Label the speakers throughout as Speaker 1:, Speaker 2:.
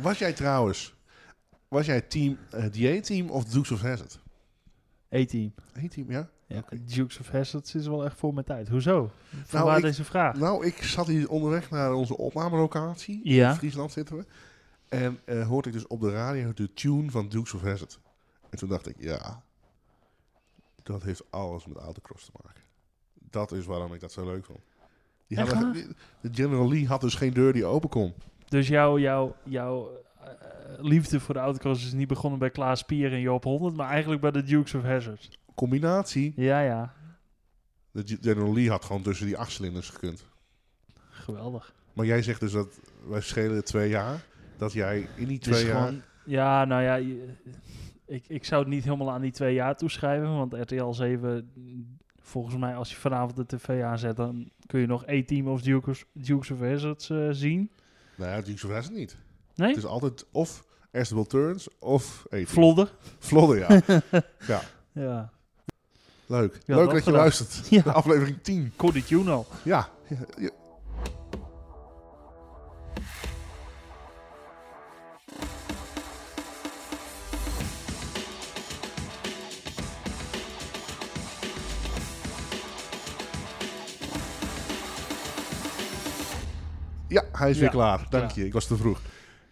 Speaker 1: Was jij trouwens, was jij team, eh dieetteam of Dukes of Hazard?
Speaker 2: E-team.
Speaker 1: Eén team, ja?
Speaker 2: Ja,
Speaker 1: Oké.
Speaker 2: Dukes of Hazzard is wel echt voor mijn tijd. Hoezo? Vandaar
Speaker 1: ik-
Speaker 2: deze vraag.
Speaker 1: Nou, ik zat hier onderweg naar onze opnamelocatie.
Speaker 2: Ah. Ja.
Speaker 1: In Friesland zitten we. En eh, hoorde ik dus op de radio de tune van Dukes of Hazzard. En toen dacht ik, ja, dat heeft alles met autocross te maken. Dat is waarom ik dat zo leuk vond. Die
Speaker 2: Echt
Speaker 1: hadden- de General Lee had dus geen deur die open kon.
Speaker 2: Dus jouw jou, jou, eh, liefde voor de autocross is niet begonnen bij Klaas Pier en Joop 100, maar eigenlijk bij de Dukes of Hazzard.
Speaker 1: Combinatie,
Speaker 2: Ja, ja.
Speaker 1: de G- General Lee had gewoon tussen die achtcilinders gekund.
Speaker 2: Geweldig.
Speaker 1: Maar jij zegt dus dat wij schelen twee jaar. Dat jij in die
Speaker 2: Het is
Speaker 1: twee jaar...
Speaker 2: gewoon- ja, nou ja, je- ik, ik zou het niet helemaal aan die twee jaar toeschrijven, want RTL 7, mm, volgens mij als je vanavond de tv aanzet, dan kun je nog E-team of Dukes, Dukes of Hazzard eh, zien.
Speaker 1: Nou ja, Dukes of Hazzard niet.
Speaker 2: Nee?
Speaker 1: Het is altijd of Astable Turns of eten.
Speaker 2: Vlodder.
Speaker 1: Vlodder, ja.
Speaker 2: Ja.
Speaker 1: Leuk.
Speaker 2: Ja,
Speaker 1: Leuk
Speaker 2: dat
Speaker 1: dat je
Speaker 2: gedaan.
Speaker 1: luistert.
Speaker 2: Ja.
Speaker 1: Aflevering 10.
Speaker 2: Cody Juno.
Speaker 1: Ja. Ja, ja. Ja, hij is weer
Speaker 2: Ja.
Speaker 1: klaar. Dank
Speaker 2: Ja.
Speaker 1: je. Ik was te vroeg.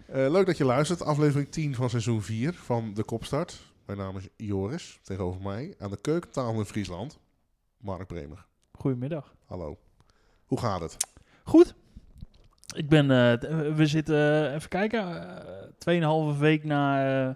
Speaker 1: Eh, leuk dat je luistert. Aflevering 10 van seizoen 4 van De Kopstart. Mijn naam is Joris. Tegenover mij aan de keukentafel in Friesland. Mark Bremer.
Speaker 2: Goedemiddag.
Speaker 1: Hallo. Hoe gaat het?
Speaker 2: Goed. Ik ben, eh, t- we zitten, eh, even kijken, eh, tweeënhalve week na eh,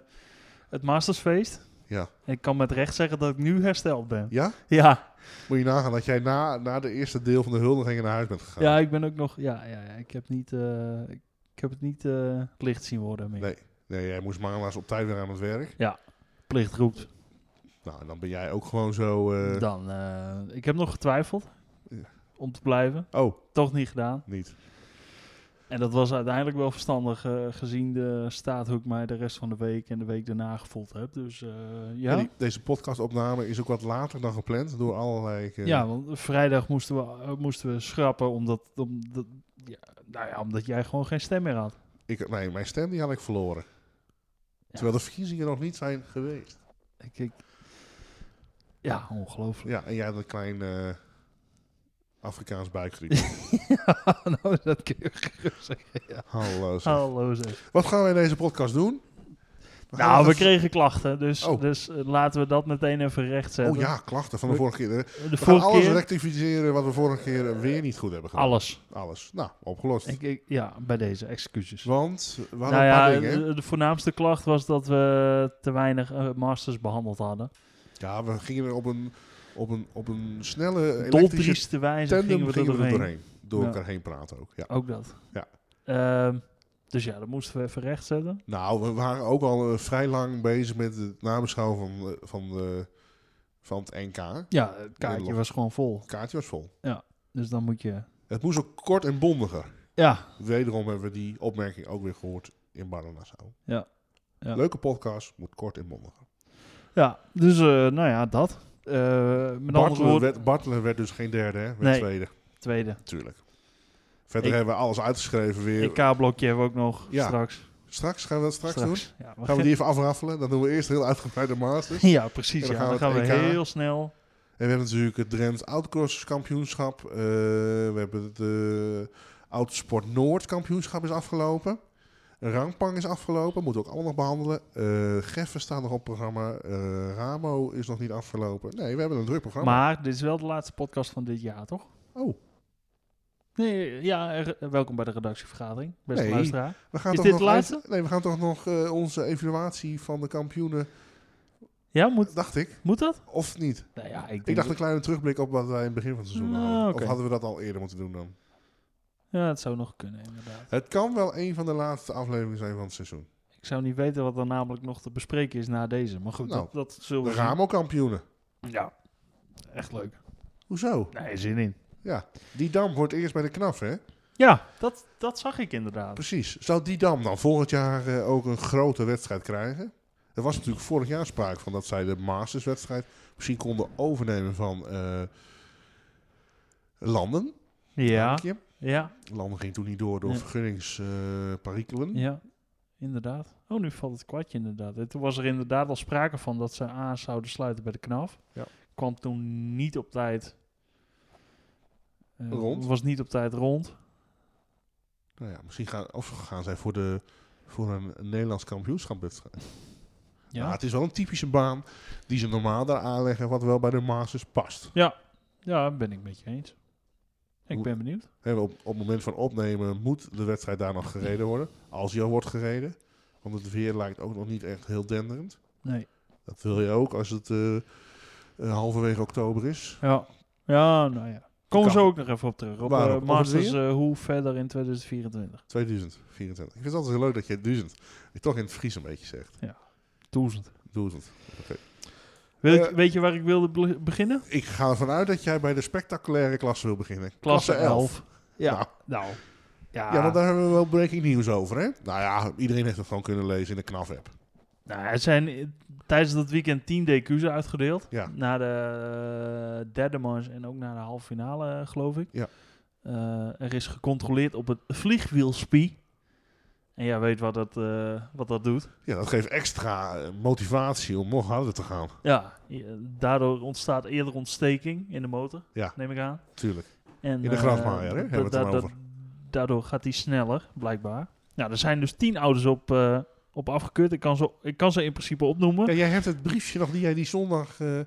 Speaker 2: het Mastersfeest.
Speaker 1: Ja.
Speaker 2: En ik kan met recht zeggen dat ik nu hersteld ben.
Speaker 1: Ja?
Speaker 2: Ja,
Speaker 1: Moet je nagaan dat jij na, na de eerste deel van de huldigingen naar huis bent gegaan.
Speaker 2: ja ik ben ook nog, ja, ja, ja ik heb niet, eh, ik ik heb het niet eh, licht zien worden meer.
Speaker 1: Nee. Nee, jij moest maandags op tijd weer aan het werk.
Speaker 2: Plicht roept.
Speaker 1: Nou, en dan ben jij ook gewoon zo... eh,
Speaker 2: Dan, eh, ik heb nog getwijfeld
Speaker 1: Ja.
Speaker 2: om te blijven.
Speaker 1: Oh,
Speaker 2: Toch niet gedaan.
Speaker 1: niet.
Speaker 2: En dat was uiteindelijk wel verstandig eh, gezien de staat hoe ik mij de rest van de week en de week daarna gevoeld heb. Dus eh, ja.
Speaker 1: En die- deze podcastopname is ook wat later dan gepland door allerlei... eh,
Speaker 2: Ja, want vrijdag moesten we, eh, moesten we schrappen omdat, omdat, ja, nou ja, omdat jij gewoon geen stem meer had.
Speaker 1: Ik, nee, mijn stem die had ik verloren. Terwijl de verkiezingen nog niet zijn geweest.
Speaker 2: Ik, ik, ja, ongelooflijk.
Speaker 1: Ja, en jij had een klein eh, Afrikaans buikgriep.
Speaker 2: nou, dat kun je gerust zeggen. Ja.
Speaker 1: Hallo. zeg.
Speaker 2: Hallo zeg.
Speaker 1: Wat gaan wij in deze podcast doen? We gaan
Speaker 2: Nou, we
Speaker 1: het-
Speaker 2: kregen klachten, dus,
Speaker 1: Oh.
Speaker 2: dus eh, laten we dat meteen even rechtzetten.
Speaker 1: Oh ja, klachten van de
Speaker 2: We-
Speaker 1: vorige keer.
Speaker 2: De
Speaker 1: We gaan
Speaker 2: vorige
Speaker 1: alles
Speaker 2: keer,
Speaker 1: rectificeren wat we vorige keer weer niet goed hebben gedaan.
Speaker 2: alles.
Speaker 1: Alles. Nou, opgelost.
Speaker 2: Ik, ik, ja, bij deze, excuses.
Speaker 1: Want we hadden
Speaker 2: Nou
Speaker 1: een paar
Speaker 2: ja,
Speaker 1: dingen. hè?
Speaker 2: de, de voornaamste klacht was dat we te weinig eh, masters behandeld hadden.
Speaker 1: Ja, we gingen op een, op een, op een snelle elektrische
Speaker 2: Doldrieste wijze
Speaker 1: tandem
Speaker 2: gingen we er doorheen.
Speaker 1: Door
Speaker 2: Ja.
Speaker 1: elkaar heen praten ook. Ja.
Speaker 2: Ook dat.
Speaker 1: Ja.
Speaker 2: Ehm, dus ja, dat moesten we even rechtzetten.
Speaker 1: Nou, we waren ook al eh, vrij lang bezig met het nabeschouwen van, eh, van, de, van het NK.
Speaker 2: Ja, het
Speaker 1: Nederland.
Speaker 2: kaartje was gewoon vol.
Speaker 1: Het kaartje was vol.
Speaker 2: Dus dan moet je...
Speaker 1: Het moest ook kort en bondiger.
Speaker 2: Ja,
Speaker 1: Wederom hebben we die opmerking ook weer gehoord in Barnassau.
Speaker 2: Ja. Ja.
Speaker 1: Leuke podcast, moet kort en bondiger.
Speaker 2: ja. dus eh, nou ja, dat. Eh met andere
Speaker 1: Bartelen
Speaker 2: woorden...
Speaker 1: werd, Bartelen werd dus geen derde, hè? Werd
Speaker 2: Nee.
Speaker 1: tweede.
Speaker 2: Tweede.
Speaker 1: Natuurlijk. Verder
Speaker 2: Ik-
Speaker 1: hebben we alles uitgeschreven weer.
Speaker 2: EK-blokje hebben we ook nog
Speaker 1: Ja,
Speaker 2: straks.
Speaker 1: Straks gaan we dat straks, doen.
Speaker 2: Ja, we
Speaker 1: Gaan we
Speaker 2: gaan-
Speaker 1: die even afraffelen. Dan doen we eerst heel uitgebreide masters.
Speaker 2: ja, precies.
Speaker 1: En dan
Speaker 2: ja.
Speaker 1: gaan
Speaker 2: Dan
Speaker 1: we E
Speaker 2: gaan we
Speaker 1: het EK.
Speaker 2: heel snel.
Speaker 1: En we hebben natuurlijk het Drents Outcross kampioenschap. Eh, we hebben het eh, Autosport Noord kampioenschap is afgelopen. Rangpang is afgelopen. Moeten we ook allemaal nog behandelen. Eh Geffen staat nog op programma. Eh, Ramo is nog niet afgelopen. Nee, we hebben een druk programma.
Speaker 2: Maar dit is wel de laatste podcast van dit jaar, toch?
Speaker 1: Oh.
Speaker 2: Nee, ja, er- welkom bij de redactievergadering. Beste
Speaker 1: Nee.
Speaker 2: luisteraar.
Speaker 1: we gaan
Speaker 2: is
Speaker 1: toch
Speaker 2: dit
Speaker 1: nog
Speaker 2: de laatste?
Speaker 1: even- nee, we gaan toch nog eh, onze evaluatie van de kampioenen.
Speaker 2: Ja, moet,
Speaker 1: Dacht ik.
Speaker 2: moet dat?
Speaker 1: Of niet?
Speaker 2: Nou ja, ik,
Speaker 1: Ik
Speaker 2: denk
Speaker 1: dacht een kleine terugblik op wat wij in het begin van het seizoen
Speaker 2: Nou,
Speaker 1: hadden.
Speaker 2: oké.
Speaker 1: Of hadden we dat al eerder moeten doen dan?
Speaker 2: Ja, het zou nog kunnen, inderdaad.
Speaker 1: Het kan wel een van de laatste afleveringen zijn van het seizoen.
Speaker 2: Ik zou niet weten wat er namelijk nog te bespreken is na deze. Maar goed,
Speaker 1: Nou,
Speaker 2: dat, dat zullen we
Speaker 1: De
Speaker 2: zien.
Speaker 1: Ramo-kampioenen.
Speaker 2: Ja, echt leuk.
Speaker 1: Hoezo?
Speaker 2: Nee, zin in.
Speaker 1: Die dam wordt eerst bij de knaf, hè?
Speaker 2: Ja, dat, dat zag ik inderdaad.
Speaker 1: Precies. Zou die dam dan volgend jaar eh, ook een grote wedstrijd krijgen? Er was natuurlijk vorig jaar sprake van dat zij de Masters-wedstrijd misschien konden overnemen van eh, Landen.
Speaker 2: Ja,
Speaker 1: Dank je.
Speaker 2: ja,
Speaker 1: Landen ging toen niet door eh, door
Speaker 2: Ja.
Speaker 1: Hm? vergunningsparikelen.
Speaker 2: ja. inderdaad. Oh, nu valt het kwartje inderdaad. En toen was er inderdaad al sprake van dat ze aan zouden sluiten bij de KNAF.
Speaker 1: Ja.
Speaker 2: Kwam toen niet op tijd... eh,
Speaker 1: Rond.
Speaker 2: Was niet op tijd rond.
Speaker 1: Nou ja, misschien gaan, of gaan zij voor, de, voor een Nederlands kampioenschapwedstrijd. Ja.
Speaker 2: Ja,
Speaker 1: het is wel een typische baan die ze normaal daar aanleggen, wat wel bij de Masters past.
Speaker 2: ja ben ik met je eens. Ik
Speaker 1: Hoe-
Speaker 2: ben benieuwd.
Speaker 1: Hè, op, op het moment van opnemen moet de wedstrijd daar nog gereden worden, als die al wordt gereden. Want het weer lijkt ook nog niet echt heel denderend.
Speaker 2: Nee.
Speaker 1: Dat wil je ook als het eh, eh, halverwege oktober is.
Speaker 2: Ja, ja nou ja. Komen we
Speaker 1: Kan.
Speaker 2: zo ook nog even op terug. Op eh,
Speaker 1: Waarop? Op het
Speaker 2: Masters,
Speaker 1: weer?
Speaker 2: eh, hoe verder in 2024?
Speaker 1: 2024. Ik vind het altijd heel leuk dat je 1000 toch in het Fries een beetje zegt.
Speaker 2: 1000.
Speaker 1: 1000.
Speaker 2: Wil ik,
Speaker 1: Eh,
Speaker 2: weet je waar ik wilde be- beginnen?
Speaker 1: Ik ga ervan uit dat jij bij de spectaculaire klasse wil beginnen.
Speaker 2: Klasse 11.
Speaker 1: Ja.
Speaker 2: Ja. Nou, ja.
Speaker 1: Ja, want daar hebben we wel breaking news over, hè? Nou ja, iedereen heeft het gewoon kunnen lezen in de KNAF-app.
Speaker 2: nou, er zijn eh, tijdens dat weekend 10 DQ's uitgedeeld.
Speaker 1: Ja.
Speaker 2: Naar de eh, derde mars en ook naar de halve finale, eh, geloof ik.
Speaker 1: Ja.
Speaker 2: Eh, er is gecontroleerd op het vliegwielspie. En jij weet wat dat, eh, wat dat doet.
Speaker 1: Ja, dat geeft extra eh, motivatie om nog harder te gaan.
Speaker 2: Ja, je- daardoor ontstaat eerder ontsteking in de motor,
Speaker 1: Ja.
Speaker 2: neem ik aan.
Speaker 1: Tuurlijk.
Speaker 2: En,
Speaker 1: de
Speaker 2: eh,
Speaker 1: grasmaaier, hè,
Speaker 2: da-
Speaker 1: hebben we het
Speaker 2: da-
Speaker 1: dan
Speaker 2: da-
Speaker 1: over.
Speaker 2: Daardoor gaat hij sneller, blijkbaar. Nou, er zijn dus tien ouders op, eh, op afgekeurd. Ik kan, ze, ik kan ze in principe opnoemen.
Speaker 1: Ja,
Speaker 2: Ja,
Speaker 1: jij hebt het briefje nog die jij die zondag... eh,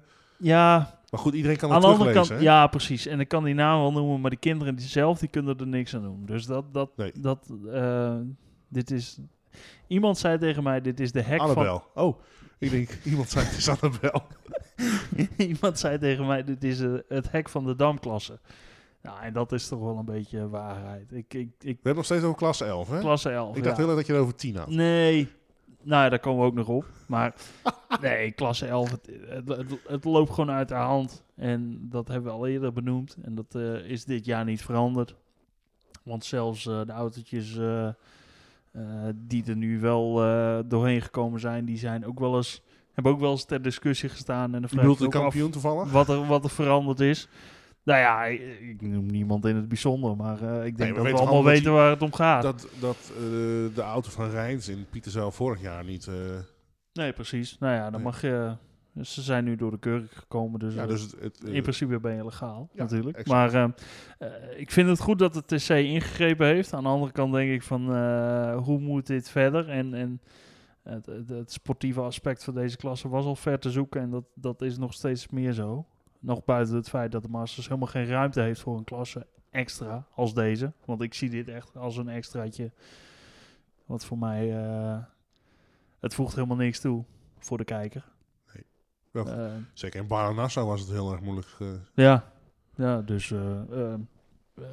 Speaker 1: maar goed, iedereen kan het
Speaker 2: aan de andere
Speaker 1: teruglezen,
Speaker 2: kant...
Speaker 1: hè?
Speaker 2: Ja, precies. En ik kan die naam wel noemen, maar de kinderen die zelf, die kunnen er niks aan doen. Dus dat... dat,
Speaker 1: Nee.
Speaker 2: dat eh, dit is... Iemand zei tegen mij, dit is de hek van
Speaker 1: Annabel. Oh, ik denk, iemand zei het is Annabel.
Speaker 2: Iemand zei tegen mij, dit is eh, het hek van de damklasse. Nou, en dat is toch wel een beetje waarheid. Ik, ik, ik
Speaker 1: We hebben nog steeds over klasse 11, hè?
Speaker 2: klasse 11.
Speaker 1: ik dacht
Speaker 2: ja.
Speaker 1: heel erg dat je het over 10 had.
Speaker 2: Nee. Nou ja, daar komen we ook nog op. Maar nee, klasse 11, het, het, het, het loopt gewoon uit de hand. En dat hebben we al eerder benoemd. En dat eh, is dit jaar niet veranderd. Want zelfs eh, de autootjes eh, eh, die er nu wel eh, doorheen gekomen zijn, die zijn ook wel eens, hebben ook wel eens ter discussie gestaan. En dan
Speaker 1: Je
Speaker 2: vraag ik
Speaker 1: bedoelt
Speaker 2: me
Speaker 1: de
Speaker 2: ook af-
Speaker 1: kampioen toevallig?
Speaker 2: wat er, wat er veranderd is. Nou ja, ik, ik noem niemand in het bijzonder, maar eh, ik denk
Speaker 1: Nee, we
Speaker 2: dat we
Speaker 1: weten
Speaker 2: allemaal
Speaker 1: allemaal dat
Speaker 2: weten waar het om gaat.
Speaker 1: Dat, dat eh, de auto van Rijns in Pieterzijl vorig jaar niet... eh,
Speaker 2: Nee, precies. Nou ja, dan
Speaker 1: Nee.
Speaker 2: mag je... Ze zijn nu door de keuring gekomen, dus,
Speaker 1: ja,
Speaker 2: eh,
Speaker 1: dus het... het, eh,
Speaker 2: in principe ben je legaal,
Speaker 1: ja,
Speaker 2: natuurlijk.
Speaker 1: exact.
Speaker 2: Maar eh, eh, ik vind het goed dat de TC ingegrepen heeft. Aan de andere kant denk ik van, eh, hoe moet dit verder? En, en het, het, het sportieve aspect van deze klasse was al ver te zoeken en dat, dat is nog steeds meer zo. Nog buiten het feit dat de Masters helemaal geen ruimte heeft voor een klasse extra als deze. Want ik zie dit echt als een extraatje. Wat voor mij, eh, het voegt helemaal niks toe voor de kijker.
Speaker 1: Nee. Wel,
Speaker 2: Eh,
Speaker 1: Zeker in Baranassa was het heel erg moeilijk. eh.
Speaker 2: ja, ja dus eh, eh,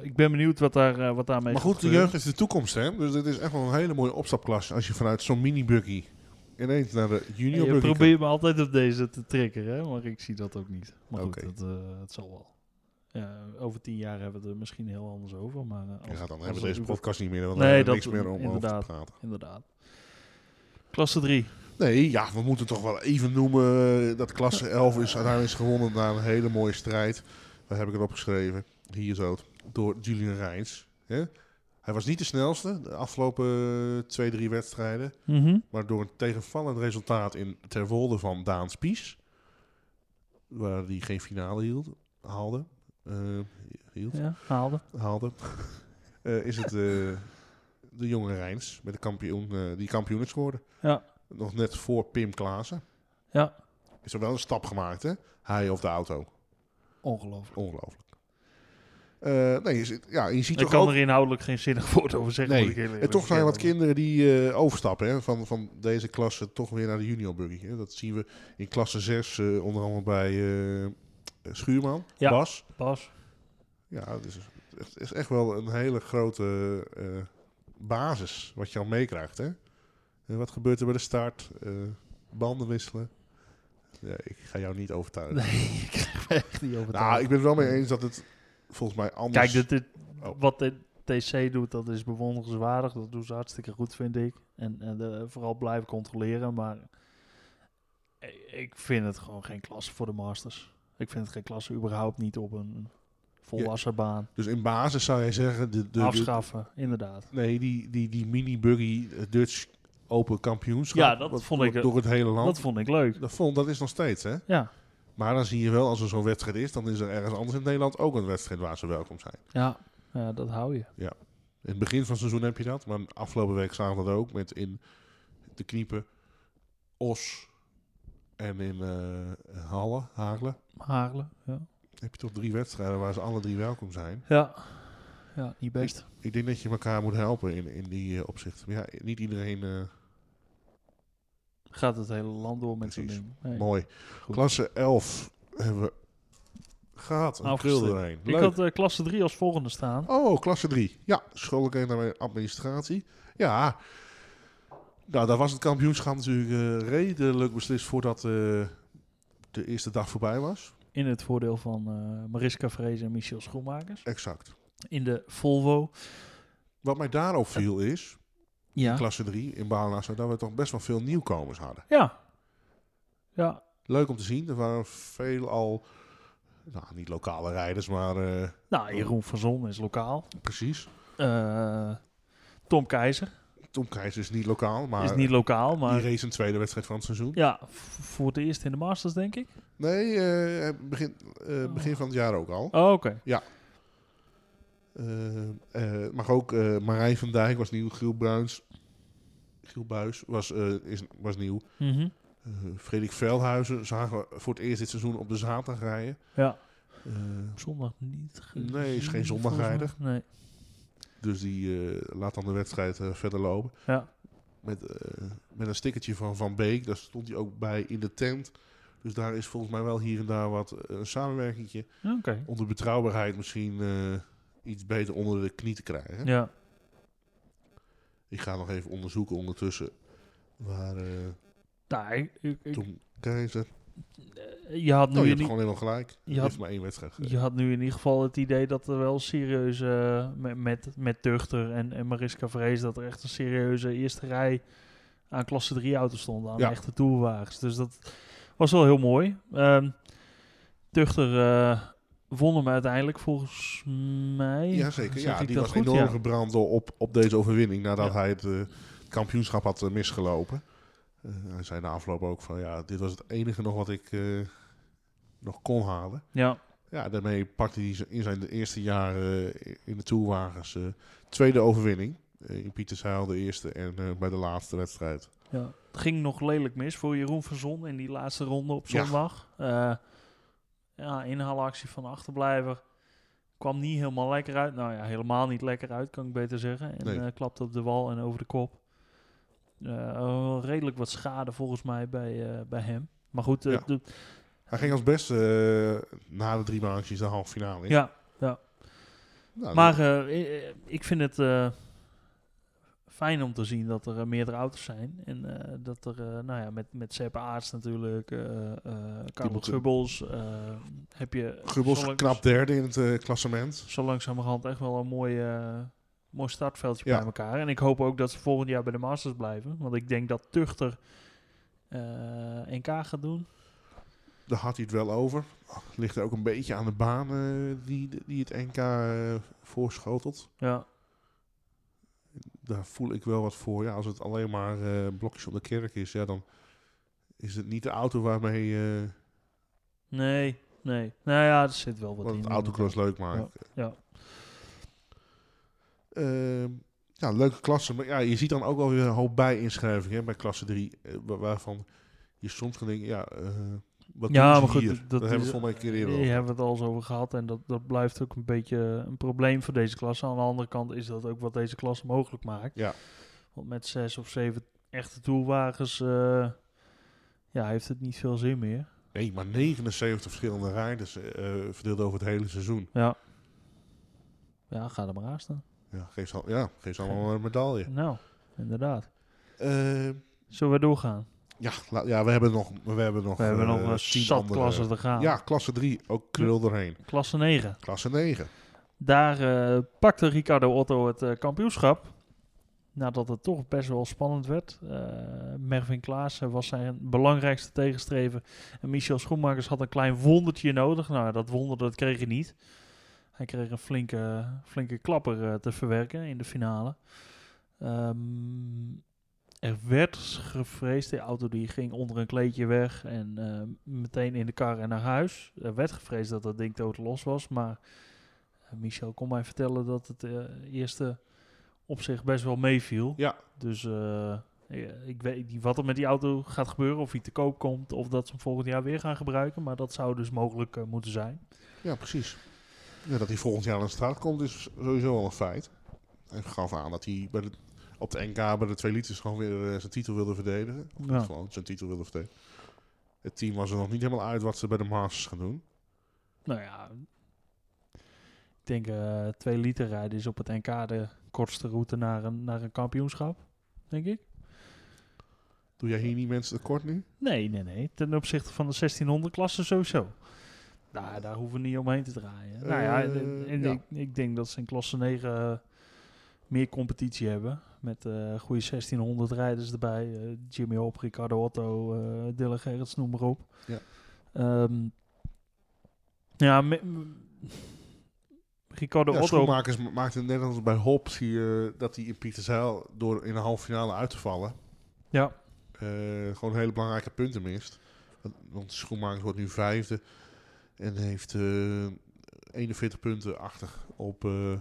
Speaker 2: ik ben benieuwd wat, daar, eh, wat daarmee
Speaker 1: Maar
Speaker 2: gaat
Speaker 1: goed, de
Speaker 2: gebeuren.
Speaker 1: jeugd is de toekomst, hè? Dus dit is echt wel een hele mooie opstapklas als je vanuit zo'n mini-buggy ineens naar de junior
Speaker 2: Je
Speaker 1: buggy
Speaker 2: probeert me altijd op deze te triggeren, hè? maar ik zie dat ook niet. Maar
Speaker 1: Oké.
Speaker 2: goed, dat, eh, het zal wel. Ja, over tien jaar hebben we het er misschien heel anders over. Maar, eh, als
Speaker 1: komt. Ja,
Speaker 2: het-
Speaker 1: dan
Speaker 2: als
Speaker 1: hebben we
Speaker 2: het
Speaker 1: deze
Speaker 2: überhaupt-
Speaker 1: podcast niet meer, want
Speaker 2: Nee,
Speaker 1: nee,
Speaker 2: dat-
Speaker 1: niks meer om over
Speaker 2: inderdaad.
Speaker 1: te praten.
Speaker 2: Inderdaad. Klasse 3.
Speaker 1: Nee, ja, we moeten toch wel even noemen eh, dat klasse 11 is uiteindelijk is gewonnen na een hele mooie strijd. Daar heb ik het opgeschreven, hier zo, door Julian Reins. Hè? Hij was niet de snelste de afgelopen eh, twee, drie wedstrijden.
Speaker 2: Mhm,
Speaker 1: Maar door een tegenvallend resultaat in Terwolde van Daan Spies, waar die geen finale hield, haalde, eh, hield,
Speaker 2: Ja, haalde.
Speaker 1: haalde eh, is het eh, de jonge Rijns met de kampioen, eh, die kampioen is geworden.
Speaker 2: Ja.
Speaker 1: Nog net voor Pim Klaassen.
Speaker 2: Ja.
Speaker 1: Is er wel een stap gemaakt, hè? Hij of de auto.
Speaker 2: Ongelooflijk.
Speaker 1: Ongelooflijk. Eh, nee, is het- ja, je ziet
Speaker 2: Ik
Speaker 1: toch ook...
Speaker 2: kan er inhoudelijk geen zinnig woord over zeggen.
Speaker 1: Nee,
Speaker 2: moet ik heel eerlijk
Speaker 1: En toch zijn wat
Speaker 2: bekennen.
Speaker 1: kinderen die eh, overstappen hè, van, van deze klasse toch weer naar de junior buggy. Hè. Dat zien we in klasse 6, eh, onder andere bij eh, Schuurman,
Speaker 2: Ja.
Speaker 1: Bas.
Speaker 2: Bas.
Speaker 1: Ja, het is, het is echt wel een hele grote eh, basis wat je al meekrijgt. Hè. En wat gebeurt er bij de start? Eh, banden wisselen. Ja, ik ga jou niet overtuigen.
Speaker 2: Nee, ik krijg me echt niet over.
Speaker 1: nou, ik ben het wel mee eens dat het volgens mij anders...
Speaker 2: Kijk, dit, dit-
Speaker 1: Oh.
Speaker 2: wat de TC doet, dat is bewonderenswaardig. Dat doen ze hartstikke goed, vind ik. En, en eh, vooral blijven controleren. Maar ik- ik vind het gewoon geen klasse voor de Masters. Ik vind het geen klasse überhaupt niet op een volwassen baan.
Speaker 1: Dus in basis zou jij zeggen... De, de, de,
Speaker 2: Afschaffen, inderdaad.
Speaker 1: Nee, die, die, die mini-buggy eh, Dutch open kampioenschap.
Speaker 2: Ja, dat
Speaker 1: wat-
Speaker 2: vond
Speaker 1: wat
Speaker 2: ik-
Speaker 1: Door het hele land.
Speaker 2: Dat vond ik leuk.
Speaker 1: Dat, vond, dat is nog steeds, hè?
Speaker 2: Ja.
Speaker 1: Maar dan zie je wel, als er zo'n wedstrijd is, dan is er ergens anders in Nederland ook een wedstrijd waar ze welkom zijn.
Speaker 2: Ja. ja, dat hou je.
Speaker 1: In het begin van het seizoen heb je dat, maar afgelopen week zagen we dat ook met in de kniepen Os en in eh Halle, Hagelen.
Speaker 2: Haarlen. Ja.
Speaker 1: Heb je toch drie wedstrijden waar ze alle drie welkom zijn.
Speaker 2: ja. Ja, niet best.
Speaker 1: Ik denk dat je elkaar moet helpen in, in die eh, opzichten. Maar ja, niet iedereen eh,
Speaker 2: Gaat het hele land door met zo'n
Speaker 1: Precies.
Speaker 2: ding. Nee.
Speaker 1: mooi. Klasse 11 hebben we gehad. Een krul
Speaker 2: Afgestuurd.
Speaker 1: erheen.
Speaker 2: Ik
Speaker 1: Leuk.
Speaker 2: had eh, klasse 3 als volgende staan.
Speaker 1: Oh, klasse 3. Ja, schoollijkheid naar administratie. Ja. Nou, daar was het kampioenschap natuurlijk eh, redelijk beslist voordat eh, de eerste dag voorbij was.
Speaker 2: In het voordeel van eh, Mariska Vrees en Michiel Schoenmakers.
Speaker 1: Exact.
Speaker 2: In de Volvo.
Speaker 1: Wat mij daarop viel is,
Speaker 2: Ja.
Speaker 1: klasse 3 in Baalnassa, dat we toch best wel veel nieuwkomers hadden.
Speaker 2: Ja. Ja.
Speaker 1: Leuk om te zien. Er waren veelal, nou, niet lokale rijders, maar eh,
Speaker 2: Nou, Jeroen van Zon is lokaal.
Speaker 1: precies.
Speaker 2: Eh, Tom Keizer
Speaker 1: Tom Keijs is niet lokaal, maar
Speaker 2: is niet lokaal, maar...
Speaker 1: die race een tweede wedstrijd van het seizoen.
Speaker 2: Ja, v- voor het eerst in de Masters, denk ik.
Speaker 1: Nee, eh, begin, eh, begin van het jaar ook al.
Speaker 2: Oh, oké.
Speaker 1: Eh, eh, maar ook eh Marijn van Dijk was nieuw. Giel Bruins. Giel Buis was, eh, is, was nieuw.
Speaker 2: Mhm.
Speaker 1: Eh, Frederik Veldhuizen zagen we voor het eerst dit seizoen op de zaterdag rijden.
Speaker 2: Ja.
Speaker 1: Eh,
Speaker 2: Op Zondag niet. gezien,
Speaker 1: Nee, is geen
Speaker 2: volgens mij.
Speaker 1: zondagrijder.
Speaker 2: Nee.
Speaker 1: dus die eh, laat dan de wedstrijd eh, verder lopen.
Speaker 2: Ja.
Speaker 1: Met, eh, met een stickertje van Van Beek. Daar stond hij ook bij in de tent. Dus daar is volgens mij wel hier en daar wat eh, een samenwerking.
Speaker 2: Oké.
Speaker 1: Om de betrouwbaarheid misschien eh, iets beter onder de knie te krijgen.
Speaker 2: Ja.
Speaker 1: Ik ga nog even onderzoeken ondertussen waar eh
Speaker 2: Nou, ik, ik- ik-
Speaker 1: Tom Keizer...
Speaker 2: Oh, je, had nu
Speaker 1: Nou, je
Speaker 2: in
Speaker 1: hebt
Speaker 2: i-
Speaker 1: gewoon helemaal gelijk.
Speaker 2: je
Speaker 1: Je
Speaker 2: had-
Speaker 1: hebt maar één wedstrijd
Speaker 2: je
Speaker 1: gereden.
Speaker 2: had nu in ieder geval het idee dat er wel serieus eh, met, met, met Tuchter en, en Mariska Vrees... dat er echt een serieuze eerste rij aan klasse 3 auto's stond. Aan
Speaker 1: Ja.
Speaker 2: echte toerwagens. Dus dat was wel heel mooi. Ehm, Tuchter eh, won hem uiteindelijk volgens mij.
Speaker 1: Jazeker,
Speaker 2: Zeg
Speaker 1: ja,
Speaker 2: ik
Speaker 1: die
Speaker 2: dat
Speaker 1: was
Speaker 2: goed?
Speaker 1: enorm
Speaker 2: Ja.
Speaker 1: gebrand door op, op deze overwinning nadat
Speaker 2: Ja.
Speaker 1: hij het eh, kampioenschap had eh, misgelopen. Eh, hij zei na afloop ook van ja, dit was het enige nog wat ik eh, nog kon halen.
Speaker 2: Ja.
Speaker 1: Ja, daarmee pakte hij z- in zijn eerste jaar eh, in de toerwagens eh, tweede overwinning. Eh, in Pieterzeil de eerste en eh, bij de laatste wedstrijd.
Speaker 2: Ja, het ging nog lelijk mis voor Jeroen van Zon in die laatste ronde op
Speaker 1: Ja.
Speaker 2: zondag. Eh, ja, inhaalactie van de achterblijver. Kwam niet helemaal lekker uit. Nou ja, helemaal niet lekker uit, kan ik beter zeggen. En
Speaker 1: Nee.
Speaker 2: eh, klapte op de wal en over de kop. Eh, wel redelijk wat schade volgens mij bij, eh, bij hem. Maar goed, eh,
Speaker 1: Ja.
Speaker 2: de-
Speaker 1: Hij ging als beste eh, na de drie maandjes de halve finale in.
Speaker 2: ja,
Speaker 1: Nou,
Speaker 2: maar eh, eh, ik vind het eh, fijn om te zien dat er eh, meerdere auto's zijn. En eh, dat er, eh, nou ja, met, met Sepp Aarts natuurlijk, eh eh Karel
Speaker 1: moeten-
Speaker 2: Gubbels, eh, heb je...
Speaker 1: Gubbels
Speaker 2: zo lang-
Speaker 1: knap derde in het eh, klassement.
Speaker 2: Zo langzamerhand echt wel een mooi, eh, mooi startveldje
Speaker 1: Ja.
Speaker 2: bij elkaar. En ik hoop ook dat ze volgend jaar bij de Masters blijven. Want ik denk dat Tuchter eh, NK gaat doen.
Speaker 1: Daar had hij het wel over. Ligt er ook een beetje aan de baan eh, die, die het NK eh, voorschotelt.
Speaker 2: Ja,
Speaker 1: Daar voel ik wel wat voor. Ja, als het alleen maar eh, blokjes om de kerk is, ja, dan is het niet de auto waarmee eh,
Speaker 2: nee, nee. Nou ja, er zit wel wat
Speaker 1: wat
Speaker 2: in.
Speaker 1: het autocross leuk maakt.
Speaker 2: Ja,
Speaker 1: Ehm, ja, leuke klasse. Maar ja, je ziet dan ook wel weer een hoop bijinschrijvingen hè, bij klasse 3. eh, wa- waarvan je soms kan denken, ja, eh, wat
Speaker 2: Ja,
Speaker 1: doen ze
Speaker 2: maar goed,
Speaker 1: hier?
Speaker 2: dat-
Speaker 1: Daar hebben
Speaker 2: dat is-
Speaker 1: we het volgens mij een keer eerder
Speaker 2: Hier
Speaker 1: over.
Speaker 2: hebben we het al eens over gehad. En dat, dat blijft ook een beetje een probleem voor deze klasse. Aan de andere kant is dat ook wat deze klasse mogelijk maakt.
Speaker 1: Ja.
Speaker 2: Want met zes of zeven echte toerwagens eh, ja, heeft het niet veel zin meer.
Speaker 1: Nee, maar 79 verschillende rijders eh, eh, verdeeld over het hele seizoen.
Speaker 2: Ja. Ja, ga er maar aan staan.
Speaker 1: Ja, geef ze, al- ja, geef ze allemaal een medaille.
Speaker 2: Nou, inderdaad.
Speaker 1: Eh,
Speaker 2: Zullen we doorgaan?
Speaker 1: ja, la- ja, we hebben nog we hebben nog,
Speaker 2: We hebben
Speaker 1: eh,
Speaker 2: nog een
Speaker 1: tien
Speaker 2: zat
Speaker 1: andere-
Speaker 2: klassen te gaan.
Speaker 1: Ja, klasse 3, ook krul doorheen.
Speaker 2: Klasse 9.
Speaker 1: Klasse 9.
Speaker 2: Daar eh, pakte Ricardo Otto het eh, kampioenschap. Nadat het toch best wel spannend werd. Eh, Mervin Klaassen was zijn belangrijkste tegenstrever. En Michel Schoenmakers had een klein wondertje nodig. Nou, dat wonder dat kreeg hij niet. Hij kreeg een flinke, flinke klapper eh, te verwerken in de finale. Ehm, Er werd gevreesd, de auto die ging onder een kleedje weg en eh, meteen in de kar en naar huis. Er werd gevreesd dat dat ding dood los was, maar eh, Michel kon mij vertellen dat het eh, eerste op zich best wel meeviel.
Speaker 1: Ja.
Speaker 2: Dus eh, ja, ik weet niet wat er met die auto gaat gebeuren, of hij te koop komt, of dat ze hem volgend jaar weer gaan gebruiken. Maar dat zou dus mogelijk eh, moeten zijn.
Speaker 1: Ja, precies. Ja, dat hij volgend jaar aan de straat komt is sowieso al een feit. En gaf aan dat hij bij de, op de NK bij de 2 liters gewoon weer eh, zijn titel wilde verdedigen. Of
Speaker 2: Ja.
Speaker 1: niet gewoon zijn titel wilde verdedigen. Het team was er nog niet helemaal uit wat ze bij de Masters gaan doen.
Speaker 2: Nou ja, ik denk eh twee liter rijden is op het NK de kortste route naar een, naar een kampioenschap, denk ik.
Speaker 1: Doe jij hier niet mensen tekort nu?
Speaker 2: Nee, nee, nee. Ten opzichte van de 1600 klasse sowieso. Nou, daar hoeven we niet omheen te draaien. nou ja, en- en
Speaker 1: Eh, ja.
Speaker 2: Ik, ik denk dat ze in klasse 9 eh, meer competitie hebben. Met eh goede 1600 rijders erbij. Eh, Jimmy Hop, Ricardo Otto, eh Dylan Gerrits, noem maar op.
Speaker 1: Ja.
Speaker 2: Ehm, ja, me- m- Ricardo
Speaker 1: Ja,
Speaker 2: Otto
Speaker 1: Schoenmakers ma- maakte in Nederland bij Hobbs hier dat hij in Pieterzeil door in de halve finale uit te vallen.
Speaker 2: Ja.
Speaker 1: eh, gewoon hele belangrijke punten mist. Want- Want Schoenmakers wordt nu vijfde en heeft eh, 41 punten achter op eh,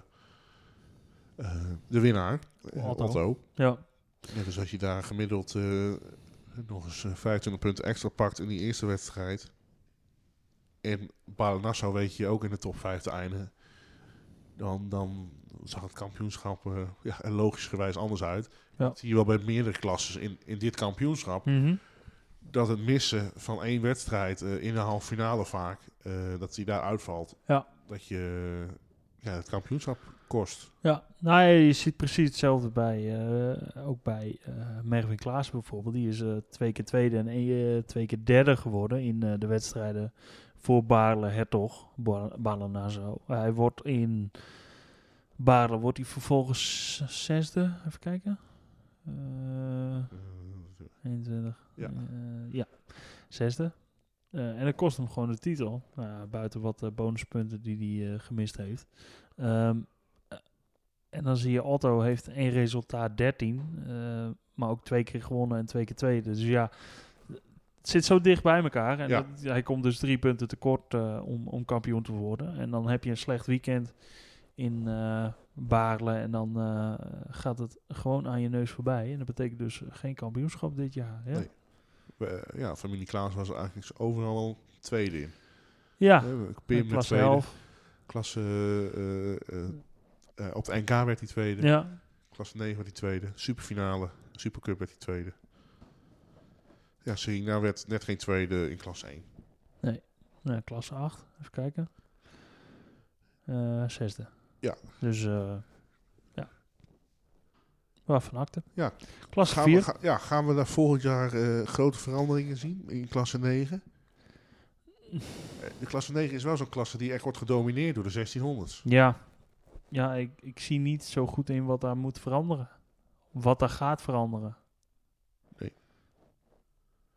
Speaker 1: eh, de winnaar, eh,
Speaker 2: Otto.
Speaker 1: Otto.
Speaker 2: Ja,
Speaker 1: Ja, dus als je daar gemiddeld eh, nog eens eh, 25 punten extra pakt in die eerste wedstrijd. En Balen Nassau weet je ook in de top 5 te eindigen. Dan, dan zag het kampioenschap eh ja, er logischerwijs anders uit.
Speaker 2: Ja.
Speaker 1: Dat zie je wel bij meerdere klasses in, in dit kampioenschap. Dat het missen van één wedstrijd eh, in de halve finale vaak, eh, dat die daar uitvalt.
Speaker 2: Ja.
Speaker 1: Dat je eh, ja, het kampioenschap kost.
Speaker 2: Ja, nou ja, je ziet precies hetzelfde bij, eh, ook bij eh Merwin Klaas bijvoorbeeld. Die is eh, twee keer tweede en één, eh, twee keer derde geworden in eh, de wedstrijden voor Baarle Hertog, Ba- Baarle Nassau. Hij wordt in Baarle, wordt hij vervolgens s- zesde, even kijken. Eh,
Speaker 1: Eh,
Speaker 2: 21.
Speaker 1: Ja.
Speaker 2: Eh, ja. Zesde. Eh, en dat kost hem gewoon de titel. Nou ja, buiten wat eh, bonuspunten die, die hij eh, gemist heeft. Ehm, eh, en dan zie je Otto heeft één resultaat 13. eh, maar ook twee keer gewonnen en twee keer tweede. Dus ja, het zit zo dicht bij elkaar. En
Speaker 1: Ja.
Speaker 2: dat- hij komt dus drie punten tekort eh, om, om kampioen te worden. En dan heb je een slecht weekend in eh Baarle. En dan eh, gaat het gewoon aan je neus voorbij. En dat betekent dus geen kampioenschap dit jaar. Ja,
Speaker 1: Nee. eh, ja, familie Klaas was er eigenlijk overal wel tweede in.
Speaker 2: ja eh,
Speaker 1: Ja, Pim de
Speaker 2: Ah, klasse
Speaker 1: Eh, tweede.
Speaker 2: 11.
Speaker 1: Klasse, eh, eh, eh, op de NK werd hij tweede.
Speaker 2: Ja,
Speaker 1: Klasse 9 werd hij tweede. Superfinale. Supercup werd hij tweede. Ja, Serena werd net geen tweede in klasse 1.
Speaker 2: nou, klasse 8. Even kijken. Eh, zesde.
Speaker 1: Ja.
Speaker 2: Dus, eh ja. Waarvan acte?
Speaker 1: Ja.
Speaker 2: Klasse
Speaker 1: Gaan we,
Speaker 2: 4.
Speaker 1: ga- ja, gaan we daar volgend jaar eh, grote veranderingen zien in klasse 9? De klasse 9 is wel zo'n klasse die echt wordt gedomineerd door de 1600s.
Speaker 2: Ja, ja ik, ik zie niet zo goed in wat daar moet veranderen. Wat daar gaat veranderen.
Speaker 1: Nee.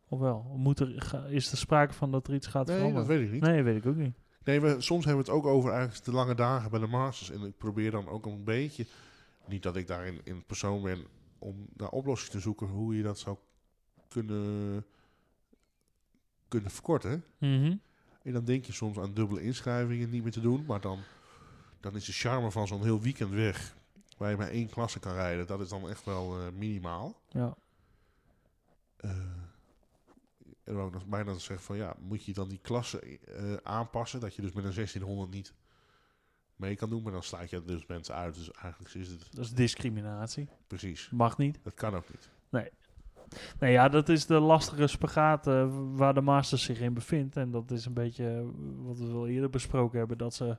Speaker 2: Of wel? Moet er, ga- is er sprake van dat er iets gaat
Speaker 1: Nee, dat
Speaker 2: veranderen?
Speaker 1: weet ik niet.
Speaker 2: nee, weet ik ook niet.
Speaker 1: Nee, we, soms hebben we het ook over eigenlijk de lange dagen bij de Masters. En ik probeer dan ook een beetje, niet dat ik daarin in persoon ben, om naar oplossingen te zoeken hoe je dat zou kunnen, kunnen verkorten.
Speaker 2: Mhm.
Speaker 1: En dan denk je soms aan dubbele inschrijvingen niet meer te doen, maar dan, dan is de charme van zo'n heel weekend weg. Waar je maar één klasse kan rijden, dat is dan echt wel eh, minimaal.
Speaker 2: Ja.
Speaker 1: Eh, en ook nog bijna te zeggen van ja, moet je dan die klasse eh, aanpassen? Dat je dus met een 1600 niet mee kan doen, maar dan sluit je dus mensen uit. Dus eigenlijk is het
Speaker 2: Dat is discriminatie.
Speaker 1: precies.
Speaker 2: Mag niet.
Speaker 1: Dat kan ook niet.
Speaker 2: Nou ja, dat is de lastige spagaat eh, waar de Masters zich in bevindt. En dat is een beetje eh, wat we al eerder besproken hebben. Dat ze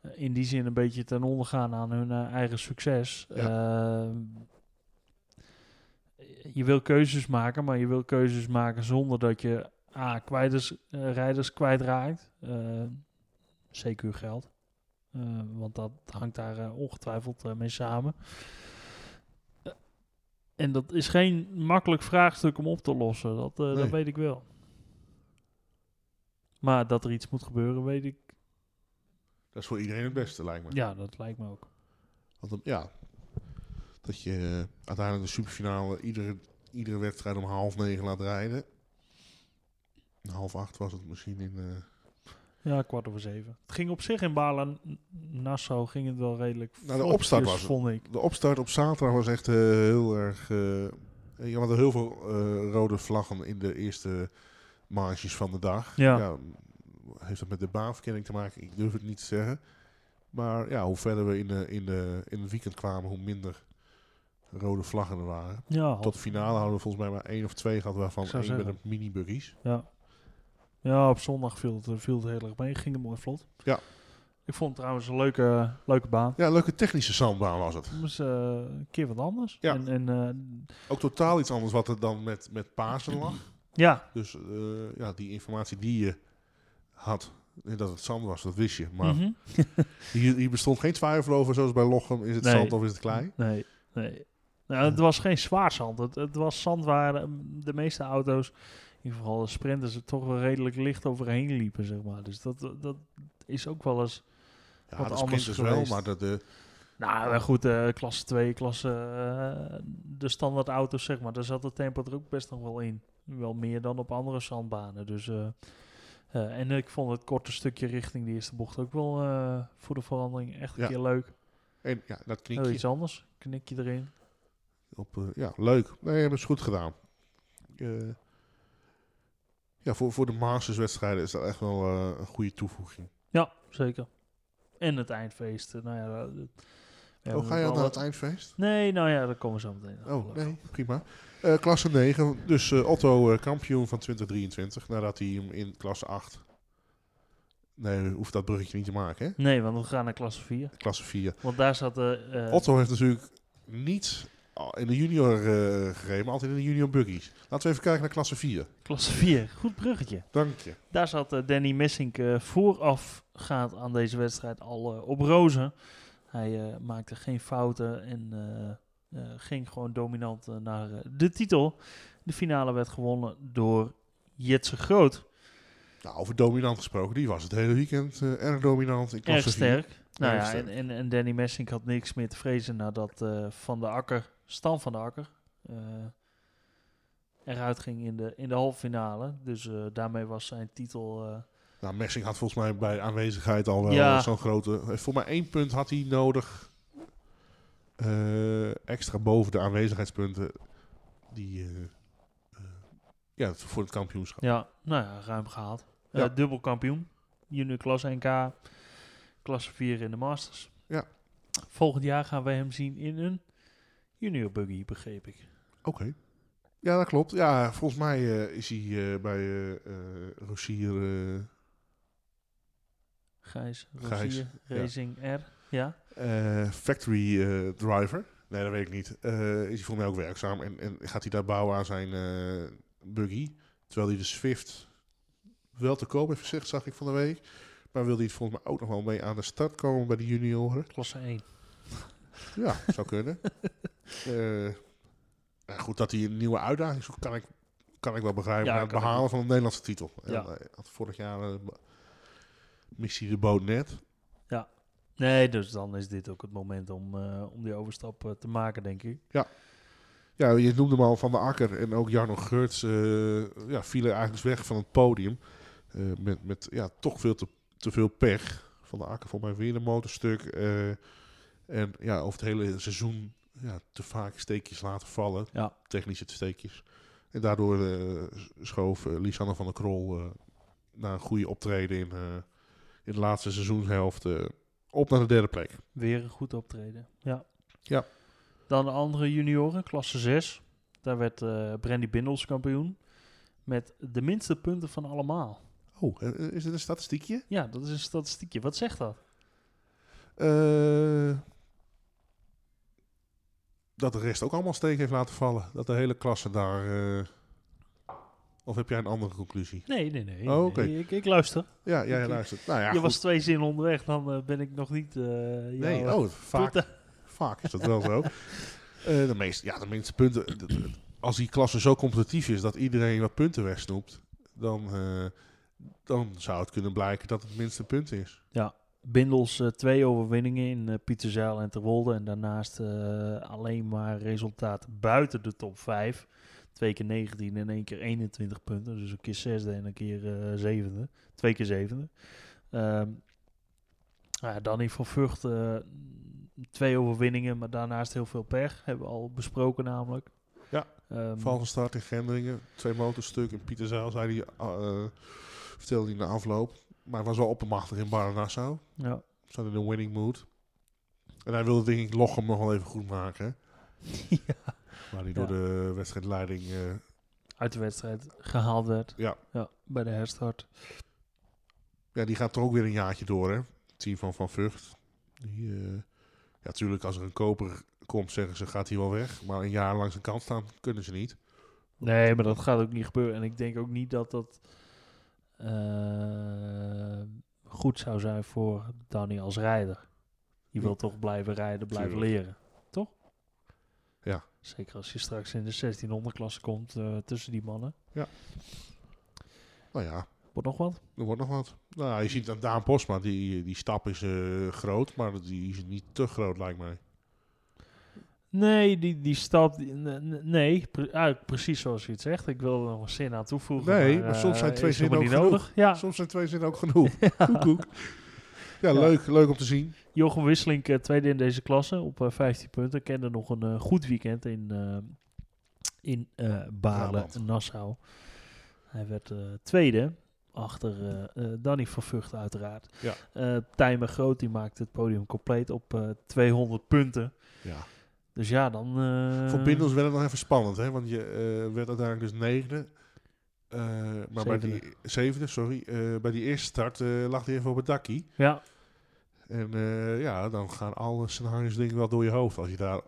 Speaker 2: eh, in die zin een beetje ten onder gaan aan hun eh, eigen succes. Ehm, Eh, je wil keuzes maken, maar je wil keuzes maken zonder dat je A, kwijt is, eh, rijders kwijtraakt. Eh CQ geld. Eh, want dat hangt daar eh, ongetwijfeld eh, mee samen. Eh, en dat is geen makkelijk vraagstuk om op te lossen. Dat, eh, dat
Speaker 1: Nee.
Speaker 2: weet ik wel. Maar dat er iets moet gebeuren, weet ik.
Speaker 1: Dat is voor iedereen het beste, lijkt me.
Speaker 2: Ja, dat lijkt me ook.
Speaker 1: Want dan, ja. Dat je eh, uiteindelijk de superfinale iedere, iedere wedstrijd om half negen laat rijden. Half acht was het misschien in... eh,
Speaker 2: Ja, kwart over zeven. Het ging op zich in Balen-Nassau ging het wel redelijk
Speaker 1: Nou, de
Speaker 2: vlotjes,
Speaker 1: opstart was het.
Speaker 2: vond ik.
Speaker 1: De opstart op zaterdag was echt eh, heel erg. eh je had heel veel eh, rode vlaggen in de eerste marges van de dag.
Speaker 2: Ja.
Speaker 1: heeft dat met de baanverkenning te maken? Ik durf het niet te zeggen. Maar ja, hoe verder we in, de, in, de, in het weekend kwamen, hoe minder rode vlaggen er waren.
Speaker 2: Ja,
Speaker 1: Tot de finale hadden we volgens mij maar één of twee gehad, waarvan
Speaker 2: Ik zou
Speaker 1: één met een
Speaker 2: zeggen.
Speaker 1: mini-buggies.
Speaker 2: Ja. Ja, op zondag viel het, eh, viel het heel erg mee. Ging het mooi vlot.
Speaker 1: Ja.
Speaker 2: Ik vond het trouwens een leuke, leuke baan.
Speaker 1: Ja, leuke technische zandbaan was het.
Speaker 2: Dus eh, een keer wat anders.
Speaker 1: Ja.
Speaker 2: En, en, eh,
Speaker 1: Ook totaal iets anders wat er dan met, met Pasen lag.
Speaker 2: ja,
Speaker 1: Dus eh, ja, die informatie die je had, eh, dat het zand was, dat wist je. Maar
Speaker 2: mhm.
Speaker 1: hier, hier bestond geen twijfel over, zoals bij Lochem, is het
Speaker 2: Nee.
Speaker 1: zand of is het klei?
Speaker 2: Nee, nee. Nou, het was geen zwaar zand. Het, het was zand waar eh, de meeste auto's, in ieder geval de sprinters, er toch wel redelijk licht overheen liepen, zeg maar. Dus dat, dat is ook wel eens...
Speaker 1: Ja,
Speaker 2: Wat
Speaker 1: de
Speaker 2: anders
Speaker 1: sprinters wel,
Speaker 2: geweest.
Speaker 1: maar eh, de, de,
Speaker 2: Nou, maar goed, eh, klasse 2, klasse... eh, de standaard auto's, zeg maar. Daar zat het tempo er ook best nog wel in. Wel meer dan op andere zandbanen. Dus, eh, eh, en ik vond het korte stukje richting de eerste bocht ook wel eh, voor de verandering echt een
Speaker 1: Ja.
Speaker 2: keer leuk.
Speaker 1: en ja, dat
Speaker 2: Heel
Speaker 1: knikje
Speaker 2: iets anders. Knikje erin.
Speaker 1: op, eh, ja, leuk. Nee, hebben ze goed gedaan. Eh, ja, voor, voor de Masters-wedstrijden is dat echt wel eh, een goede toevoeging.
Speaker 2: Ja, zeker. En het eindfeest. eh, Nou ja, dat- dat- we
Speaker 1: oh,
Speaker 2: hebben
Speaker 1: ga je
Speaker 2: wel
Speaker 1: al naar
Speaker 2: wat-
Speaker 1: het eindfeest?
Speaker 2: Nee, nou ja, daar komen we zo meteen. op.
Speaker 1: Oh, nee, prima. Eh, klasse 9, dus eh, Otto eh, kampioen van 2023, nadat hij hem in klasse 8... Nee, hoeft dat bruggetje niet te maken, hè?
Speaker 2: Nee, want we gaan naar klasse 4.
Speaker 1: klasse 4.
Speaker 2: Want daar zat eh, eh,
Speaker 1: Otto heeft natuurlijk niet al in de junior eh, gereden, maar altijd in de junior buggies. Laten we even kijken naar klasse 4.
Speaker 2: klasse 4. Goed bruggetje.
Speaker 1: Dank je.
Speaker 2: Daar zat eh, Danny Messink eh, voorafgaand aan deze wedstrijd al eh, op rozen. Hij eh, maakte geen fouten en eh, eh, ging gewoon dominant eh, naar eh, de titel. De finale werd gewonnen door Jetse Groot.
Speaker 1: Nou, over dominant gesproken, die was het hele weekend eh, erg dominant in
Speaker 2: Erg
Speaker 1: klasse 4.
Speaker 2: sterk. Nou
Speaker 1: Erg
Speaker 2: ja,
Speaker 1: sterk.
Speaker 2: en, en, en Danny Messing had niks meer te vrezen nadat eh, Van de Akker, Stan van de Akker, eh, eruit ging in de, in de halve finale. Dus eh, daarmee was zijn titel... eh,
Speaker 1: Nou, Messing had volgens mij bij aanwezigheid al wel
Speaker 2: Ja.
Speaker 1: eh, zo'n grote... eh, Voor mij één punt had hij nodig eh, extra boven de aanwezigheidspunten die... eh, eh, ja, voor het kampioenschap.
Speaker 2: ja, nou ja, ruim gehaald. Eh,
Speaker 1: Ja.
Speaker 2: dubbel kampioen. Junior klasse NK, klasse 4 in de Masters.
Speaker 1: Ja.
Speaker 2: Volgend jaar gaan wij hem zien in een junior buggy, begreep ik.
Speaker 1: Oké. Ja, dat klopt. Ja, volgens mij eh, is hij eh, bij eh eh, Rossier... eh,
Speaker 2: Gijs,
Speaker 1: Gijs,
Speaker 2: Rozier,
Speaker 1: ja.
Speaker 2: Racing R. Ja,
Speaker 1: Eh, factory eh, driver. Nee, dat weet ik niet. Eh, is hij volgens mij ook werkzaam. En, en gaat hij daar bouwen aan zijn eh, buggy. Terwijl hij de Swift wel te koop heeft gezegd, zag ik van de week. Maar wilde hij het volgens mij ook nog wel mee aan de start komen bij de junioren.
Speaker 2: klasse 1.
Speaker 1: Ja, zou kunnen. Eh, nou goed, dat hij een nieuwe uitdaging zoekt, kan ik, kan ik wel begrijpen.
Speaker 2: Ja,
Speaker 1: na het
Speaker 2: kan ik
Speaker 1: behalen van de Nederlandse titel. En,
Speaker 2: Ja.
Speaker 1: eh, had vorig jaar eh, missie de boot net.
Speaker 2: Nee, dus dan is dit ook het moment om, eh, om die overstap eh, te maken, denk ik.
Speaker 1: Ja, je noemde hem al Van de Akker en ook Jarno Geurts eh, ja, vielen eigenlijk weg van het podium. Eh, met met ja, toch veel te, te veel pech. Van de Akker voor mij weer een motorstuk. eh, en ja, over het hele seizoen ja, te vaak steekjes laten vallen.
Speaker 2: Ja.
Speaker 1: Technische steekjes. En daardoor eh, schoof eh, Lisanne van der Krol eh, na een goede optreden in, eh, in de laatste seizoenshelft eh, op naar de derde plek.
Speaker 2: Weer een goed optreden. Ja.
Speaker 1: Ja.
Speaker 2: Dan de andere junioren, klasse 6. Daar werd eh Brandy Bindels kampioen. Met de minste punten van allemaal.
Speaker 1: Oh, eh, is dit een statistiekje?
Speaker 2: Ja, dat is een statistiekje. Wat zegt dat?
Speaker 1: Eh, dat de rest ook allemaal steek heeft laten vallen. Dat de hele klasse daar. eh, of heb jij een andere conclusie?
Speaker 2: Nee, nee, nee.
Speaker 1: Oh, oké.
Speaker 2: nee, Ik, ik luister.
Speaker 1: Ja, jij
Speaker 2: Ik-
Speaker 1: luistert. Nou ja,
Speaker 2: Je
Speaker 1: goed.
Speaker 2: was twee zinnen onderweg, dan eh, ben ik nog niet... eh
Speaker 1: Nee,
Speaker 2: jouw, eh,
Speaker 1: oh, vaak,
Speaker 2: punten.
Speaker 1: vaak is dat wel zo. Eh, de, meeste, ja, de minste punten. d- d- Als die klasse zo competitief is dat iedereen wat punten wegsnoept, dan, eh, dan zou het kunnen blijken dat het minste punt is.
Speaker 2: Ja. Bindels eh, twee overwinningen in eh, Pieterzeil en Terwolde. En daarnaast eh, alleen maar resultaten buiten de top 5. Twee keer 19 en één keer 21 punten. Dus een keer zesde en een keer eh, zevende. Twee keer zevende. Ehm nou ja, Danny van Vught, eh, twee overwinningen, maar daarnaast heel veel pech. Hebben we al besproken namelijk.
Speaker 1: Ja,
Speaker 2: Ehm,
Speaker 1: Valse start in Gendringen. Twee motorstuk. In Pieterzeil zei hij, eh, eh, vertelde hij na afloop. Maar hij was wel oppermachtig in Barra-Nassau.
Speaker 2: ja.
Speaker 1: Zat in een winning mood. En hij wilde denk ik Lochem nog wel even goed maken.
Speaker 2: Ja.
Speaker 1: Maar die door
Speaker 2: Ja.
Speaker 1: de wedstrijdleiding... eh,
Speaker 2: uit de wedstrijd gehaald werd.
Speaker 1: Ja.
Speaker 2: bij de herstart.
Speaker 1: ja, die gaat toch ook weer een jaartje door, hè? Het team van Van Vught. Die, eh, ja, natuurlijk als er een koper komt, zeggen ze, gaat hij wel weg. Maar een jaar langs een kant staan kunnen ze niet.
Speaker 2: Nee, maar dat gaat ook niet gebeuren. En ik denk ook niet dat dat eh, goed zou zijn voor Danny als rijder. Je wil toch blijven rijden, blijven
Speaker 1: Tuurlijk.
Speaker 2: leren. Toch?
Speaker 1: Ja.
Speaker 2: Zeker als je straks in de 1600 klasse komt eh, tussen die mannen.
Speaker 1: Nou ja,
Speaker 2: Wordt nog wat?
Speaker 1: Er wordt nog wat. Nou, je ziet aan Daan Postma, die, die stap is eh, groot, maar die is niet te groot, lijkt mij.
Speaker 2: Nee, die, die stap... die- ne- ne- Nee, pre- ah, precies zoals je het zegt. Ik wil er nog een zin aan toevoegen.
Speaker 1: Nee, maar
Speaker 2: eh,
Speaker 1: soms zijn twee
Speaker 2: is helemaal
Speaker 1: zinnen
Speaker 2: niet
Speaker 1: ook
Speaker 2: nodig. Ja,
Speaker 1: Soms zijn twee zinnen ook genoeg. Koek, koek. Ja,
Speaker 2: Ja.
Speaker 1: Leuk, leuk om te zien.
Speaker 2: Jochem Wisseling, eh, tweede in deze klasse op eh, 15 punten. Kende nog een eh, goed weekend in, eh, in eh, Balen,
Speaker 1: Brabant.
Speaker 2: Nassau. Hij werd eh, tweede achter eh, eh, Danny van Vught uiteraard.
Speaker 1: Ja.
Speaker 2: Eh, Tijmen Groot die maakte het podium compleet op eh, 200 punten.
Speaker 1: Ja.
Speaker 2: Dus ja, dan... eh,
Speaker 1: Voor Bindels werd het nog even spannend, hè? want je eh, werd uiteindelijk dus negende. Eh, maar bij
Speaker 2: Zevende.
Speaker 1: die zevende, sorry. Eh, bij die eerste start eh, lag hij even op het dakkie.
Speaker 2: Ja,
Speaker 1: En eh, ja, dan gaan alle scenario's denk ik wel door je hoofd als je daar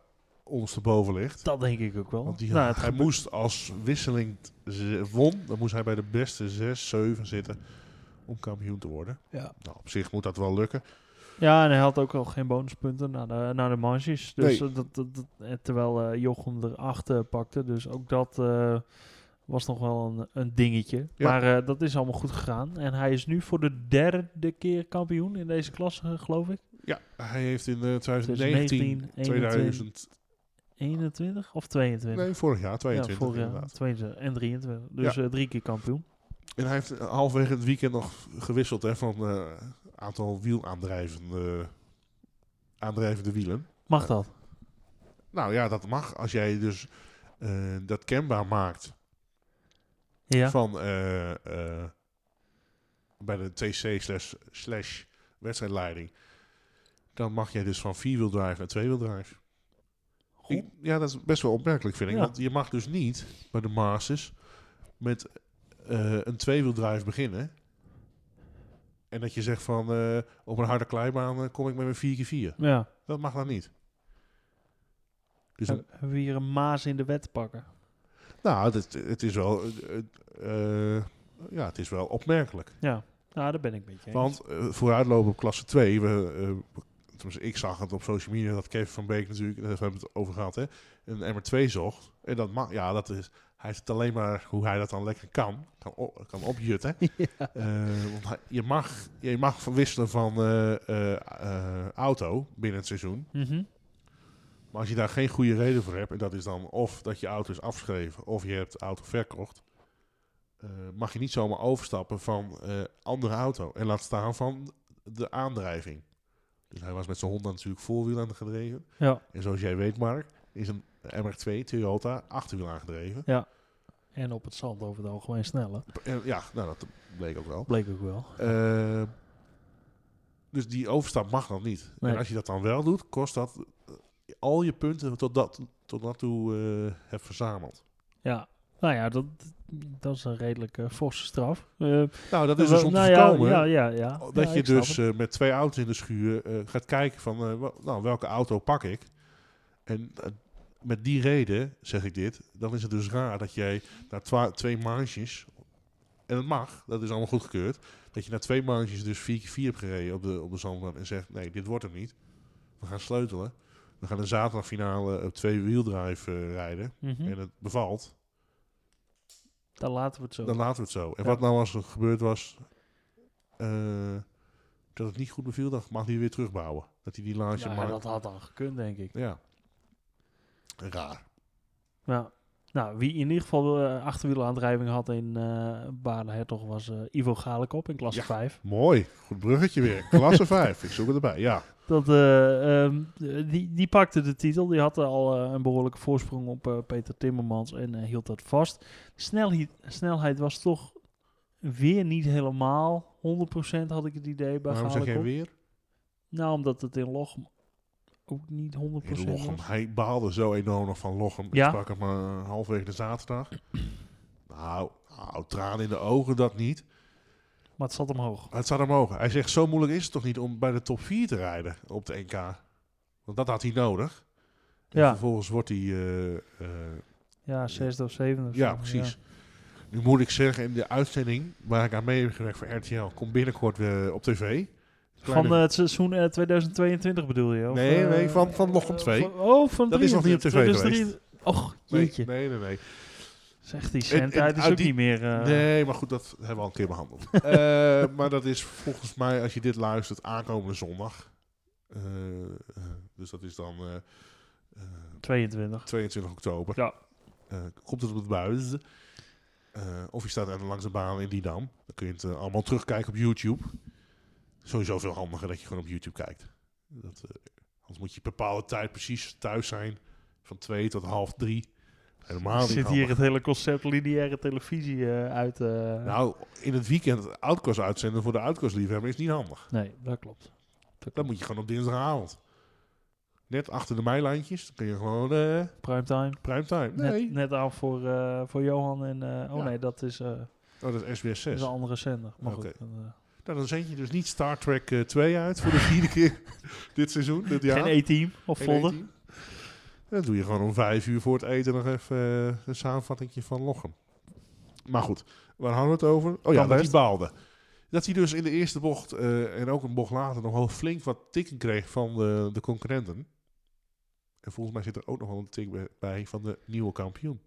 Speaker 1: ondersteboven ligt.
Speaker 2: dat denk ik ook wel.
Speaker 1: Want die,
Speaker 2: nou, het
Speaker 1: hij
Speaker 2: gebe-
Speaker 1: moest als wisseling t- ze- won, dan moest hij bij de beste 6, 7 zitten om kampioen te worden.
Speaker 2: Ja.
Speaker 1: Nou, op zich moet dat wel lukken.
Speaker 2: Ja, en hij had ook al geen bonuspunten naar de, naar de marges. Dus
Speaker 1: Nee.
Speaker 2: eh, dat, dat, dat- eh, terwijl eh, Jochem er acht eh, pakte. Dus ook dat eh, was nog wel een, een dingetje.
Speaker 1: Ja.
Speaker 2: Maar eh, dat is allemaal goed gegaan. En hij is nu voor de derde keer kampioen in deze klasse, eh, geloof ik.
Speaker 1: Ja, hij heeft in eh, 2019,
Speaker 2: 2019,
Speaker 1: 2000,
Speaker 2: 21 of 22?
Speaker 1: nee, vorig jaar,
Speaker 2: ja,
Speaker 1: 22
Speaker 2: vorig jaar.
Speaker 1: inderdaad.
Speaker 2: 22 en 23. Dus eh, drie keer kampioen.
Speaker 1: En hij heeft eh, halverwege het weekend nog gewisseld hè, van eh, aantal wielaandrijvende aandrijvende wielen.
Speaker 2: Mag
Speaker 1: Ja.
Speaker 2: dat?
Speaker 1: Nou ja, dat mag als jij dus eh, dat kenbaar maakt
Speaker 2: Ja.
Speaker 1: van eh, eh, bij de TC slash, slash wedstrijdleiding. Dan mag jij dus van vierwieldrive naar tweewieldrive.
Speaker 2: Goh.
Speaker 1: Ik- Ja, dat is best wel opmerkelijk, vind ik.
Speaker 2: Ja.
Speaker 1: Want je mag dus niet bij de Masters met eh een tweewieldrive beginnen. En dat je zegt van, eh, op een harde kleibaan eh, kom ik met mijn 4x4.
Speaker 2: ja.
Speaker 1: Dat mag dan niet. Dus
Speaker 2: Heb- Hebben we hier een maas in de wet te pakken?
Speaker 1: nou, het, het is wel, eh, eh, eh, ja, het is wel opmerkelijk.
Speaker 2: Ja. Nou, daar ben ik met je eens.
Speaker 1: Want eh, vooruitlopen op klasse 2, we, eh, tenminste, ik zag het op social media dat Kevin van Beek natuurlijk, daar hebben we het over gehad, hè, een MR2 zocht. En dat mag, ja, dat is, hij is het alleen maar hoe hij dat dan lekker kan, kan, op, kan opjutten. Eh, want hij- je, mag, je mag verwisselen van eh, eh, eh, auto binnen het seizoen.
Speaker 2: Mhm.
Speaker 1: Maar als je daar geen goede reden voor hebt, en dat is dan of dat je auto is afgeschreven of je hebt de auto verkocht, eh, mag je niet zomaar overstappen van eh, andere auto. En laat staan van de aandrijving. Dus hij was met zijn Honda natuurlijk voorwiel aangedreven.
Speaker 2: Ja.
Speaker 1: En zoals jij weet, Mark, is een MR2 Toyota achterwiel aangedreven.
Speaker 2: En op het zand over het algemeen sneller.
Speaker 1: En ja, nou, dat bleek ook wel.
Speaker 2: Bleek ook wel.
Speaker 1: Eh, dus die overstap mag dan niet.
Speaker 2: Nee.
Speaker 1: En als je dat dan wel doet, kost dat eh, al je punten tot, dat, tot dat toe eh, hebt verzameld.
Speaker 2: Ja, nou ja, dat, dat is een redelijk eh, forse straf. Eh,
Speaker 1: Nou, dat is dus
Speaker 2: wel-
Speaker 1: om
Speaker 2: nou
Speaker 1: te
Speaker 2: ja,
Speaker 1: voorkomen
Speaker 2: Ja, ja, ja.
Speaker 1: dat
Speaker 2: Ja,
Speaker 1: je
Speaker 2: ik snap
Speaker 1: dus
Speaker 2: het.
Speaker 1: eh, met twee auto's in de schuur eh, gaat kijken van eh, wel- nou, welke auto pak ik. En eh, met die reden, zeg ik dit, dan is het dus raar dat jij na twa- twee marges, en dat mag, dat is allemaal goedgekeurd, dat je na twee marges dus vier keer vier hebt gereden op de, op de zandbaan en zegt nee, dit wordt hem niet. We gaan sleutelen. We gaan een zaterdagfinale op twee wieldrive eh, rijden.
Speaker 2: Mhm.
Speaker 1: En het bevalt.
Speaker 2: Dan laten we het zo.
Speaker 1: Dan laten we het zo. En
Speaker 2: Ja.
Speaker 1: wat nou als er gebeurd was eh, dat het niet goed beviel, dan mag hij weer terugbouwen. Dat hij die laagje
Speaker 2: Nou, ja,
Speaker 1: maakt.
Speaker 2: dat had dan gekund, denk ik.
Speaker 1: Ja. Raar.
Speaker 2: Ja. Nou, wie in ieder geval eh, achterwielaandrijving had in eh Baarle-Hertog was eh, Ivo Galekop in klasse
Speaker 1: Ja.
Speaker 2: 5.
Speaker 1: Mooi. Goed bruggetje weer. Klasse 5. Ik zoek het erbij. Ja.
Speaker 2: Dat, eh, ehm, die, die pakte de titel. Die had al eh, een behoorlijke voorsprong op eh, Peter Timmermans en eh, hield dat vast. De snelheid, snelheid was toch weer niet helemaal 100% had ik het idee bij
Speaker 1: Waarom zeg jij
Speaker 2: Galekop.
Speaker 1: weer?
Speaker 2: Nou, omdat het in Lochem ook niet 100%
Speaker 1: In Lochem.
Speaker 2: was.
Speaker 1: Hij baalde zo enorm nog van Lochem. Ik
Speaker 2: Ja?
Speaker 1: sprak hem eh, halverwege de zaterdag. Nou, nou, tranen in de ogen, dat niet.
Speaker 2: Maar het zat omhoog.
Speaker 1: Maar Het zou hem mogen. Hij zegt, zo moeilijk is het toch niet om bij de top 4 te rijden op de NK? Want dat had hij nodig. En
Speaker 2: Ja.
Speaker 1: vervolgens wordt hij... eh, eh,
Speaker 2: Ja, zesde of zevende. of
Speaker 1: ja,
Speaker 2: zo,
Speaker 1: precies. Nu moet ik zeggen, in de uitzending waar ik aan mee heb gewerkt voor RTL... komt binnenkort weer op tv.
Speaker 2: Van
Speaker 1: Kleine-
Speaker 2: eh, het seizoen eh, 2022 bedoel je? Of,
Speaker 1: Nee,
Speaker 2: eh,
Speaker 1: nee, van- van Lochem
Speaker 2: eh,
Speaker 1: 2.
Speaker 2: van- oh, van
Speaker 1: Dat is nog niet op
Speaker 2: 23.
Speaker 1: tv
Speaker 2: Dus drie- Och,
Speaker 1: nee,
Speaker 2: jeetje.
Speaker 1: nee, nee, nee.
Speaker 2: Zeg, die
Speaker 1: En- en
Speaker 2: zendtijd is
Speaker 1: uit
Speaker 2: ook
Speaker 1: die-
Speaker 2: niet meer... eh,
Speaker 1: Nee, maar goed, dat hebben we al een keer behandeld. Eh, maar dat is volgens mij, als je dit luistert, aankomende zondag. Eh, eh, dus dat is dan... eh, eh,
Speaker 2: 22.
Speaker 1: 22 oktober.
Speaker 2: Ja.
Speaker 1: Eh, komt het op het buis. Eh, of je staat aan- langs de baan in Didam. Dan kun je het eh, allemaal terugkijken op YouTube. Sowieso veel handiger dat je gewoon op YouTube kijkt. Dat, eh, anders moet je bepaalde tijd precies thuis zijn. Van twee tot half drie. Helemaal niet
Speaker 2: Zit hier
Speaker 1: handig.
Speaker 2: het hele concept lineaire televisie eh, uit... eh,
Speaker 1: Nou, in het weekend outcast uitzenden voor de outcast-liefhebber is niet handig.
Speaker 2: Nee, dat klopt. Dat
Speaker 1: Dat
Speaker 2: klopt.
Speaker 1: moet je gewoon op dinsdagavond. Net achter de mijlijntjes. Dan kun je gewoon eh
Speaker 2: Primetime.
Speaker 1: primetime. Nee,
Speaker 2: Net, net aan voor, eh, voor Johan en... eh, oh
Speaker 1: Ja.
Speaker 2: nee, dat is, eh,
Speaker 1: Oh, dat is SBS 6.
Speaker 2: is een andere zender. Maar
Speaker 1: Oké.
Speaker 2: goed. dan, eh,
Speaker 1: Nou, dan zend je dus niet Star Trek eh, 2 uit voor de vierde keer dit seizoen, dit jaar.
Speaker 2: Geen E-team of
Speaker 1: Geen
Speaker 2: folder.
Speaker 1: E-team. Dan doe je gewoon om vijf uur voor het eten nog even eh, een samenvatting van Lochem. Maar goed, waar hadden we het over? Oh ja, dat hij
Speaker 2: Tandberg.
Speaker 1: baalde. Dat hij dus in de eerste bocht eh, en ook een bocht later nog wel flink wat tikken kreeg van de, de concurrenten. En volgens mij zit er ook nog wel een tik bij- bij van de nieuwe kampioen.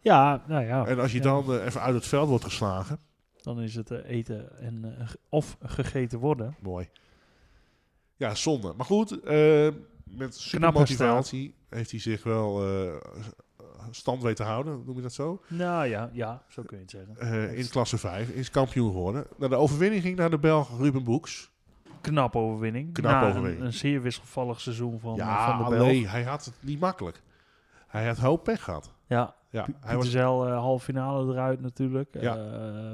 Speaker 2: Ja, nou ja.
Speaker 1: en als je
Speaker 2: ja.
Speaker 1: dan eh, even uit het veld wordt geslagen,
Speaker 2: Dan is het eh, eten en, eh, ge- of gegeten worden.
Speaker 1: Mooi. Ja, zonde. Maar goed, eh, met super
Speaker 2: Knappe
Speaker 1: motivatie heeft hij zich wel eh, stand weten te houden, noem je dat zo.
Speaker 2: Nou ja, ja, zo kun je het zeggen.
Speaker 1: Eh, in klasse 5 is kampioen geworden. Nou, de overwinning ging naar de Belg Ruben Boeks.
Speaker 2: Knap overwinning.
Speaker 1: Knap
Speaker 2: Na
Speaker 1: overwinning.
Speaker 2: Een, een zeer wisselvallig seizoen van, eh,
Speaker 1: ja,
Speaker 2: van de Belg.
Speaker 1: alleen, hij had het niet makkelijk. Hij had hoop pech gehad.
Speaker 2: Ja,
Speaker 1: Ja, hij
Speaker 2: hij
Speaker 1: was,
Speaker 2: was wel eh, halve finale eruit natuurlijk.
Speaker 1: Ja.
Speaker 2: Eh,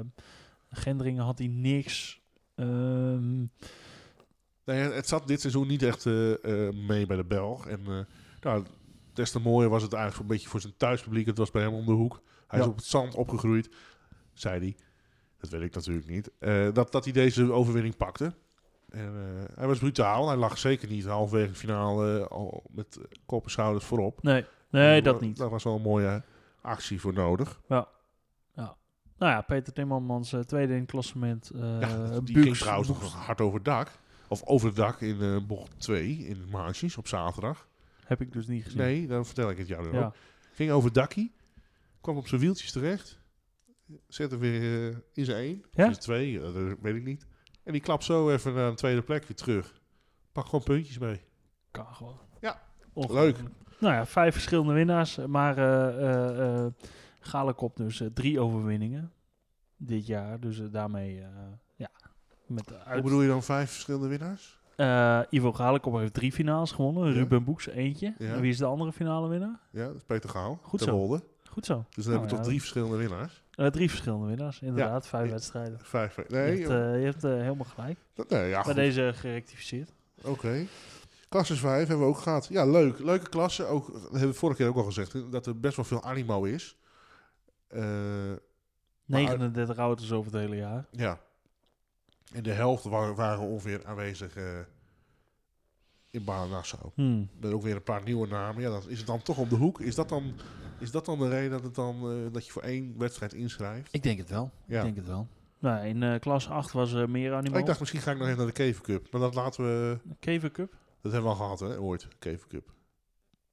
Speaker 2: Gendringen had hij niks. Ehm,
Speaker 1: nee, het zat dit seizoen niet echt eh, eh, mee bij de Belg. En eh, nou, des te mooier was het eigenlijk een beetje voor zijn thuispubliek. Het was bij hem om de hoek. Hij is
Speaker 2: Ja.
Speaker 1: op het zand opgegroeid, zei hij. Dat weet ik natuurlijk niet. Eh, dat, dat hij deze overwinning pakte. En, eh, hij was brutaal. Hij lag zeker niet halverwege de finale eh, al met eh, kop en schouders voorop.
Speaker 2: nee, nee,
Speaker 1: Eh,
Speaker 2: dat niet.
Speaker 1: Daar was wel een mooie actie voor nodig.
Speaker 2: Nou ja, Peter Timmermans, eh, tweede in het klassement. eh
Speaker 1: ja, die
Speaker 2: Buuks-
Speaker 1: ging trouwens nog
Speaker 2: Buuks-
Speaker 1: hard over het dak. Of over het dak in eh, bocht 2 in de Maasjes op zaterdag.
Speaker 2: Heb ik dus niet gezien.
Speaker 1: Nee, dan vertel ik het jou dan ook.
Speaker 2: ja.
Speaker 1: Ging over het dakkie. Kwam op zijn wieltjes terecht. Zette weer eh, in zijn één.
Speaker 2: Ja?
Speaker 1: In zijn twee, eh, dat weet ik niet. En die klapt zo even naar een tweede plekje terug. Pak gewoon puntjes mee.
Speaker 2: Kan gewoon.
Speaker 1: Ja,
Speaker 2: Ongelooflijk. Nou ja, vijf verschillende winnaars. Maar eh eh, eh, Galekop dus eh, drie overwinningen dit jaar. Dus eh, daarmee, eh, ja. Met de
Speaker 1: Hoe
Speaker 2: uit,
Speaker 1: bedoel je dan vijf verschillende winnaars?
Speaker 2: Eh, Ivo Galekop heeft drie finales gewonnen.
Speaker 1: Ja.
Speaker 2: Ruben Boeks eentje.
Speaker 1: Ja.
Speaker 2: En Wie is de andere finale winnaar?
Speaker 1: Ja, dat is Peter Gaal.
Speaker 2: Goed
Speaker 1: Ter
Speaker 2: zo.
Speaker 1: Wolde.
Speaker 2: Goed zo.
Speaker 1: Dus dan
Speaker 2: Nou
Speaker 1: hebben we toch
Speaker 2: ja.
Speaker 1: drie verschillende winnaars.
Speaker 2: Eh, drie verschillende winnaars, inderdaad. Vijf
Speaker 1: Ja.
Speaker 2: wedstrijden.
Speaker 1: Vijf.
Speaker 2: je
Speaker 1: Nee,
Speaker 2: hebt, eh, je hebt eh, helemaal gelijk.
Speaker 1: dat- nee ja,
Speaker 2: Bij
Speaker 1: goed.
Speaker 2: deze gerectificeerd.
Speaker 1: Oké. Klasses 5 hebben we ook gehad. Ja, leuk. Leuke klasse. Ook, dat hebben we vorige keer ook al gezegd. hè, Dat er best wel veel animo is. Eh,
Speaker 2: 39 auto's over het hele jaar.
Speaker 1: ja. En de helft wa- waren ongeveer aanwezig eh, in Baarn-Nassau.
Speaker 2: Hmm.
Speaker 1: Met ook weer een paar nieuwe namen. Ja, dan is het dan toch om de hoek. Is dat dan, is dat dan de reden dat, het dan, eh, dat je voor één wedstrijd inschrijft?
Speaker 3: Ik denk het wel.
Speaker 1: Ja.
Speaker 3: Ik denk het wel.
Speaker 2: Nou, in eh, klas 8 was eh meer animo.
Speaker 1: Oh, ik dacht, misschien ga ik nog even naar de Kever Cup. Maar dat laten we...
Speaker 2: Kever Cup?
Speaker 1: Dat hebben we al gehad, hè, ooit. Kever Cup.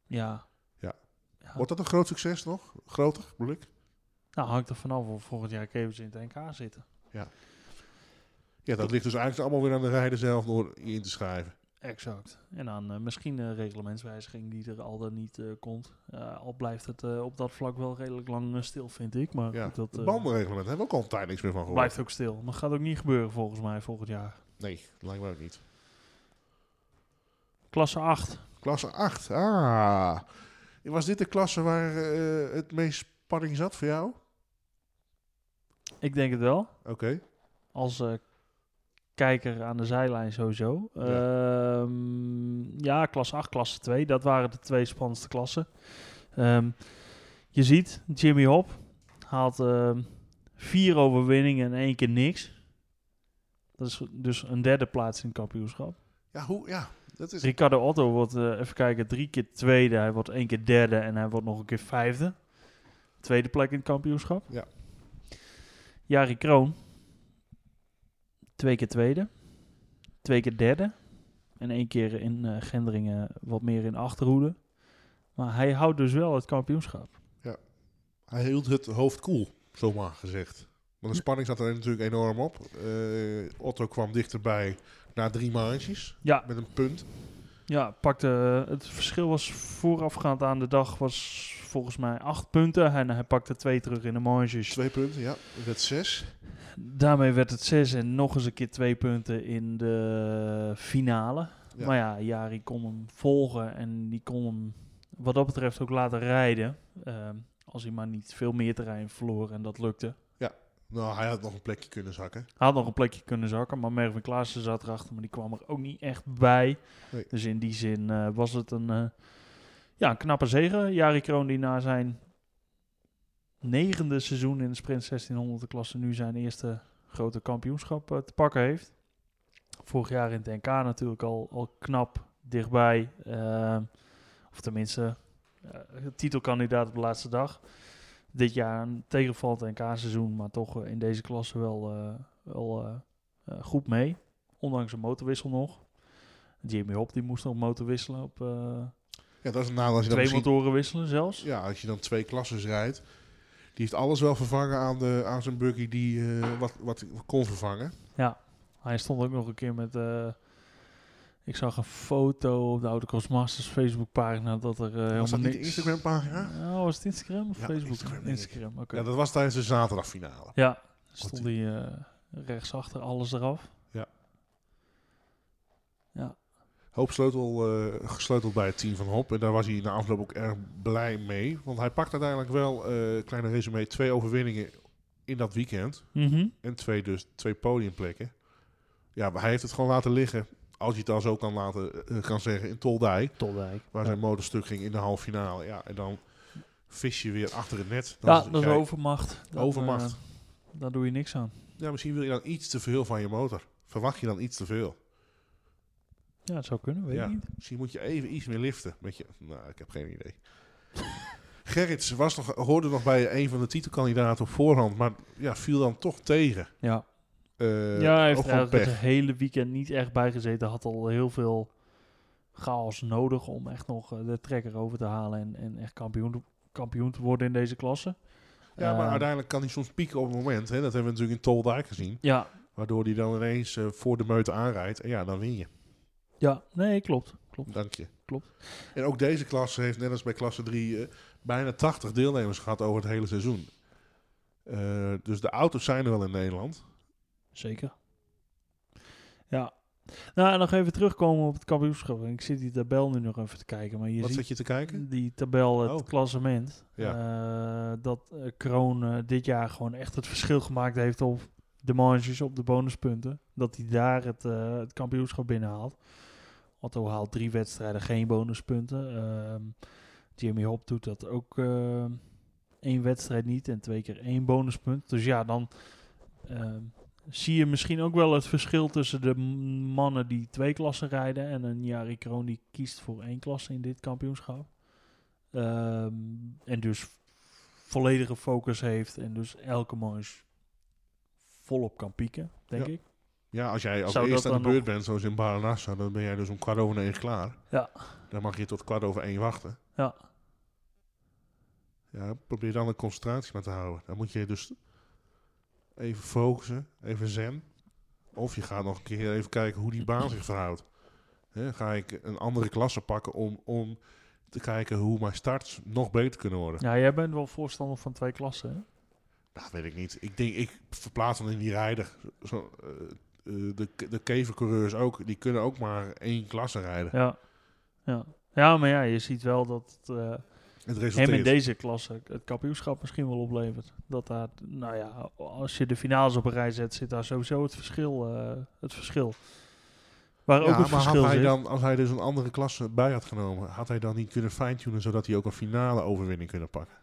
Speaker 2: Ja.
Speaker 1: Ja.
Speaker 2: Ja.
Speaker 1: Wordt dat een groot succes nog? Groter, bedoel ik?
Speaker 2: Nou, hangt er vanaf of volgend jaar Kevers in het NK zitten.
Speaker 1: Ja, dat ligt dus eigenlijk allemaal weer aan de rijder zelf door in te schrijven.
Speaker 2: Exact. En dan eh, misschien een reglementswijziging die er al dan niet eh, komt. Eh, al blijft het eh, op dat vlak wel redelijk lang eh, stil, vind ik. Maar
Speaker 1: Ja.
Speaker 2: goed, dat
Speaker 1: Het
Speaker 2: eh,
Speaker 1: bandenreglement hebben we ook al een tijd niks meer van gehoord.
Speaker 2: blijft ook stil. Dat gaat ook niet gebeuren volgens mij volgend jaar.
Speaker 1: Nee, lijkt me ook niet.
Speaker 2: Klasse 8.
Speaker 1: Klasse 8. Ah. Was dit de klasse waar eh, het meest spanning zat voor jou?
Speaker 2: Ik denk het wel.
Speaker 1: Oké.
Speaker 2: Als eh, kijker aan de zijlijn sowieso.
Speaker 1: Ja.
Speaker 2: Ehm, ja, klasse 8, klasse 2. Dat waren de twee spannendste klassen. Ehm, je ziet, Jimmy Hop haalt ehm, vier overwinningen en één keer niks. Dat is dus een derde plaats in het kampioenschap.
Speaker 1: Ja, hoe? Ja, dat is.
Speaker 2: Ricardo Otto wordt, eh, even kijken, drie keer tweede. Hij wordt één keer derde en hij wordt nog een keer vijfde. Tweede plek in het kampioenschap.
Speaker 1: Ja.
Speaker 2: Jari Kroon. Twee keer tweede. Twee keer derde. En één keer in eh, Gendringen wat meer in Achterhoede. Maar hij houdt dus wel het kampioenschap.
Speaker 1: Hij hield het hoofd koel, zomaar gezegd. Want de spanning zat er natuurlijk enorm op. Eh, Otto kwam dichterbij na drie maandjes
Speaker 2: Ja,
Speaker 1: met een punt.
Speaker 2: ja pakte, eh, het verschil was voorafgaand aan de dag was volgens mij acht punten. En hij pakte twee terug in de marges.
Speaker 1: Twee punten, ja. Het werd zes.
Speaker 2: Daarmee werd het 6 en nog eens een keer twee punten in de finale.
Speaker 1: Ja.
Speaker 2: Maar ja, Jari kon hem volgen en die kon hem wat dat betreft ook laten rijden. Ehm, als hij maar niet veel meer terrein verloor en dat lukte.
Speaker 1: Nou, hij had nog een plekje kunnen zakken.
Speaker 2: Hij had nog een plekje kunnen zakken, maar Mervin Klaassen zat erachter, maar die kwam er ook niet echt bij.
Speaker 1: Nee.
Speaker 2: Dus in die zin eh, was het een, eh, ja, een knappe zege. Jari Kroon die na zijn negende seizoen in de sprint 1600 klasse nu zijn eerste grote kampioenschap eh, te pakken heeft. Vorig jaar in het NK natuurlijk al, al knap dichtbij. ehm, of tenminste, eh, titelkandidaat op de laatste dag dit jaar een tegenvallend NK-seizoen, maar toch eh, in deze klasse wel, eh, wel eh, eh, goed mee. Ondanks een motorwissel nog. Jimmy Hop die moest nog motor wisselen op eh,
Speaker 1: Ja, dat is een nadeel als je
Speaker 2: twee
Speaker 1: dan misschien-
Speaker 2: motoren wisselen zelfs.
Speaker 1: Ja, als je dan twee klasses rijdt. Die heeft alles wel vervangen aan, de, aan zijn buggy die eh, wat, wat kon vervangen.
Speaker 2: Hij stond ook nog een keer met. eh, ik zag een foto op de Autocross Masters Facebookpagina dat er eh helemaal
Speaker 1: Was dat niet
Speaker 2: niks.
Speaker 1: de Instagram pagina?
Speaker 2: Oh, was het Instagram of
Speaker 1: Ja,
Speaker 2: Facebook?
Speaker 1: Instagram, denk ik.
Speaker 2: Instagram, oké.
Speaker 1: Ja, dat was tijdens de zaterdagfinale.
Speaker 2: Ja,
Speaker 1: Goed.
Speaker 2: stond hij eh, rechtsachter, alles eraf.
Speaker 1: Hoop sleutel, eh, gesleuteld bij het team van Hop. En daar was hij na afloop ook erg blij mee. Want hij pakt uiteindelijk wel, eh kleine resume, twee overwinningen in dat weekend.
Speaker 2: Mhm.
Speaker 1: En twee dus, twee podiumplekken. Ja, maar hij heeft het gewoon laten liggen. Als je het dan zo kan, laten, eh, kan zeggen, in Toldijk.
Speaker 2: Toldijk.
Speaker 1: Waar zijn motor stuk ging in de halve finale. Ja, en dan vis je weer achter het net. Dan
Speaker 2: Ja,
Speaker 1: is-
Speaker 2: dat is
Speaker 1: kijk,
Speaker 2: overmacht. Dat,
Speaker 1: Overmacht.
Speaker 2: eh, daar doe je niks aan.
Speaker 1: Ja, misschien wil je dan iets te veel van je motor. Verwacht je dan iets te veel.
Speaker 2: Ja, het zou kunnen, weet
Speaker 1: Ja.
Speaker 2: ik niet.
Speaker 1: Misschien moet je even iets meer liften. Met je... Nou, ik heb geen idee. Gerrits was nog, hoorde nog bij een van de titelkandidaten op voorhand. Maar ja, viel dan toch tegen.
Speaker 2: Ja,
Speaker 1: Eh,
Speaker 2: ja hij heeft
Speaker 1: ook
Speaker 2: er
Speaker 1: gewoon
Speaker 2: eigenlijk
Speaker 1: pech.
Speaker 2: het hele weekend niet echt bij gezeten. Had al heel veel chaos nodig om echt nog eh, de trekker over te halen en, en echt kampioen, kampioen te worden in deze klasse.
Speaker 1: Ja, maar
Speaker 2: Eh,
Speaker 1: uiteindelijk kan hij soms pieken op het moment. Hè. Dat hebben we natuurlijk in Toldijk gezien.
Speaker 2: Ja,
Speaker 1: Waardoor hij dan ineens eh, voor de meute aanrijdt. En ja, dan win je.
Speaker 2: ja, nee, klopt. klopt.
Speaker 1: Dank je.
Speaker 2: Klopt.
Speaker 1: En ook deze klasse heeft, net als bij klasse 3, eh, bijna 80 deelnemers gehad over het hele seizoen. Eh, dus de auto's zijn er wel in Nederland.
Speaker 2: Zeker. Ja. Nou, en nog even terugkomen op het kampioenschap. Ik zit die tabel nu nog even te kijken. Maar je
Speaker 1: Wat
Speaker 2: ziet
Speaker 1: zit je te kijken?
Speaker 2: Die tabel, het
Speaker 1: Oh.
Speaker 2: klassement. Eh, dat eh, Kroon eh, dit jaar gewoon echt het verschil gemaakt heeft op de marges, op de bonuspunten. Dat hij daar het, eh, het kampioenschap binnenhaalt. Otto haalt drie wedstrijden geen bonuspunten. Ehm, Jimmy Hop doet dat ook eh, één wedstrijd niet en twee keer één bonuspunt. Dus ja, dan ehm, zie je misschien ook wel het verschil tussen de m- mannen die twee klassen rijden en een Jari Kroon die kiest voor één klasse in dit kampioenschap. Ehm, en dus volledige focus heeft en dus elke manche volop kan pieken, denk
Speaker 1: Ja.
Speaker 2: ik.
Speaker 1: Ja, als jij als
Speaker 2: Zou dat
Speaker 1: eerste aan de
Speaker 2: dan
Speaker 1: beurt bent, zoals in Baranassa, dan ben jij dus om kwart over negen klaar.
Speaker 2: Ja.
Speaker 1: Dan mag je tot kwart over één wachten.
Speaker 2: Ja.
Speaker 1: Ja, probeer dan de concentratie maar te houden. Dan moet je dus even focussen, even zen. Of je gaat nog een keer even kijken hoe die baan zich verhoudt. Hè, ga ik een andere klasse pakken om, om te kijken hoe mijn starts nog beter kunnen worden.
Speaker 2: Ja, jij bent wel voorstander van twee klassen, hè?
Speaker 1: Dat Nou, weet ik niet. Ik denk, ik verplaats dan in die rijder. Zo, eh, eh, de, de kevercoureurs ook, die kunnen ook maar één klasse rijden.
Speaker 2: Ja. Ja. ja, maar ja, je ziet wel dat het, eh,
Speaker 1: Het
Speaker 2: hem in
Speaker 1: resulteert.
Speaker 2: deze klasse het kampioenschap misschien wel oplevert. Dat daar, nou ja, als je de finales op een rij zet, zit daar sowieso het verschil. eh, het verschil. Waar ook
Speaker 1: ja,
Speaker 2: het
Speaker 1: maar had
Speaker 2: verschil
Speaker 1: hij
Speaker 2: zit.
Speaker 1: dan, als hij dus een andere klasse bij had genomen, had hij dan niet kunnen fine-tunen zodat hij ook een finale overwinning kunnen pakken?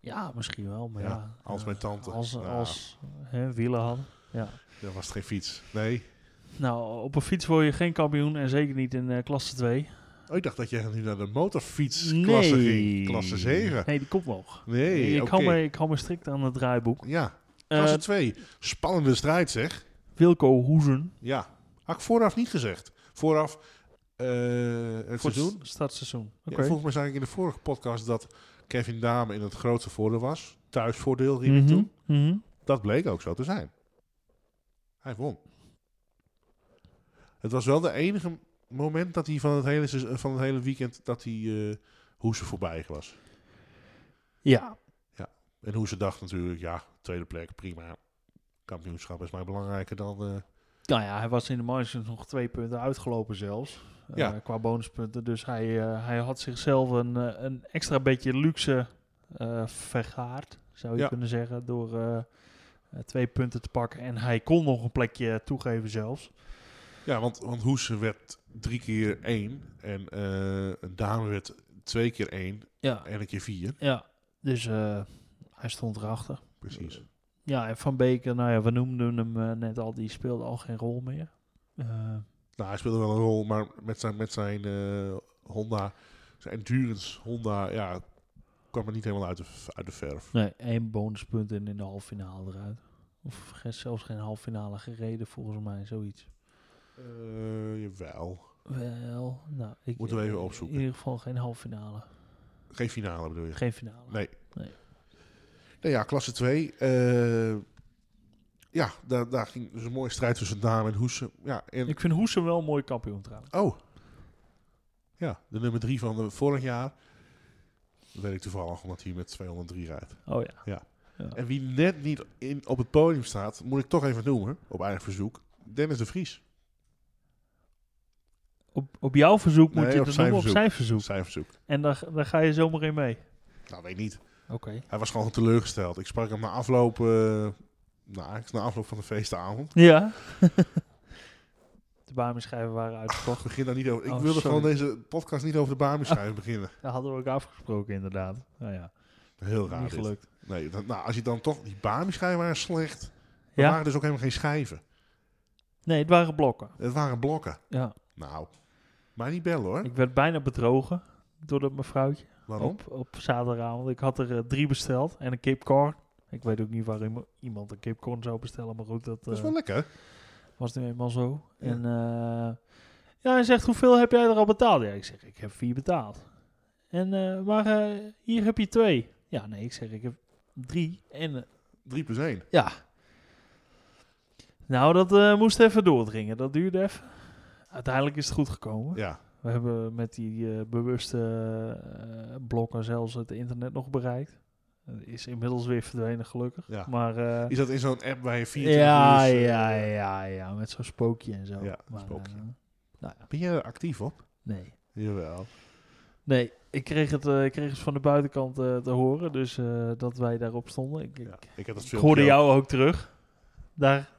Speaker 2: Ja, misschien wel, maar
Speaker 1: Ja,
Speaker 2: ja.
Speaker 1: als
Speaker 2: eh,
Speaker 1: mijn tante.
Speaker 2: Als,
Speaker 1: Nou.
Speaker 2: als hè, wielen hadden. Ja.
Speaker 1: Dat was het geen fiets. Nee.
Speaker 2: Nou, op een fiets word je geen kampioen en zeker niet in eh, klasse 2.
Speaker 1: Oh, ik dacht dat jij nu naar de motorfietsklasse ging. Klasse 7.
Speaker 2: Nee, die komt omhoog.
Speaker 1: Nee,
Speaker 2: ik,
Speaker 1: oké.
Speaker 2: hou me, ik hou me strikt aan het draaiboek.
Speaker 1: Ja,
Speaker 2: Eh,
Speaker 1: klasse 2. Spannende strijd zeg.
Speaker 2: Wilco Hoezen
Speaker 1: Ja, had ik vooraf niet gezegd. Vooraf eh, het
Speaker 2: voor
Speaker 1: seizoen.
Speaker 2: het s- startseizoen. Oké.
Speaker 1: Ja, volgens mij zei ik in de vorige podcast dat Kevin Dame in het grootste voordeel was. Thuisvoordeel riep
Speaker 2: Mhm,
Speaker 1: ik toen.
Speaker 2: mhm.
Speaker 1: Dat bleek ook zo te zijn. Hij won. Het was wel de enige moment dat hij van het hele, seizoen- eh, van het hele weekend dat hij eh hoe ze voorbij was.
Speaker 2: Ja,
Speaker 1: En hoe ze dacht natuurlijk, ja, tweede plek, prima. Kampioenschap is maar belangrijker dan... eh,
Speaker 2: nou ja, hij was in de marges nog twee punten uitgelopen zelfs. eh,
Speaker 1: Ja.
Speaker 2: qua bonuspunten. Dus hij, eh, hij had zichzelf een, eh, een extra beetje luxe eh, vergaard, zou je
Speaker 1: Ja.
Speaker 2: kunnen zeggen. Door eh, eh, twee punten te pakken. En hij kon nog een plekje toegeven zelfs.
Speaker 1: Ja, want, want Hoes werd drie keer één. En eh Dame werd twee keer één
Speaker 2: Ja,
Speaker 1: en een keer vier.
Speaker 2: ja. dus eh, hij stond erachter.
Speaker 1: Precies.
Speaker 2: Ja, en Van Beek, eh, nou ja, we noemden hem eh, net al, die speelde al geen rol meer. Eh,
Speaker 1: Nou, hij speelde wel een rol, maar met zijn, met zijn eh, Honda, zijn endurance Honda, ja, kwam er niet helemaal uit de, v- uit de verf.
Speaker 2: nee, één bonuspunt en in de halve finale eruit. Of ge- zelfs geen halve finale gereden, volgens mij, zoiets.
Speaker 1: Eh, jawel.
Speaker 2: Wel, nou, ik...
Speaker 1: Moeten we even opzoeken.
Speaker 2: In ieder geval geen halve finale.
Speaker 1: Geen finale bedoel je?
Speaker 2: Geen finale.
Speaker 1: Nee.
Speaker 2: Nee.
Speaker 1: Nou ja, klasse 2. ja, daar, daar ging dus een mooie strijd tussen Dame en Hoesen. Ja, en,
Speaker 2: Ik vind Hoesen wel een mooi kampioen trouwens.
Speaker 1: Oh. Ja, de nummer 3 van de vorig jaar. Dat weet ik toevallig, omdat hij met 203 rijdt.
Speaker 2: Oh ja.
Speaker 1: En wie net niet in, op het podium staat, moet ik toch even noemen, op eigen verzoek. Dennis de Vries.
Speaker 2: Op, op jouw verzoek
Speaker 1: Nee,
Speaker 2: moet je
Speaker 1: op
Speaker 2: het
Speaker 1: zijn
Speaker 2: noemen, op
Speaker 1: verzoek.
Speaker 2: zijn verzoek.
Speaker 1: Zijn verzoek.
Speaker 2: En daar, daar ga je zomaar in mee.
Speaker 1: Nou, weet niet.
Speaker 2: Oké.
Speaker 1: Hij was gewoon teleurgesteld. Ik sprak hem na afloop, eh, nou, eigenlijk na afloop van de feestavond.
Speaker 2: Ja. de Bami-schijven waren uitverkocht.
Speaker 1: Ik begin daar niet over. Ik
Speaker 2: Oh,
Speaker 1: wilde
Speaker 2: sorry. Ah.
Speaker 1: gewoon deze podcast niet over de Bami-schijf beginnen.
Speaker 2: Dat hadden we ook afgesproken inderdaad. Nou ja,
Speaker 1: Heel raar.
Speaker 2: niet
Speaker 1: dit.
Speaker 2: gelukt.
Speaker 1: Nee, dat- nou, als je dan toch die Bami-schijven waren slecht. Er
Speaker 2: Ja?
Speaker 1: waren dus ook helemaal geen schijven.
Speaker 2: Nee, het waren blokken.
Speaker 1: Het waren blokken.
Speaker 2: Ja.
Speaker 1: Nou, maar niet bellen hoor.
Speaker 2: Ik werd bijna bedrogen door dat mevrouwtje
Speaker 1: Waarom?
Speaker 2: op, op zaterdagavond. Ik had er eh, drie besteld en een kipcorn. Ik weet ook niet waarom iemand een kipcorn zou bestellen, maar goed, dat
Speaker 1: Dat is
Speaker 2: eh,
Speaker 1: wel lekker.
Speaker 2: was nu eenmaal zo.
Speaker 1: Ja.
Speaker 2: En eh, ja, hij zegt, hoeveel heb jij er al betaald? Ja, ik zeg, ik heb vier betaald. En, eh, maar eh, hier heb je twee. Ja, nee, ik zeg, ik heb drie en eh,
Speaker 1: 3 plus 1.
Speaker 2: Ja. Nou, dat eh, moest even doordringen. Dat duurde even. Uiteindelijk is het goed gekomen.
Speaker 1: Ja,
Speaker 2: We hebben met die eh, bewuste eh, blokken zelfs het internet nog bereikt. Het is inmiddels weer verdwenen, gelukkar.
Speaker 1: ja.
Speaker 2: Maar eh,
Speaker 1: Is dat in zo'n app waar je 24
Speaker 2: ja,
Speaker 1: uur, eh,
Speaker 2: ja, ja, ja, met zo'n spookje en zo.
Speaker 1: Ja,
Speaker 2: maar,
Speaker 1: spookje.
Speaker 2: eh, nou ja,
Speaker 1: Ben jij er actief op?
Speaker 2: nee.
Speaker 1: Jawel.
Speaker 2: Nee, ik kreeg het, eh, ik kreeg het van de buitenkant eh, te horen, dus eh, dat wij daarop stonden. Ik, ik,
Speaker 1: Ja, ik heb dat
Speaker 2: ik
Speaker 1: filmpje
Speaker 2: hoorde
Speaker 1: ook.
Speaker 2: jou ook terug. Daar,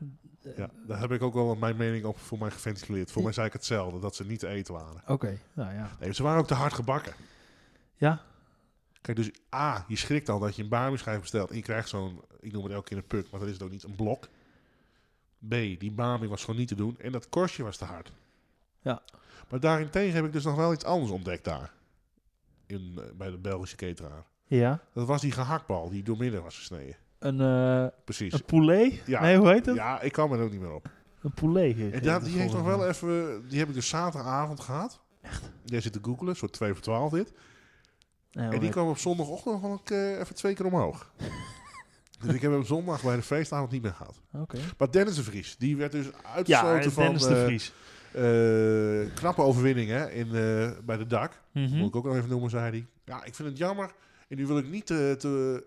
Speaker 1: Ja, daar heb ik ook wel mijn mening op voor mij geventileerd. Voor mij zei ik hetzelfde, dat ze niet te eten waren.
Speaker 2: oké, nou ja.
Speaker 1: Nee, ze waren ook te hard gebakken.
Speaker 2: Ja,
Speaker 1: Kijk, dus A, je schrikt al dat je een Bami-schijf bestelt en je krijgt zo'n, ik noem het elke keer een puk, maar dat is het ook niet, een blok. B, die Bami was gewoon niet te doen en dat korstje was te hard.
Speaker 2: Ja.
Speaker 1: Maar daarentegen heb ik dus nog wel iets anders ontdekt daar. In, eh, bij de Belgische cateraar.
Speaker 2: Ja.
Speaker 1: Dat was die gehaktbal die doormidden was gesneden.
Speaker 2: Een, eh
Speaker 1: Precies.
Speaker 2: een poulet?
Speaker 1: Ja.
Speaker 2: Nee, hoe heet het?
Speaker 1: Ja, ik kwam er ook niet meer op.
Speaker 2: Een poulet. heet
Speaker 1: En
Speaker 2: het
Speaker 1: dat, die heeft nog
Speaker 2: volgens
Speaker 1: wel
Speaker 2: mij.
Speaker 1: even. Die heb ik dus zaterdagavond gehad. Echt? Daar zit te googelen, soort 2 voor 12 dit.
Speaker 2: Ja,
Speaker 1: en die
Speaker 2: maar-
Speaker 1: eh, kwam op zondagochtend nog wel een keer- even twee keer omhoog. Dus ik heb hem zondag bij de feestavond niet meer gehad.
Speaker 2: Oké.
Speaker 1: Maar Dennis de Vries, die werd dus
Speaker 2: Ja,
Speaker 1: uitgesloten van...
Speaker 2: Dennis de
Speaker 1: eh,
Speaker 2: Vries.
Speaker 1: eh, knappe overwinning hè, in, eh, bij de dak.
Speaker 2: Mhm.
Speaker 1: Moet ik ook nog even noemen, zei hij. Ja, ik vind het jammer. En nu wil ik niet te, te,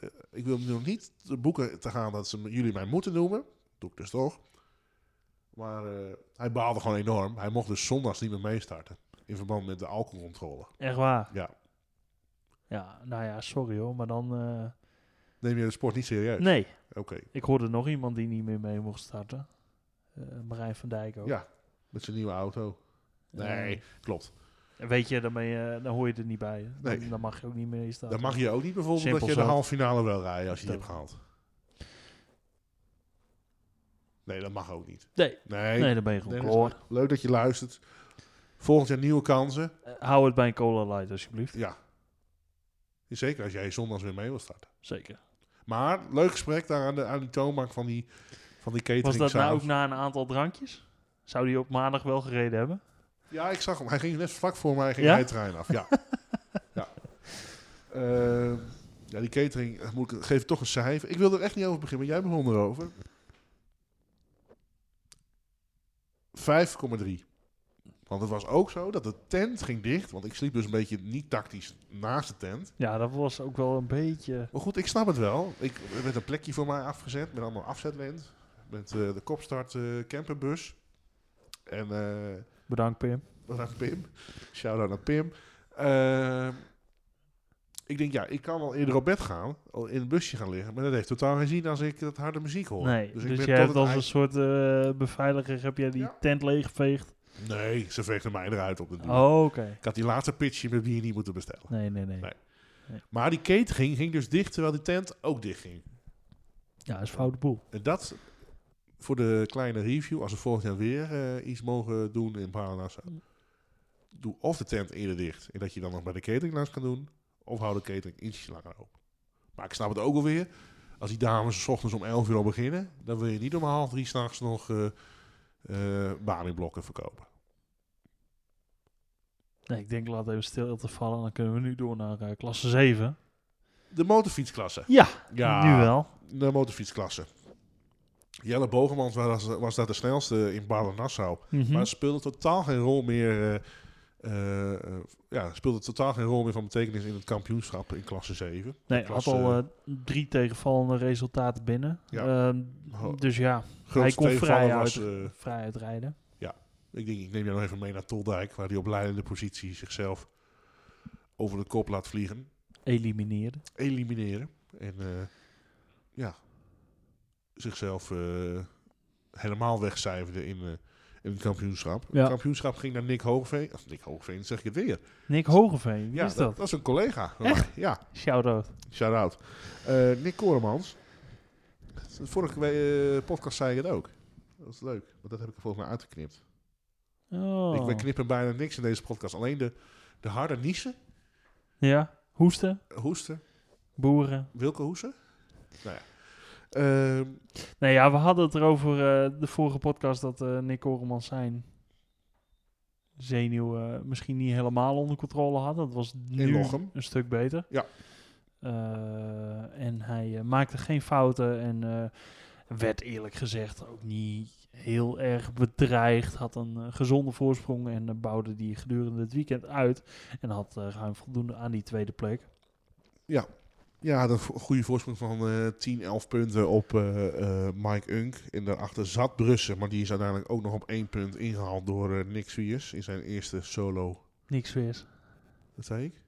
Speaker 1: eh, ik wil nu nog niet te boeken te gaan dat ze me- jullie mij moeten noemen. Doe ik dus toch. Maar eh, hij baalde gewoon enorm. Hij mocht dus zondags niet meer meestarten. In verband met de alcoholcontrole.
Speaker 2: Echt waar.
Speaker 1: Ja.
Speaker 2: Ja, nou ja, sorry hoor, maar dan... eh,
Speaker 1: Neem je de sport niet serieus?
Speaker 2: nee,
Speaker 1: Oké.
Speaker 2: ik hoorde nog iemand die niet meer mee mocht starten. Eh, Marijn van Dijk ook.
Speaker 1: Ja. Met zijn nieuwe auto. Nee,
Speaker 2: Eh,
Speaker 1: klopt.
Speaker 2: en weet je, dan, ben je, dan hoor je er niet bij. hè. Dan,
Speaker 1: Nee.
Speaker 2: dan mag je ook niet meer in starten.
Speaker 1: Dan mag je ook niet bijvoorbeeld
Speaker 2: Simpel
Speaker 1: dat je de
Speaker 2: zo.
Speaker 1: halve finale wel rijden als je die
Speaker 2: Dat-
Speaker 1: hebt gehaald. Nee, dat mag ook niet.
Speaker 2: Nee.
Speaker 1: Nee.
Speaker 2: Nee, dan ben je gewoon
Speaker 1: Dennis,
Speaker 2: kloor.
Speaker 1: Leuk dat je luistert. Volgend jaar nieuwe kansen.
Speaker 2: Eh, hou het bij een cola light alsjeblieft.
Speaker 1: Ja. Zeker als jij zondags weer mee wil starten.
Speaker 2: Zeker.
Speaker 1: Maar leuk gesprek daar aan, de, aan die toonbank van die, van die
Speaker 2: Was dat
Speaker 1: cateringzaal.
Speaker 2: nou ook na een aantal drankjes? Zou die op maandag wel gereden hebben?
Speaker 1: Ja, ik zag hem. Hij ging net vlak voor mij, ging
Speaker 2: nou- Ja?
Speaker 1: hij het terrein af. Ja. ja. Ehm, ja, die catering, eh, moet ik, geef toch een cijfer. Ik wil er echt niet over beginnen, maar jij begon erover. 5,3. Want het was ook zo dat de tent ging dicht. Want ik sliep dus een beetje niet tactisch naast de tent.
Speaker 2: Ja, dat was ook wel een beetje...
Speaker 1: Maar goed, ik snap het wel. Ik, er werd een plekje voor mij afgezet met allemaal afzetlint. Met eh, de kopstart eh, camperbus. En... eh,
Speaker 2: Bedankt Pim.
Speaker 1: dat aan Pim. Shout-out naar Pim. Ehm, ik denk, ja, ik kan wel eerder op bed gaan. al In een busje gaan liggen. Maar dat heeft totaal geen zin als ik dat harde muziek hoor.
Speaker 2: Nee, dus,
Speaker 1: ik ben
Speaker 2: jij
Speaker 1: tot
Speaker 2: hebt
Speaker 1: het
Speaker 2: als
Speaker 1: eind-
Speaker 2: een soort eh, beveiliger heb jij die
Speaker 1: Ja.
Speaker 2: tent leeggeveegd.
Speaker 1: Nee, ze veegden mij eruit op de duur.
Speaker 2: Oh, oké.
Speaker 1: Ik had die laatste pitchje met bier niet moeten bestellen.
Speaker 2: Nee, nee, nee,
Speaker 1: Nee. Maar die catering ging dus dicht, terwijl die tent ook dicht ging.
Speaker 2: Ja, dat is een foute boel.
Speaker 1: En dat voor de kleine review, als we volgend jaar weer eh, iets mogen doen in Paranassa. Doe of de tent eerder dicht en dat je dan nog bij de catering langs kan doen. Of hou de catering ietsjes langer open. Maar ik snap het ook alweer. Als die dames s ochtends om 11 uur al beginnen, dan wil je niet om half drie s'nachts nog eh eh, Bami-blokken verkopen.
Speaker 2: Nee, ik denk laat even stil te vallen. Dan kunnen we nu door naar eh, klasse 7.
Speaker 1: De motorfietsklasse.
Speaker 2: Ja,
Speaker 1: Ja,
Speaker 2: nu wel.
Speaker 1: de motorfietsklasse. Jelle Bogemans was, was daar de snelste in Baarle-Nassau.
Speaker 2: Mhm.
Speaker 1: Maar het speelde totaal geen rol meer. eh, eh, eh, ja, het speelde totaal geen rol meer van betekenis in het kampioenschap in klasse 7.
Speaker 2: nee,
Speaker 1: dat
Speaker 2: had
Speaker 1: was,
Speaker 2: al eh, drie tegenvallende resultaten binnen.
Speaker 1: Ja.
Speaker 2: Ehm,
Speaker 1: Ho-
Speaker 2: dus ja, hij
Speaker 1: Grootste
Speaker 2: kon vrij
Speaker 1: tegenvaller
Speaker 2: uit,
Speaker 1: was, eh,
Speaker 2: vrij uitrijden.
Speaker 1: ik denk, ik neem jou nog even mee naar Toldijk, waar hij op leidende positie zichzelf over de kop laat vliegen.
Speaker 2: Elimineerde.
Speaker 1: Elimineren. En eh, ja, zichzelf eh, helemaal wegcijferde in, eh, in het kampioenschap.
Speaker 2: Ja.
Speaker 1: Het kampioenschap ging naar Nick Hoogveen. Of Nick Hoogveen, zeg ik het weer.
Speaker 2: Nick Hogeveen, wie
Speaker 1: Ja,
Speaker 2: is dat?
Speaker 1: dat is een collega. Ja.
Speaker 2: Shout-out.
Speaker 1: Shout-out. Eh, Nick Koremans. Vorige we- eh, podcast zei ik het ook. Dat is leuk, want dat heb ik er volgens mij uitgeknipt.
Speaker 2: Oh.
Speaker 1: Ik, we knippen bijna niks in deze podcast. Alleen de, de harde niezen.
Speaker 2: Ja, hoesten,
Speaker 1: Hoesten.
Speaker 2: boeren.
Speaker 1: Wilke hoesten? Nou ja. Ehm,
Speaker 2: Nee, ja, we hadden het erover eh, de vorige podcast dat eh, Nick Oremans zijn zenuw eh, misschien niet helemaal onder controle had. Dat was nu
Speaker 1: Lochem.
Speaker 2: een stuk beter.
Speaker 1: Ja.
Speaker 2: Eh, en hij eh, maakte geen fouten en eh, werd eerlijk gezegd ook niet heel erg bedreigd. Had een eh, gezonde voorsprong en eh, bouwde die gedurende het weekend uit. En had eh, ruim voldoende aan die tweede plek.
Speaker 1: ja, had een vo- goede voorsprong van eh 10, 11 punten op eh, eh, Mike Unk. En daarachter zat Brussen, maar die is uiteindelijk ook nog op één punt ingehaald door eh, Nick Swiers in zijn eerste solo.
Speaker 2: Niks weer.
Speaker 1: Dat zei ik?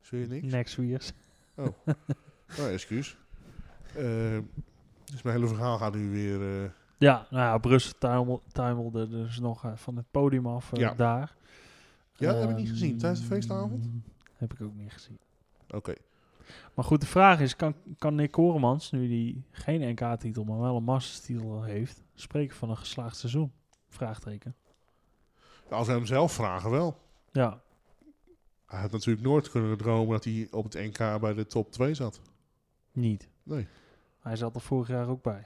Speaker 1: Zweer niks?
Speaker 2: Niks weer.
Speaker 1: Nou, excuus. Eh, dus mijn hele verhaal gaat nu weer... eh,
Speaker 2: Ja, nou ja, Brussel tuimel- tuimelde dus nog eh, van het podium af eh,
Speaker 1: Ja.
Speaker 2: daar.
Speaker 1: Ja, dat heb ik niet
Speaker 2: Ehm,
Speaker 1: gezien. Tijdens de feestavond?
Speaker 2: Heb ik ook niet gezien.
Speaker 1: Oké.
Speaker 2: Maar goed, de vraag is, kan, kan Nick Koremans, nu die geen NK-titel, maar wel een masterstitel heeft, spreken van een geslaagd seizoen? Vraagteken.
Speaker 1: Als we hem zelf vragen wel.
Speaker 2: Ja,
Speaker 1: Hij had natuurlijk nooit kunnen dromen dat hij op het NK bij de top 2 zat.
Speaker 2: niet.
Speaker 1: Nee.
Speaker 2: Hij zat er vorig jaar ook bij.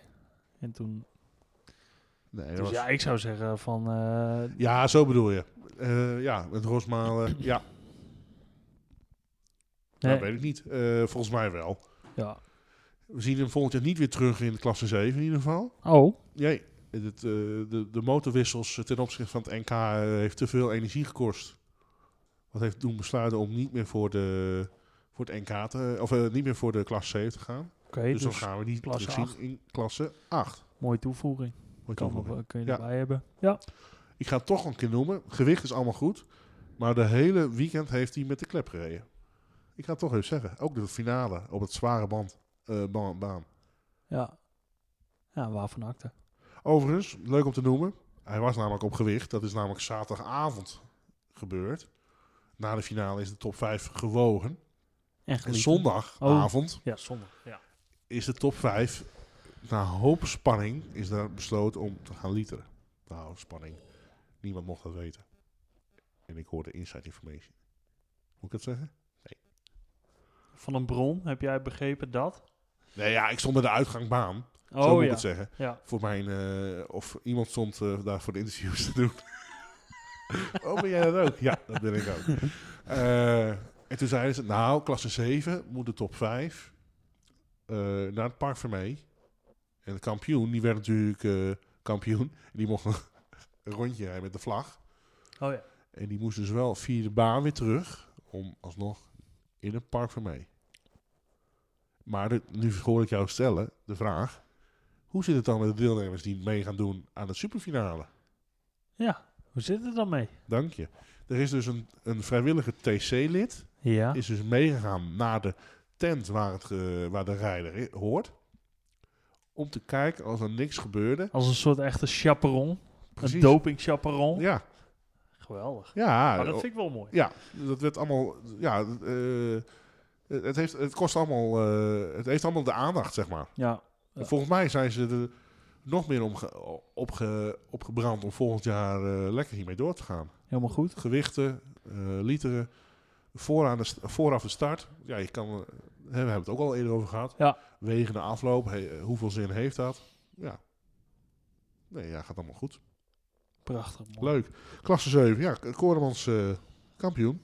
Speaker 2: En toen...
Speaker 1: Nee, dat
Speaker 2: Dus
Speaker 1: was-
Speaker 2: ja,
Speaker 1: ja.
Speaker 2: ik zou zeggen van... eh,
Speaker 1: zo bedoel je. Eh, ja, met Rosmalen. eh, ja,
Speaker 2: nee,
Speaker 1: dat weet ik niet. Eh, volgens mij wel.
Speaker 2: Ja.
Speaker 1: We zien hem volgend jaar niet weer terug in de klasse 7 in ieder geval.
Speaker 2: Oh,
Speaker 1: Nee, het, eh, de, de motorwissels ten opzichte van het NK eh, heeft te veel energie gekost. Wat heeft doen besluiten om niet meer voor de, voor het NK te, of eh, niet meer voor de klasse 7 te gaan.
Speaker 2: oké.
Speaker 1: Dus,
Speaker 2: dus
Speaker 1: dan gaan we die
Speaker 2: klasse
Speaker 1: terugzien
Speaker 2: 8.
Speaker 1: in klasse 8.
Speaker 2: mooie toevoeging.
Speaker 1: Wordt
Speaker 2: Kan
Speaker 1: toevoeging.
Speaker 2: nog wel- kun je
Speaker 1: Ja.
Speaker 2: erbij hebben. Ja.
Speaker 1: Ik ga het toch een keer noemen. Gewicht is allemaal goed. Maar de hele weekend heeft hij met de klep gereden. Ik ga het toch even zeggen. Ook de finale op het zware band, eh, ba- baan.
Speaker 2: Ja. Ja, waarvan acte.
Speaker 1: Overigens, leuk om te noemen. Hij was namelijk op gewicht. Dat is namelijk zaterdagavond gebeurd. Na de finale is de top 5 gewogen.
Speaker 2: En
Speaker 1: En
Speaker 2: geliefd.
Speaker 1: zondagavond
Speaker 2: Ja, zondag. Ja.
Speaker 1: is de top 5. Na hoop spanning is daar besloten om te gaan literen. Na hoop spanning. Niemand mocht dat weten. En ik hoorde inside information. Moet ik dat zeggen?
Speaker 2: Van een bron heb jij begrepen dat?
Speaker 1: Nee, ja, ik stond bij de uitgangbaan.
Speaker 2: Oh
Speaker 1: zo moet ik
Speaker 2: ja.
Speaker 1: het zeggen.
Speaker 2: Ja.
Speaker 1: Voor mijn, eh, of iemand stond eh, daar voor de interviews te doen. oh, ben jij dat ook? Ja, dat ben ik ook. Eh, en toen zeiden ze, nou, klasse 7 moet de top 5 eh, naar het park voor mee. En de kampioen, die werd natuurlijk eh, kampioen. En die mocht een rondje rijden met de vlag.
Speaker 2: Oh ja.
Speaker 1: En die moest dus wel via de baan weer terug om alsnog in het park voor mee. Maar de- nu hoor ik jou stellen de vraag: hoe zit het dan met de deelnemers die mee gaan doen aan de superfinale?
Speaker 2: Ja. Hoe zit het dan mee?
Speaker 1: Dank je. Er is dus een, een vrijwillige TC-lid,
Speaker 2: Ja.
Speaker 1: is dus meegegaan naar de tent waar, het, ge- waar de rijder i- hoort. Om te kijken als er niks gebeurde.
Speaker 2: Als een soort echte chaperon. Een
Speaker 1: Precies.
Speaker 2: doping chaperon.
Speaker 1: Ja,
Speaker 2: Geweldig.
Speaker 1: ja.
Speaker 2: Maar dat vind ik wel mooi.
Speaker 1: Ja, dat werd allemaal. Ja, eh, het, heeft, het kost allemaal. eh, het heeft allemaal de aandacht, zeg maar.
Speaker 2: Ja. Ja.
Speaker 1: Volgens mij zijn ze er nog meer omge, opge, opgebrand om volgend jaar eh, lekker hiermee door te gaan.
Speaker 2: Helemaal goed.
Speaker 1: Gewichten, eh, literen. Vooraan de, st- vooraf de start. Ja, je kan. eh, hè, we hebben het ook al eerder over gehad.
Speaker 2: Ja.
Speaker 1: Wegen de afloop. he- eh, hoeveel zin heeft dat? Ja. Nee, ja, gaat allemaal goed.
Speaker 2: Prachtig. mooi.
Speaker 1: Leuk. Klasse 7. Ja, Koremans eh, kampioen.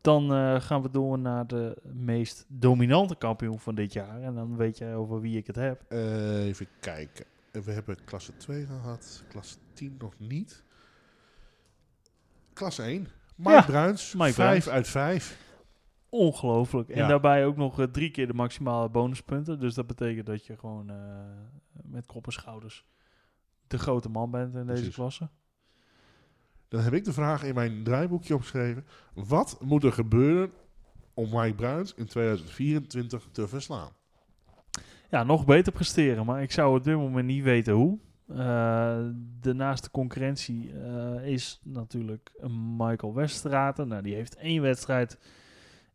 Speaker 2: Dan eh, gaan we door naar de meest dominante kampioen van dit jaar. En dan weet jij over wie ik het heb.
Speaker 1: Eh, even kijken. Eh, We hebben klasse 2 gehad, klasse 10 nog niet. Klasse 1. Mike
Speaker 2: Ja,
Speaker 1: Bruins,
Speaker 2: Mike
Speaker 1: 5
Speaker 2: Bruins.
Speaker 1: uit 5.
Speaker 2: Ongelooflijk. En
Speaker 1: Ja.
Speaker 2: daarbij ook nog eh, drie keer de maximale bonuspunten. Dus dat betekent dat je gewoon eh, met kop en schouders de grote man bent in deze
Speaker 1: Precies.
Speaker 2: klasse.
Speaker 1: Dan heb ik de vraag in mijn draaiboekje opgeschreven. Wat moet er gebeuren om Mike Bruins in 2024 te verslaan?
Speaker 2: Ja, nog beter presteren, maar ik zou op dit moment niet weten hoe. Eh, de naaste concurrentie eh, is natuurlijk een Michael Weststraten. Nou, die heeft één wedstrijd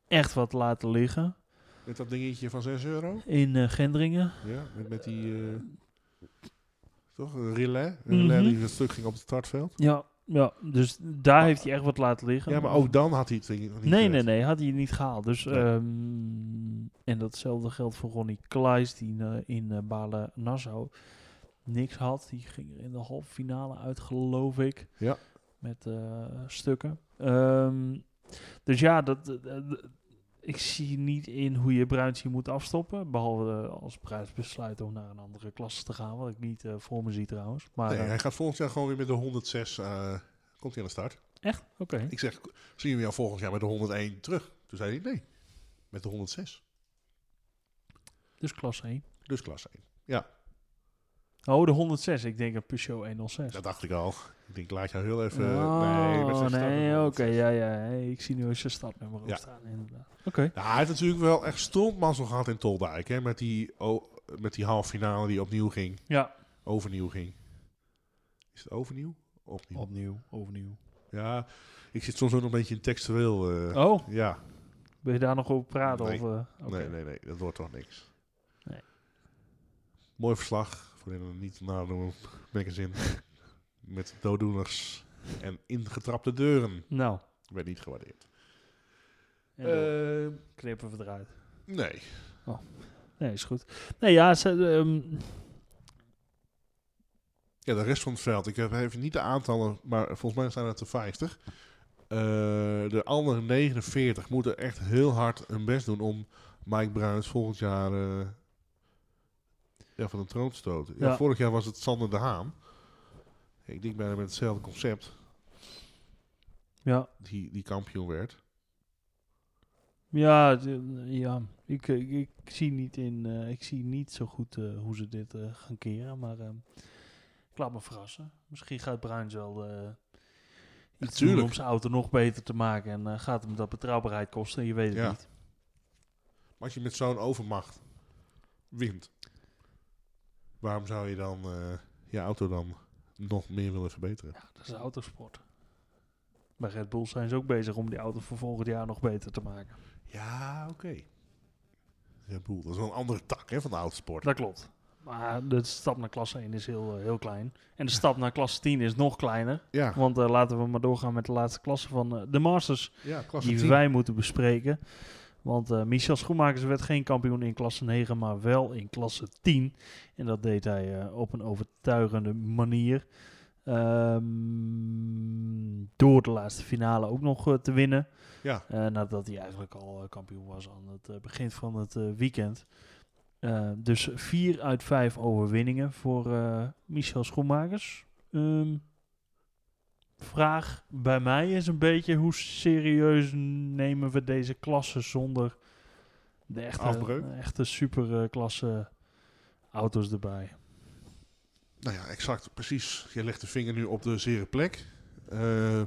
Speaker 2: echt wat laten liggen
Speaker 1: Met dat dingetje van 6 euro?
Speaker 2: in eh, Gendringen.
Speaker 1: Ja, met, met die... eh, toch? Een relais? Een relais
Speaker 2: Mhm.
Speaker 1: die een stuk ging op het startveld.
Speaker 2: Ja, ja dus daar heeft hij echt wat laten liggen.
Speaker 1: Ja, maar ook dan had hij het ding nog niet
Speaker 2: Nee,
Speaker 1: gered.
Speaker 2: nee, nee, had hij het niet gehaald. Dus,
Speaker 1: Nee.
Speaker 2: ehm, en datzelfde geldt voor Ronnie Klaes, die eh, in eh Balen-Nassau niks had. Die ging er in de halve finale uit, geloof ik.
Speaker 1: Ja.
Speaker 2: Met eh, stukken. Ehm, dus ja, dat, dat- dat- ik zie niet in hoe je Bruins hier moet afstoppen. Behalve eh, als Bruins besluit om naar een andere klasse te gaan. Wat ik niet eh, voor me zie trouwens. Maar
Speaker 1: Nee,
Speaker 2: eh,
Speaker 1: hij gaat volgend jaar gewoon weer met de 106... eh, komt hij aan de start.
Speaker 2: echt? Oké.
Speaker 1: Ik zeg, zien we jou volgend jaar met de 101 terug? Toen zei hij nee, met de 106.
Speaker 2: Dus klas 1.
Speaker 1: Dus klas 1.
Speaker 2: Oh, de 106. Ik denk een Peugeot 106.
Speaker 1: Dat dacht ik al. Ik denk, laat jou heel even...
Speaker 2: Oh,
Speaker 1: met zijn start-
Speaker 2: nee, oké, ja, ja. hey, Ik zie nu eens zijn stadnummer op
Speaker 1: Ja.
Speaker 2: staan, inderdaad. Oké.
Speaker 1: Ja, Nou, hij heeft natuurlijk wel echt strontmazzel gehad in Toldijk. Hè, met die, o- met die halve finale die opnieuw ging.
Speaker 2: Ja.
Speaker 1: Overnieuw ging. Is het overnieuw? Opnieuw.
Speaker 2: Opnieuw, overnieuw.
Speaker 1: Ja, ik zit soms ook nog een beetje in textueel. eh,
Speaker 2: Oh,
Speaker 1: Ja,
Speaker 2: wil je daar nog over praten?
Speaker 1: Nee.
Speaker 2: Of, eh, oké.
Speaker 1: nee, nee, nee. Dat wordt toch niks.
Speaker 2: Nee.
Speaker 1: Mooi verslag. Voor een niet nadoen magazine. met dooddoeners en ingetrapte deuren.
Speaker 2: Nou,
Speaker 1: Werd niet gewaardeerd.
Speaker 2: en dan
Speaker 1: Eh,
Speaker 2: knippen we eruit.
Speaker 1: nee.
Speaker 2: Nee, is goed. Nee, ja, ze, ehm,
Speaker 1: Ja, de rest van het veld. Ik heb even niet de aantallen, maar volgens mij zijn het er 50. Eh, de andere 49 moeten echt heel hard hun best doen om Mike Bruins volgend jaar eh, ja, van de troon te stoten. Ja,
Speaker 2: Ja.
Speaker 1: Vorig jaar was het Sander de Haan. Ik denk bijna met hetzelfde concept
Speaker 2: Ja,
Speaker 1: die, die kampioen werd.
Speaker 2: ja, d- ja. Ik, eh, ik, ik zie niet in, eh, ik zie niet zo goed eh, hoe ze dit eh, gaan keren, maar ehm, ik laat me verrassen. Misschien gaat Bruins wel eh, iets doen
Speaker 1: tuurlijk.
Speaker 2: om zijn auto nog beter te maken en eh, gaat hem dat betrouwbaarheid kosten. Je weet het
Speaker 1: Ja.
Speaker 2: niet.
Speaker 1: Maar als je met zo'n overmacht wint, waarom zou je dan eh, je auto dan nog meer willen verbeteren?
Speaker 2: Ja, dat is autosport. Bij Red Bull zijn ze ook bezig om die auto voor volgend jaar nog beter te maken.
Speaker 1: Ja, oké. Red Bull, dat is wel een andere tak hè, van de autosport.
Speaker 2: Dat klopt. Maar de stap naar klasse 1 is heel, eh, heel klein. En de stap naar klasse 10 is nog kleiner.
Speaker 1: Ja,
Speaker 2: Want eh, laten we maar doorgaan met de laatste klasse van eh, de Masters.
Speaker 1: ja klasse
Speaker 2: Die
Speaker 1: 10.
Speaker 2: wij moeten bespreken. Want eh, Michel Schoenmakers werd geen kampioen in klasse 9, maar wel in klasse 10. En dat deed hij eh, op een overtuigende manier. Ehm, door de laatste finale ook nog eh, te winnen.
Speaker 1: Ja.
Speaker 2: Eh, nadat hij eigenlijk al eh, kampioen was aan het eh, begin van het eh, weekend. Eh, dus 4 uit 5 overwinningen voor eh, Michel Schoenmakers. Ehm, vraag bij mij is een beetje hoe serieus nemen we deze klasse zonder de echte,
Speaker 1: Afbreuk?
Speaker 2: echte superklasse auto's erbij.
Speaker 1: Nou ja, exact, precies. Je legt de vinger nu op de zere plek. Eh,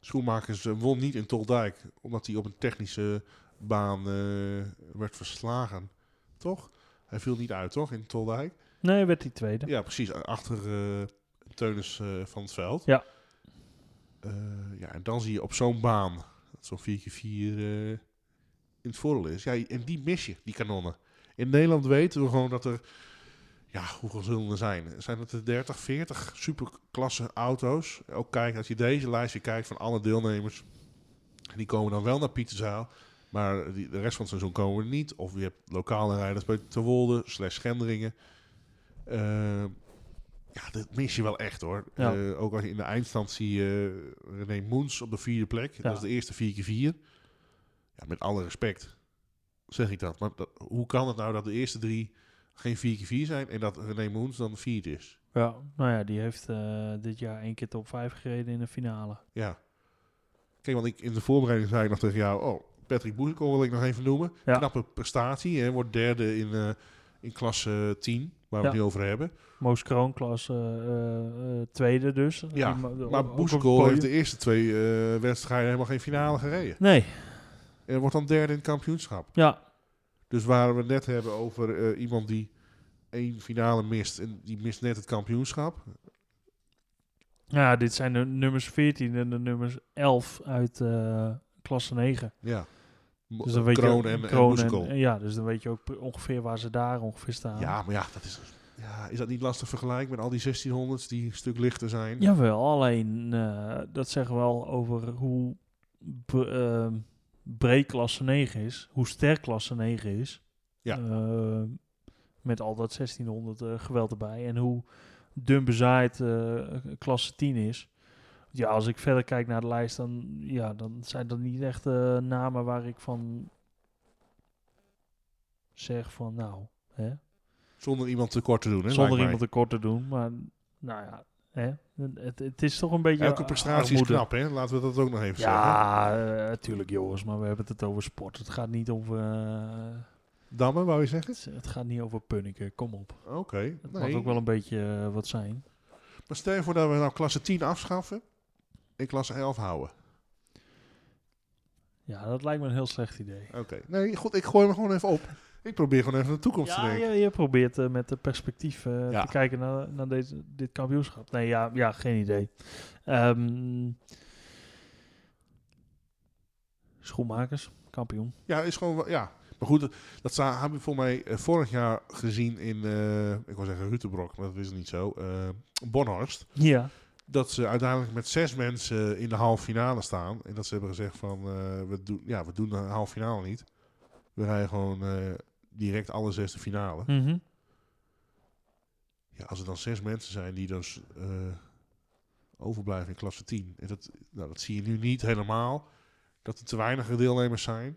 Speaker 1: Schoenmakers eh, won niet in Toldijk, omdat hij op een technische baan eh, werd verslagen. Toch? Hij viel niet uit, toch? In Toldijk?
Speaker 2: Nee, werd die tweede.
Speaker 1: Ja, precies. a- Achter eh Teunis eh, van het veld.
Speaker 2: Ja.
Speaker 1: Eh, ja, en dan zie je op zo'n baan, dat zo'n 4x4 eh, in het voordeel is. Ja, en die mis je, die kanonnen. In Nederland weten we gewoon dat er, ja, hoeveel zullen er zijn? Zijn het er 30, 40 superklasse auto's? Ook kijk, als je deze lijstje kijkt van alle deelnemers, die komen dan wel naar Pieterzaal. Maar die, de rest van het seizoen komen er niet. Of je hebt lokale rijders bij Terwolde, slash Gendringen. Eh, ja, dat mis je wel echt hoor.
Speaker 2: Ja.
Speaker 1: Eh, ook als je in de eindstand zie je eh, René Moens op de vierde plek.
Speaker 2: Ja.
Speaker 1: Dat is de eerste 4x4. Ja, met alle respect zeg ik dat. Maar dat- hoe kan het nou dat de eerste drie geen 4x4 zijn en dat René Moens dan vierde is?
Speaker 2: Ja, nou ja, die heeft eh, dit jaar één keer top 5 gereden in de finale.
Speaker 1: Ja. Kijk, want ik, in de voorbereiding zei ik nog tegen jou... Oh, Patrick Boezekol wil ik nog even noemen.
Speaker 2: Ja.
Speaker 1: Knappe prestatie. Hè, wordt derde in, eh, in klasse 10, waar we het
Speaker 2: Ja.
Speaker 1: nu over hebben.
Speaker 2: Moos Kroonklas eh, eh, eh, tweede dus.
Speaker 1: Ja,
Speaker 2: Die ma- ook op
Speaker 1: Maar
Speaker 2: het
Speaker 1: Boezekol
Speaker 2: podium.
Speaker 1: heeft de eerste twee eh, wedstrijden helemaal geen finale gereden.
Speaker 2: Nee,
Speaker 1: En wordt dan derde in het kampioenschap.
Speaker 2: ja,
Speaker 1: Dus waar we het net hebben over eh, iemand die één finale mist... en die mist net het kampioenschap.
Speaker 2: ja, dit zijn de nummers 14 en de nummers 11 uit eh, klasse 9.
Speaker 1: Ja. Mo-
Speaker 2: Dus dan weet
Speaker 1: Kroon
Speaker 2: je,
Speaker 1: en, en
Speaker 2: Kroon
Speaker 1: Boezekol.
Speaker 2: Ja, dus dan weet je ook pre- ongeveer waar ze daar ongeveer staan.
Speaker 1: Ja, maar ja, dat is, ja, is dat niet lastig vergelijken met al die 1600's die een stuk lichter zijn?
Speaker 2: Jawel, alleen eh, dat zegt wel over hoe b- ehm, breed klasse 9 is, hoe sterk klasse 9 is.
Speaker 1: Ja.
Speaker 2: Ehm, met al dat 1600 eh, geweld erbij en hoe dun bezaaid eh, klasse 10 is. Ja, als ik verder kijk naar de lijst, dan, ja, dan zijn dat niet echt eh, namen waar ik van zeg van nou, hè,
Speaker 1: Zonder iemand tekort te doen, hè?
Speaker 2: zonder
Speaker 1: lijkt
Speaker 2: iemand tekort te doen. Maar nou ja, hè? Het, het is toch een beetje.
Speaker 1: mij. Elke prestatie is
Speaker 2: armoede.
Speaker 1: knap, hè? Laten we dat ook nog even zeggen.
Speaker 2: Ja, natuurlijk tuurlijk jongens, maar we hebben het over sport. Het gaat niet over, eh,
Speaker 1: Dammen, wou je zeggen?
Speaker 2: het, het gaat niet over punniken, kom op.
Speaker 1: Oké.
Speaker 2: Het
Speaker 1: nee.
Speaker 2: mag ook wel een beetje eh, wat zijn.
Speaker 1: Maar stel je voor dat we nou klasse 10 afschaffen en klasse 11 houden.
Speaker 2: Ja, dat lijkt me een heel slecht idee.
Speaker 1: Oké. Nee, goed, ik gooi hem gewoon even op. Ik probeer gewoon even naar de toekomst te
Speaker 2: Ja,
Speaker 1: denken.
Speaker 2: je, je probeert eh, met de perspectief eh,
Speaker 1: Ja.
Speaker 2: te kijken naar, naar deze, dit kampioenschap. Nee, ja, ja geen idee. Ehm, schoenmakers, kampioen.
Speaker 1: Ja, is gewoon... wel- Ja. Maar goed, dat- dat za- hebben we voor mij eh, vorig jaar gezien in... eh, ik wil zeggen Rutebrok, maar dat is niet zo. eh Bonhorst.
Speaker 2: Ja.
Speaker 1: dat ze uiteindelijk met zes mensen in de halve finale staan. En dat ze hebben gezegd van, eh, we, doen, ja, we doen de halve finale niet. We rijden gewoon eh, direct alle zes de finale.
Speaker 2: Mhm.
Speaker 1: Ja, als er dan zes mensen zijn die dus eh, overblijven in klasse 10. En dat, nou, dat zie je nu niet helemaal. Dat er te weinig deelnemers zijn.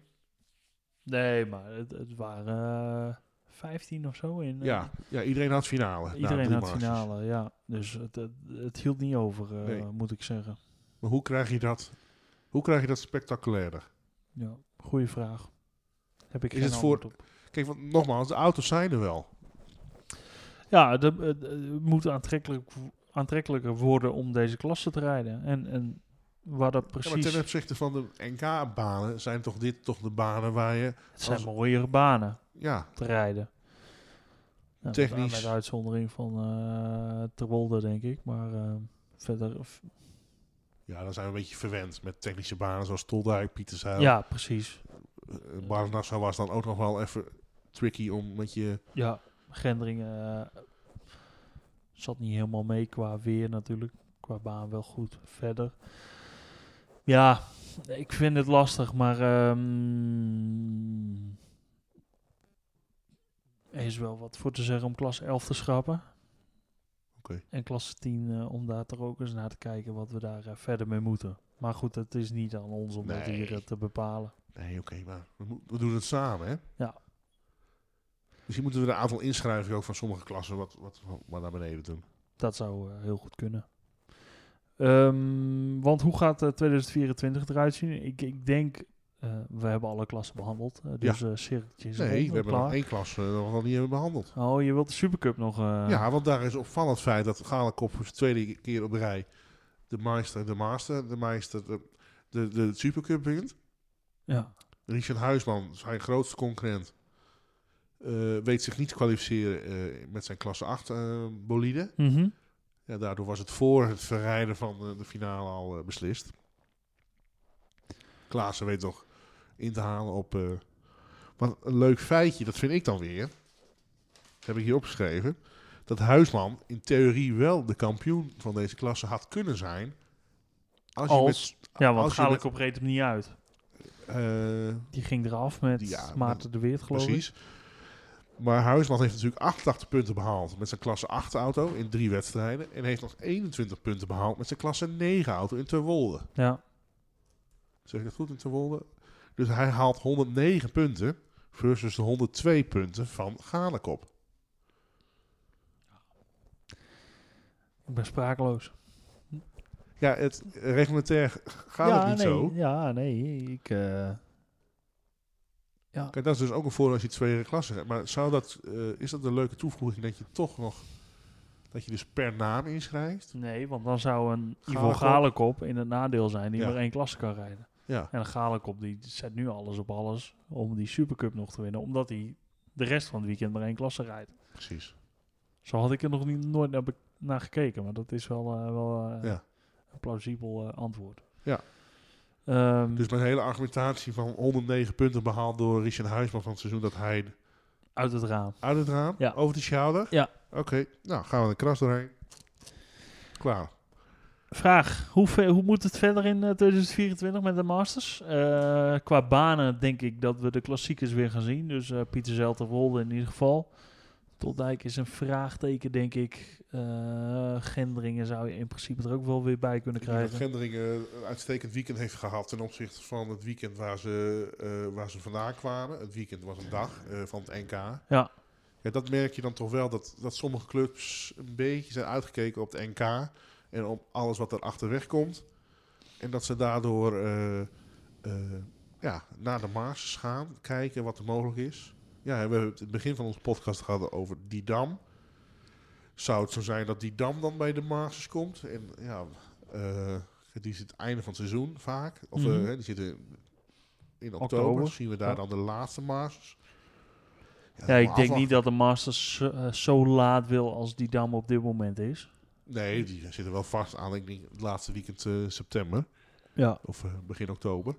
Speaker 2: Nee, maar het, het waren eh, 15 of zo in. eh,
Speaker 1: Ja, ja iedereen had finale. Nou, na
Speaker 2: Iedereen
Speaker 1: drie
Speaker 2: had
Speaker 1: Masters.
Speaker 2: finale, ja. Dus het, het, het hield niet over, eh,
Speaker 1: Nee.
Speaker 2: moet ik zeggen.
Speaker 1: Maar hoe krijg je dat, hoe krijg je dat spectaculairder?
Speaker 2: Ja, goede vraag. Heb ik
Speaker 1: Is
Speaker 2: geen
Speaker 1: het voor-
Speaker 2: antwoord op.
Speaker 1: Kijk, want nogmaals, de auto's zijn er wel.
Speaker 2: Ja, de- het het moet aantrekkelijk, aantrekkelijker worden om deze klasse te rijden. En, en waar dat
Speaker 1: Ja, maar
Speaker 2: precies...
Speaker 1: ten opzichte van de NK-banen zijn toch dit toch de banen waar je...
Speaker 2: het zijn
Speaker 1: als-
Speaker 2: mooiere banen
Speaker 1: Ja,
Speaker 2: te rijden. Ja,
Speaker 1: Technisch.
Speaker 2: Met uitzondering van eh Terwolde, denk ik. Maar eh, verder... v-
Speaker 1: ja, dan zijn we een beetje verwend met technische banen zoals Toldijk, Pieterzijl.
Speaker 2: ja, precies.
Speaker 1: Eh, Barnassau was dan ook nog wel even tricky om met je...
Speaker 2: Ja, Gendringen eh, zat niet helemaal mee qua weer natuurlijk. Qua baan wel goed. Verder. Ja, ik vind het lastig, maar ehm, er is wel wat voor te zeggen om klas 11 te schrappen.
Speaker 1: Oké.
Speaker 2: En klasse 10 eh, om daar toch ook eens naar te kijken wat we daar eh, verder mee moeten. Maar goed, het is niet aan ons om dat
Speaker 1: Nee.
Speaker 2: hier eh, te bepalen.
Speaker 1: Nee, oké, maar we, mo- we doen het samen, hè?
Speaker 2: Ja.
Speaker 1: Misschien moeten we een aantal inschrijvingen ook van sommige klassen wat, wat, wat maar naar beneden doen.
Speaker 2: Dat zou eh, heel goed kunnen. Ehm, want hoe gaat eh, 2024 eruit zien? Ik, ik denk, eh, we hebben alle klassen behandeld. eh, dus eh cirkeltje is rond
Speaker 1: Nee,
Speaker 2: en
Speaker 1: we hebben
Speaker 2: klaar.
Speaker 1: nog één klasse eh, nog wel niet hebben behandeld.
Speaker 2: Oh, je wilt de Supercup nog... eh,
Speaker 1: Ja, want daar is opvallend het feit dat Galenkop voor de tweede keer op de rij de Meister, de Master, de Meister, de, de, de Supercup wint.
Speaker 2: ja.
Speaker 1: Richard Huisman, zijn grootste concurrent, eh, weet zich niet te kwalificeren eh, met zijn klasse 8 eh, bolide.
Speaker 2: Mhm.
Speaker 1: Ja, daardoor was het voor het verrijden van eh, de finale al eh, beslist. Klaassen weet nog in te halen op... eh, wat een leuk feitje, dat vind ik dan weer. Dat heb ik hier opgeschreven. Dat Huisman in theorie wel de kampioen van deze klasse had kunnen zijn. Als, je met...
Speaker 2: Als- ja, want
Speaker 1: als je
Speaker 2: Gaalik op reed hem niet uit.
Speaker 1: eh,
Speaker 2: Die ging eraf met
Speaker 1: Ja,
Speaker 2: Maarten de Weert, geloof ik.
Speaker 1: Precies. Maar Huisman heeft natuurlijk 88 punten behaald met zijn klasse 8 auto in drie wedstrijden. En heeft nog 21 punten behaald met zijn klasse 9 auto in Terwolde.
Speaker 2: Ja,
Speaker 1: Zeg ik dat goed in Terwolde? Dus hij haalt 109 punten versus de 102 punten van Galekop.
Speaker 2: ik ben sprakeloos.
Speaker 1: Ja, het eh, reglementair g- gaat
Speaker 2: ja,
Speaker 1: het niet
Speaker 2: nee,
Speaker 1: zo.
Speaker 2: Ja, nee, ik... eh,
Speaker 1: Kijk, dat is dus ook een voordeel als je tweede klasse hebt. Maar zou dat, eh, is dat een leuke toevoeging dat je toch nog... dat je dus per naam inschrijft?
Speaker 2: nee, want dan zou een Ivo
Speaker 1: Galikop-
Speaker 2: Galikop in het nadeel zijn die
Speaker 1: Ja.
Speaker 2: maar één klasse kan rijden.
Speaker 1: Ja,
Speaker 2: En Galekop die zet nu alles op alles om die Supercup nog te winnen. Omdat hij de rest van het weekend maar één klasse rijdt.
Speaker 1: precies.
Speaker 2: Zo had ik er nog niet, nooit naar, be- naar gekeken. Maar dat is wel, eh, wel eh,
Speaker 1: Ja.
Speaker 2: een plausibel eh, antwoord.
Speaker 1: Ja.
Speaker 2: Ehm,
Speaker 1: Dus mijn hele argumentatie van 109 punten behaald door Richard Huisman van het seizoen dat hij
Speaker 2: Uit het raam.
Speaker 1: uit het raam,
Speaker 2: Ja.
Speaker 1: over de schouder.
Speaker 2: Ja.
Speaker 1: Oké, nou gaan we de kras doorheen. Klaar.
Speaker 2: Vraag, hoe, ver- hoe moet het verder in eh, 2024 met de Masters? Eh, qua banen denk ik dat we de klassiekers weer gaan zien. Dus eh, Pieter Zelter Wolde in ieder geval. Toldijk is een vraagteken, denk ik. Eh, Gendringen zou je in principe er ook wel weer bij kunnen
Speaker 1: Ik denk dat
Speaker 2: krijgen.
Speaker 1: Gendringen een uitstekend weekend heeft gehad ten opzichte van het weekend waar ze, eh, waar ze vandaan kwamen. Het weekend was een dag eh, van het NK.
Speaker 2: Ja.
Speaker 1: Ja, dat merk je dan toch wel, dat, dat sommige clubs een beetje zijn uitgekeken op het NK en op alles wat er achterweg komt. En dat ze daardoor eh, eh, ja, naar de Masters gaan, kijken wat er mogelijk is. Ja, we hebben het in het begin van onze podcast gehad over die dam. Zou het zo zijn dat die dam dan bij de Masters komt? En ja, eh, die zit het einde van het seizoen vaak. Of eh,
Speaker 2: Mhm.
Speaker 1: hè, die zitten in oktober.
Speaker 2: Oktober.
Speaker 1: Zien we daar
Speaker 2: Ja.
Speaker 1: dan de laatste Masters?
Speaker 2: Ja, ik denk
Speaker 1: afwachten.
Speaker 2: niet dat de Masters zo- eh, zo laat wil als die dam op dit moment is.
Speaker 1: Nee, die zitten wel vast aan. Ik denk het laatste weekend eh, september
Speaker 2: Ja.
Speaker 1: of eh, begin oktober.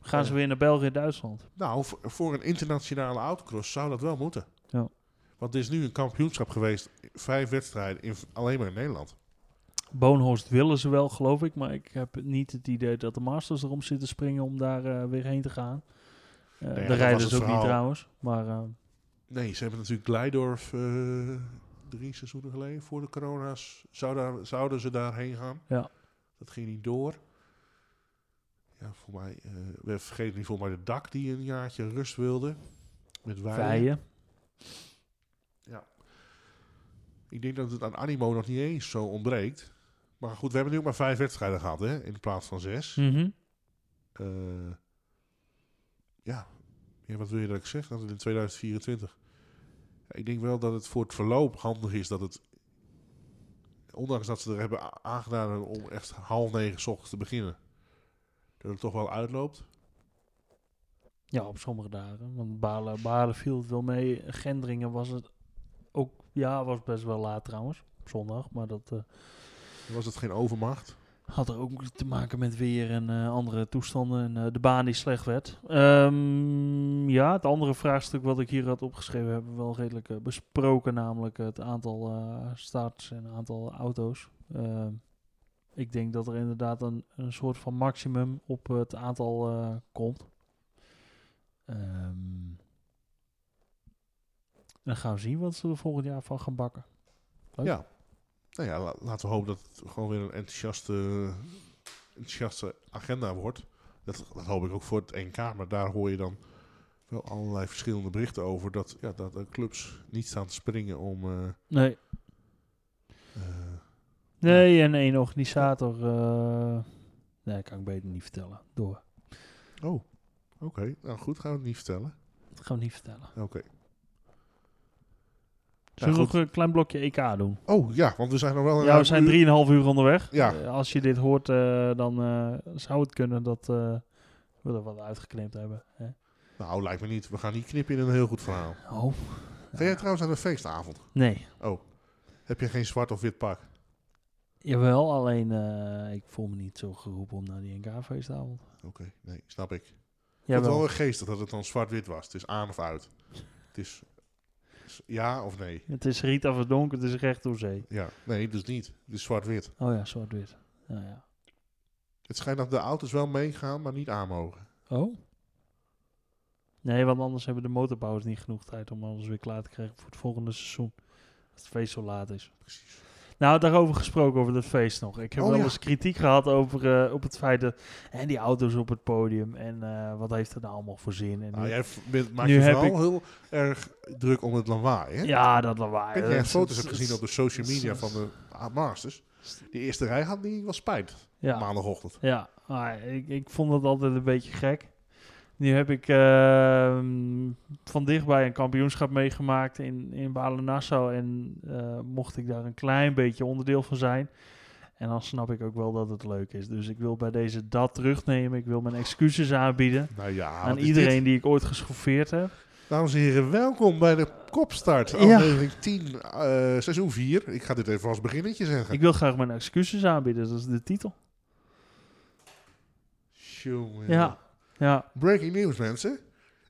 Speaker 2: Gaan ze weer naar België en Duitsland?
Speaker 1: Nou, voor, voor een internationale autocross zou dat wel moeten.
Speaker 2: Ja.
Speaker 1: Want er is nu een kampioenschap geweest, vijf wedstrijden, in, alleen maar in Nederland.
Speaker 2: Boonhorst willen ze wel, geloof ik. Maar ik heb niet het idee dat de Masters erom zitten springen om daar eh, weer heen te gaan. Eh
Speaker 1: ja,
Speaker 2: daar
Speaker 1: dat
Speaker 2: rijden
Speaker 1: was
Speaker 2: ze
Speaker 1: het
Speaker 2: ook niet
Speaker 1: verhaal.
Speaker 2: trouwens. Maar eh,
Speaker 1: Nee, ze hebben natuurlijk Gleidorf eh, drie seizoenen geleden, voor de corona's, zou daar- zouden ze daarheen gaan.
Speaker 2: Ja.
Speaker 1: Dat ging niet door. Ja, voor mij, eh, we vergeten niet voor mij de dak die een jaartje rust wilde. Met wijen.
Speaker 2: Vijen.
Speaker 1: Ik denk dat het aan animo nog niet eens zo ontbreekt. Maar goed, we hebben nu ook maar vijf wedstrijden gehad, hè? In plaats van zes.
Speaker 2: Mhm.
Speaker 1: Eh, ja. ja, wat wil je dat ik zeg? Dat het in 2024. Ja, ik denk wel dat het voor het verloop handig is dat het. Ondanks dat ze er hebben a- aangedaan om echt half negen 's ochtends te beginnen. Dat het toch wel uitloopt.
Speaker 2: Ja, op sommige dagen. Want Balen, Balen viel het wel mee. Gendringen was het ook... Ja, was best wel laat trouwens. Op zondag. Maar dat eh,
Speaker 1: Dan was het geen overmacht.
Speaker 2: had er ook te maken met weer en eh, andere toestanden. En eh, de baan die slecht werd. Ehm, ja, het andere vraagstuk wat ik hier had opgeschreven... hebben we wel redelijk eh, besproken. Namelijk het aantal eh, starts en aantal auto's. Ehm, ik denk dat er inderdaad een, een soort van maximum op het aantal eh, komt. Ehm, dan gaan we zien wat ze er volgend jaar van gaan bakken. Leuk.
Speaker 1: Ja. Nou ja, la- laten we hopen dat het gewoon weer een enthousiaste, enthousiaste agenda wordt. Dat, dat hoop ik ook voor het NK. Maar daar hoor je dan wel allerlei verschillende berichten over. Dat, ja, dat de clubs niet staan te springen om... eh,
Speaker 2: Nee,
Speaker 1: eh,
Speaker 2: nee en één organisator. eh, nee, kan ik beter niet vertellen. Door.
Speaker 1: oh, oké. Nou goed, gaan we het niet vertellen.
Speaker 2: Dat gaan we niet vertellen.
Speaker 1: Oké.
Speaker 2: Zullen we
Speaker 1: goed.
Speaker 2: nog een klein blokje EK doen?
Speaker 1: Oh ja, want we zijn nog wel... een
Speaker 2: Ja, we
Speaker 1: ruim
Speaker 2: zijn
Speaker 1: uur-
Speaker 2: 3,5 uur onderweg.
Speaker 1: Ja.
Speaker 2: Eh, als je dit hoort, eh, dan eh, zou het kunnen dat eh, we er wat uitgeknipt hebben. Hè?
Speaker 1: Nou, lijkt me niet. We gaan niet knippen in een heel goed verhaal.
Speaker 2: Oh.
Speaker 1: Ga jij trouwens aan een feestavond?
Speaker 2: Nee,
Speaker 1: Oh, heb je geen zwart of wit pak?
Speaker 2: Jawel, alleen eh, ik voel me niet zo geroepen om naar die NK-feestavond.
Speaker 1: Oké, nee, snap ik. Ik vond het
Speaker 2: Jawel.
Speaker 1: wel geestig dat het dan zwart-wit was. Het is aan of uit. Het is is ja of nee.
Speaker 2: Het is riet af het donker, het is recht door zee.
Speaker 1: Ja, nee, dus niet. Het is zwart-wit.
Speaker 2: Oh ja, zwart-wit. Nou ja.
Speaker 1: Het schijnt dat de auto's wel meegaan, maar niet aan mogen.
Speaker 2: Oh? Nee, want anders hebben de motorbouwers niet genoeg tijd om alles weer klaar te krijgen voor het volgende seizoen. Als het feest zo laat is.
Speaker 1: Precies.
Speaker 2: Nou, daarover gesproken, over dat feest nog. Ik heb
Speaker 1: Oh,
Speaker 2: wel
Speaker 1: ja.
Speaker 2: eens kritiek gehad over eh, op het feit dat... En die auto's op het podium. En eh, wat heeft er nou allemaal voor zin? En
Speaker 1: Nou,
Speaker 2: nu-
Speaker 1: jij v- bent- maakt
Speaker 2: nu
Speaker 1: je
Speaker 2: heb
Speaker 1: vooral heel erg druk om het lawaai, hè?
Speaker 2: ja, dat lawaai.
Speaker 1: Ik weet niet of
Speaker 2: Dat
Speaker 1: je
Speaker 2: is-
Speaker 1: foto's
Speaker 2: dat
Speaker 1: hebt
Speaker 2: is-
Speaker 1: gezien op de social media van de ah, Masters. De eerste rij had niet wel spijt
Speaker 2: Ja.
Speaker 1: maandagochtend.
Speaker 2: Ja, maar ik, ik vond dat altijd een beetje gek. Nu heb ik ehm, van dichtbij een kampioenschap meegemaakt in, in Balen-Nassau. En eh, mocht ik daar een klein beetje onderdeel van zijn. En dan snap ik ook wel dat het leuk is. Dus ik wil bij deze dat terugnemen. Ik wil mijn excuses aanbieden
Speaker 1: Nou ja,
Speaker 2: aan
Speaker 1: wat is
Speaker 2: iedereen die ik ooit geschoffeerd heb.
Speaker 1: dit? Dames en heren, welkom bij de Kopstart, aflevering 10, eh, seizoen 4. Ik ga dit even als beginnetje zeggen.
Speaker 2: Ik wil graag mijn excuses aanbieden. Dat is de titel.
Speaker 1: Tjonge.
Speaker 2: Ja, ja.
Speaker 1: Breaking news, mensen.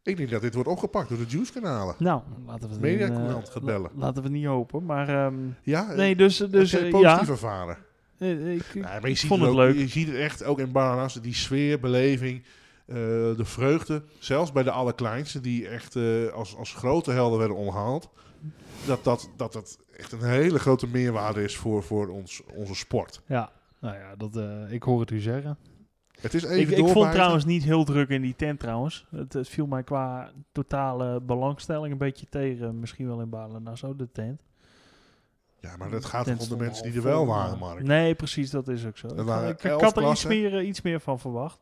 Speaker 1: Ik denk dat dit wordt opgepakt door de Juice-kanalen.
Speaker 2: nou, laten we het, niet, eh,
Speaker 1: Mediacourant gaat bellen.
Speaker 2: la- laten we het niet hopen. Maar ehm,
Speaker 1: Ja, eh,
Speaker 2: nee, dus, dus
Speaker 1: heb jij
Speaker 2: eh, ja.
Speaker 1: positief ervaren.
Speaker 2: Eh, ik-
Speaker 1: Nee, maar je ziet
Speaker 2: vond
Speaker 1: het
Speaker 2: het
Speaker 1: ook-
Speaker 2: leuk.
Speaker 1: Je ziet het echt ook in Bananas, die sfeer, beleving, eh, de vreugde. Zelfs bij de allerkleinste, die echt eh, als, als grote helden werden omgehaald. Dat dat, dat dat echt een hele grote meerwaarde is voor, voor ons, onze sport.
Speaker 2: Ja, nou ja, dat, eh, ik hoor het u zeggen.
Speaker 1: Het is even
Speaker 2: Ik, ik vond
Speaker 1: doorbijten.
Speaker 2: trouwens niet heel druk in die tent trouwens. Het, het viel mij qua totale belangstelling een beetje tegen. Misschien wel in Balen Nassau, de tent.
Speaker 1: Ja, maar dat gaat
Speaker 2: tent
Speaker 1: toch om de mensen
Speaker 2: stond
Speaker 1: die
Speaker 2: al
Speaker 1: er wel
Speaker 2: vol,
Speaker 1: waren,
Speaker 2: maar-
Speaker 1: Mark.
Speaker 2: Nee, precies, dat is ook zo. Ik,
Speaker 1: waren
Speaker 2: ik, ik
Speaker 1: elf
Speaker 2: had er iets
Speaker 1: klassen.
Speaker 2: meer, eh, iets meer van verwacht.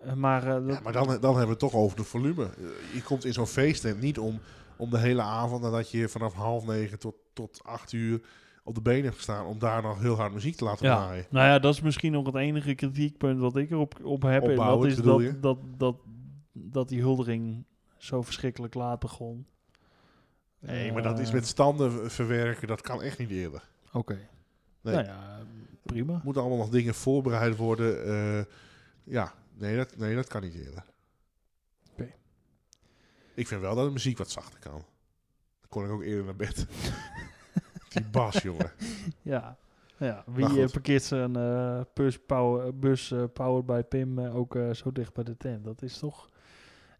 Speaker 2: Eh, Maar, eh, dat-
Speaker 1: Ja, maar dan, dan hebben we het toch over de volume. Eh, Je komt in zo'n feesttent niet om, om de hele avond nadat je vanaf half negen tot, tot acht uur op de benen hebt gestaan om daar nog heel hard muziek te laten
Speaker 2: Ja.
Speaker 1: draaien.
Speaker 2: Nou ja, dat is misschien nog het enige kritiekpunt wat ik erop op heb. En dat
Speaker 1: Opbouwend,
Speaker 2: is
Speaker 1: bedoel
Speaker 2: dat,
Speaker 1: je?
Speaker 2: dat, dat, dat die huldering zo verschrikkelijk laat begon.
Speaker 1: Nee, maar dat is
Speaker 2: Eh,
Speaker 1: met standen verwerken, dat kan echt niet eerder.
Speaker 2: Oké.
Speaker 1: Nee.
Speaker 2: Nou ja, prima.
Speaker 1: Er moeten allemaal nog dingen voorbereid worden. eh, ja, nee dat, nee, dat kan niet eerder.
Speaker 2: Oké.
Speaker 1: Ik vind wel dat de muziek wat zachter kan. Dan kon ik ook eerder naar bed. Die bas, jongen.
Speaker 2: Ja, ja.
Speaker 1: Maar
Speaker 2: wie
Speaker 1: goed.
Speaker 2: eh, parkeert zijn eh, bus, power, bus eh, powered by Pim eh, ook eh, zo dicht bij de tent? Dat is toch...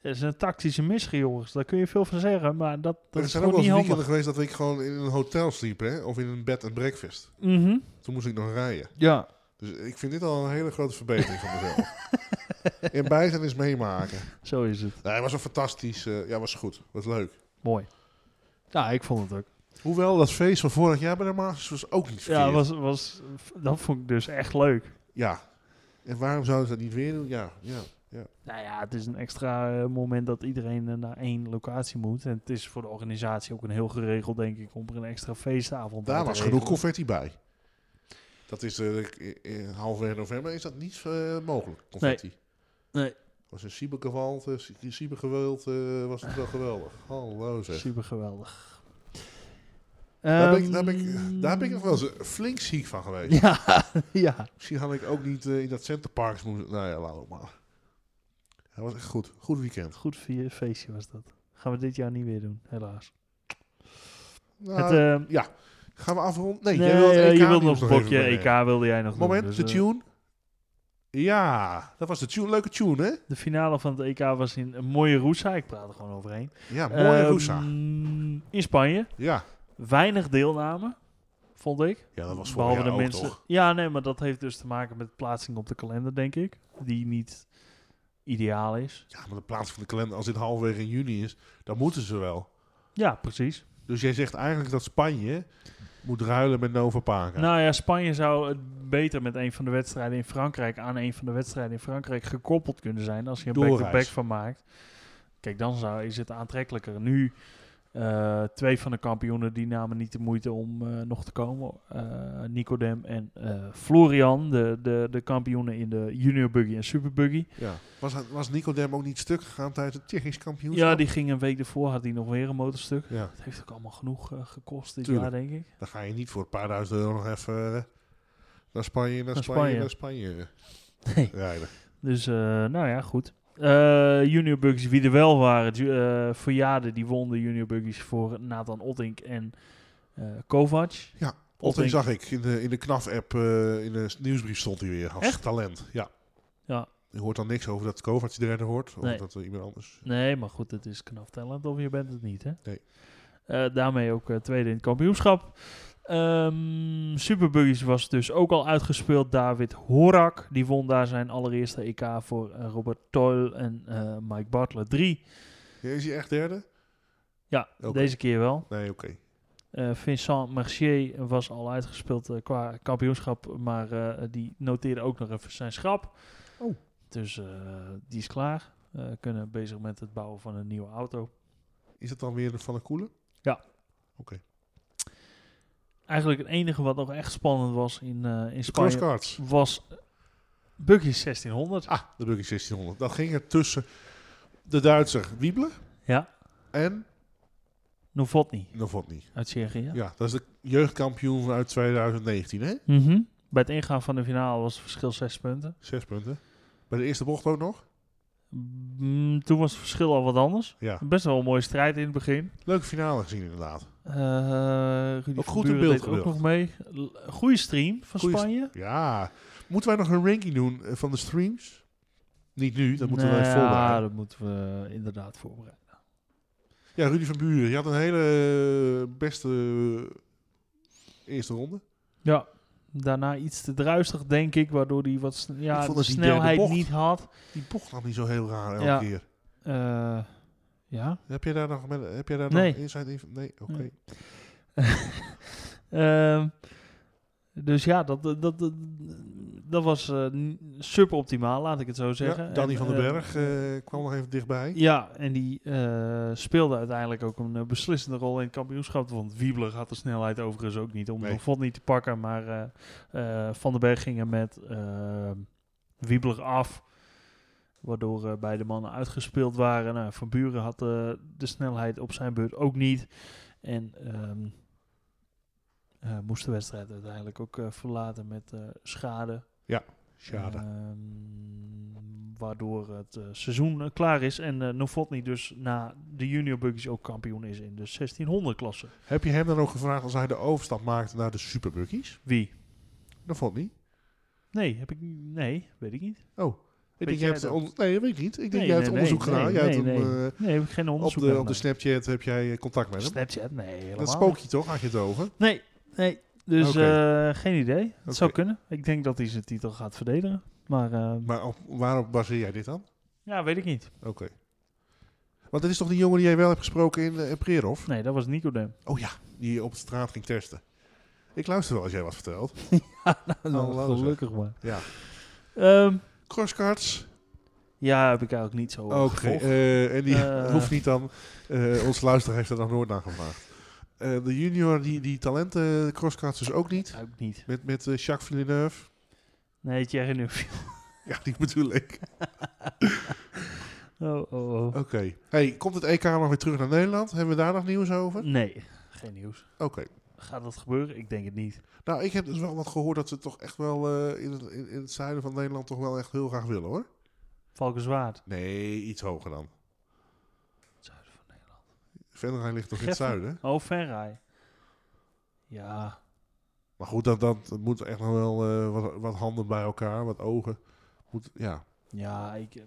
Speaker 2: Dat is een tactische missie, jongens. Daar kun je veel van zeggen, maar dat, dat
Speaker 1: Er
Speaker 2: is
Speaker 1: zijn ook
Speaker 2: gewoon
Speaker 1: wel
Speaker 2: niet
Speaker 1: eens
Speaker 2: handig.
Speaker 1: weekenden geweest dat ik gewoon in een hotel sliep, hè? Of in een bed en breakfast.
Speaker 2: Mhm.
Speaker 1: Toen moest ik nog rijden.
Speaker 2: Ja.
Speaker 1: Dus ik vind dit al een hele grote verbetering van mezelf. In bijzijn is meemaken.
Speaker 2: Zo is het.
Speaker 1: Nee, was een fantastisch. eh, ja, was goed. Was leuk.
Speaker 2: Mooi. Ja, ik vond het ook.
Speaker 1: Hoewel dat feest van vorig jaar bij de Masters was ook niet verkeerd.
Speaker 2: Ja, was, was, dat vond ik dus echt leuk.
Speaker 1: Ja. En waarom zouden ze dat niet weer doen? Ja, ja.
Speaker 2: Nou ja, het is een extra eh, moment dat iedereen eh, naar één locatie moet. En het is voor de organisatie ook een heel geregeld, denk ik, om er een extra feestavond uit
Speaker 1: daar
Speaker 2: te
Speaker 1: was genoeg
Speaker 2: regelen.
Speaker 1: confetti bij. Dat is eh, in- in halverwege november is dat niet eh, mogelijk, confetti.
Speaker 2: Nee.
Speaker 1: Was een cybergeweld, eh, cy- cybergeweld eh, was het wel geweldig. Hallo zeg.
Speaker 2: Super geweldig.
Speaker 1: Daar ben, ik, daar, ben ik, daar ben ik nog wel eens eh, flink ziek van geweest.
Speaker 2: Ehm. Ja, ja.
Speaker 1: Misschien had ik ook niet eh, in dat centerparks moeten... Nou ja, laat ook maar. Het was echt goed. Goed weekend.
Speaker 2: Goed fe- feestje was dat. Gaan we dit jaar niet weer doen, helaas.
Speaker 1: Nou,
Speaker 2: het, eh,
Speaker 1: gaan we afronden? Nee,
Speaker 2: nee,
Speaker 1: jij wil het
Speaker 2: eh,
Speaker 1: EK
Speaker 2: je wilde nog
Speaker 1: nieuws
Speaker 2: een
Speaker 1: even
Speaker 2: blokje EK
Speaker 1: brengen.
Speaker 2: wilde jij nog
Speaker 1: Moment,
Speaker 2: doen, dus,
Speaker 1: de
Speaker 2: eh,
Speaker 1: tune. Ja, dat was de tune. Leuke tune, hè?
Speaker 2: de finale van het EK was in een mooie Roesa. Ik praat er gewoon overheen.
Speaker 1: Ja, mooie
Speaker 2: Ehm,
Speaker 1: Roesa.
Speaker 2: In Spanje.
Speaker 1: Ja.
Speaker 2: Weinig deelname, vond ik.
Speaker 1: ja, dat was vorig
Speaker 2: Behalve
Speaker 1: jaar
Speaker 2: de
Speaker 1: ook
Speaker 2: mensen.
Speaker 1: toch?
Speaker 2: Ja, nee, maar dat heeft dus te maken met plaatsing op de kalender, denk ik. Die niet ideaal is.
Speaker 1: Ja, maar de plaats van de kalender, als dit halverwege in juni is, dan moeten ze wel.
Speaker 2: Ja, precies.
Speaker 1: Dus jij zegt eigenlijk dat Spanje moet ruilen met Nova Paca.
Speaker 2: Nou ja, Spanje zou het beter met een van de wedstrijden in Frankrijk aan een van de wedstrijden in Frankrijk gekoppeld kunnen zijn. Als je een
Speaker 1: Doorreis.
Speaker 2: back-to-back van maakt. Kijk, dan zou, is het aantrekkelijker. Nu eh, twee van de kampioenen die namen niet de moeite om eh, nog te komen. Eh, Nicodem en eh, Florian, de, de, de kampioenen in de junior buggy en super buggy.
Speaker 1: ja. was, was Nicodem ook niet stuk gegaan tijdens het Tsjechisch kampioenschap?
Speaker 2: Ja, die ging een week ervoor, had hij nog weer een motorstuk.
Speaker 1: Ja,
Speaker 2: Het heeft ook allemaal genoeg eh, gekost dit
Speaker 1: Tuurlijk.
Speaker 2: jaar, denk ik.
Speaker 1: dan ga je niet voor een paar duizend euro nog even eh, naar Spanje, naar
Speaker 2: Naar
Speaker 1: Spanje,
Speaker 2: Spanje.
Speaker 1: naar Spanje
Speaker 2: Nee.
Speaker 1: rijden.
Speaker 2: Dus, eh, nou ja, goed. Eh, junior Buggies, wie er wel waren, ju- eh verjaarden, die won de Junior Buggies voor Nathan Ottink en eh, Kovac.
Speaker 1: Ja, Otten
Speaker 2: Ottink.
Speaker 1: zag ik in de, in de KNAF-app, eh, in de s- nieuwsbrief stond hij weer als
Speaker 2: Echt?
Speaker 1: talent. Ja.
Speaker 2: Ja.
Speaker 1: Je hoort dan niks over dat Kovac die erin hoort, of
Speaker 2: Nee.
Speaker 1: dat er iemand anders...
Speaker 2: Nee, maar goed, het is knap talent of je bent het niet, hè?
Speaker 1: Nee.
Speaker 2: Eh, daarmee ook eh, tweede in het kampioenschap. Ehm Super Buggies was dus ook al uitgespeeld. David Horak, die won daar zijn allereerste EK voor eh, Robert Toil en eh, Mike Bartlett 3.
Speaker 1: Ja, is hij echt derde?
Speaker 2: Ja,
Speaker 1: Oké.
Speaker 2: deze keer wel.
Speaker 1: Nee, oké.
Speaker 2: Eh, Vincent Mercier was al uitgespeeld eh, qua kampioenschap, maar eh, die noteerde ook nog even zijn schrap.
Speaker 1: Oh.
Speaker 2: Dus eh, die is klaar. Eh, kunnen bezig met het bouwen van een nieuwe auto.
Speaker 1: Is dat dan weer Van der Koelen?
Speaker 2: Eigenlijk het enige wat nog echt spannend was in, eh, in
Speaker 1: De
Speaker 2: Spanje
Speaker 1: crosscards.
Speaker 2: was Buggy's 1600.
Speaker 1: Ah, de Buggy 1600. Dat ging er tussen de Duitser Wiebler
Speaker 2: Ja,
Speaker 1: en
Speaker 2: Novotny
Speaker 1: Novotny.
Speaker 2: uit Tsjechië.
Speaker 1: Ja. ja, dat is de jeugdkampioen uit 2019, hè?
Speaker 2: Mhm. Bij het ingaan van de finale was het verschil 6 punten.
Speaker 1: Zes punten. Bij de eerste bocht ook nog.
Speaker 2: Mm, toen was het verschil al wat anders.
Speaker 1: Ja.
Speaker 2: Best wel een mooie strijd in het begin.
Speaker 1: Leuke finale gezien inderdaad.
Speaker 2: Eh Rudy
Speaker 1: Ook
Speaker 2: van
Speaker 1: goed in
Speaker 2: Buren
Speaker 1: beeld
Speaker 2: deed ook
Speaker 1: gebracht.
Speaker 2: nog mee. L- Goeie stream van
Speaker 1: Goeie
Speaker 2: Spanje.
Speaker 1: Ja. Moeten wij nog een ranking doen eh, van de streams? Niet nu, dat moeten we
Speaker 2: Nou
Speaker 1: even
Speaker 2: ja,
Speaker 1: voorbereiden.
Speaker 2: dat moeten we eh, inderdaad voorbereiden.
Speaker 1: Ja, Rudy van Buren. Je had een hele eh, beste eh, eerste ronde.
Speaker 2: Ja, daarna iets te druistig, denk ik, waardoor hij wat sn-
Speaker 1: Ik
Speaker 2: ja,
Speaker 1: vond
Speaker 2: de
Speaker 1: dat die derde
Speaker 2: snelheid
Speaker 1: bocht-
Speaker 2: niet had.
Speaker 1: Die bocht nam niet zo heel raar elke
Speaker 2: Ja.
Speaker 1: keer.
Speaker 2: Eh, ja.
Speaker 1: Heb jij daar nog, met- heb jij daar
Speaker 2: Nee. Hmm,
Speaker 1: nog inside info? Nee, oké.
Speaker 2: Nee. Ehm, dus ja, dat, dat, dat, dat was eh, n- superoptimaal, laat ik het zo zeggen.
Speaker 1: Ja, Danny
Speaker 2: En,
Speaker 1: van den
Speaker 2: eh,
Speaker 1: Berg eh, kwam nog even dichtbij.
Speaker 2: Ja, en die eh, speelde uiteindelijk ook een eh, beslissende rol in het kampioenschap. Want Wiebler had de snelheid overigens ook niet om
Speaker 1: Nee.
Speaker 2: de Vod niet te pakken. Maar eh, eh, Van den Berg ging er met eh, Wiebler af. Waardoor eh, beide mannen uitgespeeld waren. Nou, Van Buren had eh, de snelheid op zijn beurt ook niet. En ehm, eh, moest de wedstrijd uiteindelijk ook eh, verlaten met eh, schade.
Speaker 1: Schade.
Speaker 2: Ehm, waardoor het eh, seizoen eh, klaar is en eh Novotny dus na de junior buggies ook kampioen is in de 1600 klasse.
Speaker 1: Heb je hem dan ook gevraagd als hij de overstap maakte naar de Superbuggies?
Speaker 2: Wie?
Speaker 1: Dat vond ik niet.
Speaker 2: Nee, heb ik niet- nee, weet ik niet.
Speaker 1: Oh, ik denk,
Speaker 2: jij
Speaker 1: jij hebt
Speaker 2: dat?
Speaker 1: on- nee, dat weet ik niet. Ik denk,
Speaker 2: Nee,
Speaker 1: jij hebt
Speaker 2: nee,
Speaker 1: onderzoek
Speaker 2: nee,
Speaker 1: gedaan.
Speaker 2: nee,
Speaker 1: jij hebt
Speaker 2: nee,
Speaker 1: hem,
Speaker 2: nee.
Speaker 1: eh,
Speaker 2: Nee, heb ik geen
Speaker 1: op,
Speaker 2: onderzoek
Speaker 1: de,
Speaker 2: naar
Speaker 1: op de
Speaker 2: gedaan.
Speaker 1: Snapchat heb jij eh, contact met hem.
Speaker 2: Snapchat? Nee, helemaal
Speaker 1: Dat
Speaker 2: niet.
Speaker 1: spookje toch, had je het over?
Speaker 2: Nee, nee. Dus
Speaker 1: Oké.
Speaker 2: eh, geen idee. Het
Speaker 1: Oké.
Speaker 2: zou kunnen. Ik denk dat hij zijn titel gaat verdedigen. Maar eh,
Speaker 1: Maar op- waarop baseer jij dit dan?
Speaker 2: ja, weet ik niet.
Speaker 1: Oké. Want het is toch die jongen die jij wel hebt gesproken in eh Prerov?
Speaker 2: Nee, dat was Nicodem.
Speaker 1: Oh ja, die op straat ging testen. Ik luister wel als jij wat vertelt.
Speaker 2: Nou,
Speaker 1: laten we
Speaker 2: gelukkig maar.
Speaker 1: Ja.
Speaker 2: Ehm,
Speaker 1: Crosscards.
Speaker 2: ja, heb ik eigenlijk niet zo
Speaker 1: Oké.
Speaker 2: eh, gevolgd.
Speaker 1: eh, en die
Speaker 2: Eh.
Speaker 1: hoeft niet dan. Eh onze luisteraar heeft er nog nooit naar gevraagd. Eh, de junior, die, die talenten crosscards dus ook niet.
Speaker 2: Ook niet.
Speaker 1: Met, met eh, Jacques Villeneuve.
Speaker 2: Nee, Thierry Neuf.
Speaker 1: Ja, die bedoel ik.
Speaker 2: Oh, oh, oh.
Speaker 1: Oké. Hey, komt het EK nog weer terug naar Nederland? Hebben we daar nog nieuws over?
Speaker 2: Nee, geen nieuws.
Speaker 1: Oké.
Speaker 2: Gaat dat gebeuren? Ik denk het niet.
Speaker 1: Nou, ik heb dus wel wat gehoord dat ze toch echt wel eh, in, het, in, in het zuiden van Nederland toch wel echt heel graag willen hoor.
Speaker 2: Valkenswaard.
Speaker 1: Nee, iets hoger dan.
Speaker 2: Zuiden van Nederland.
Speaker 1: Venray ligt toch in het
Speaker 2: Geffen?
Speaker 1: zuiden?
Speaker 2: Oh, Verrij. Ja.
Speaker 1: Maar goed, dat, dat moet echt nog wel eh, wat, wat handen bij elkaar, wat ogen. Moet, ja.
Speaker 2: Ja, ik, ik,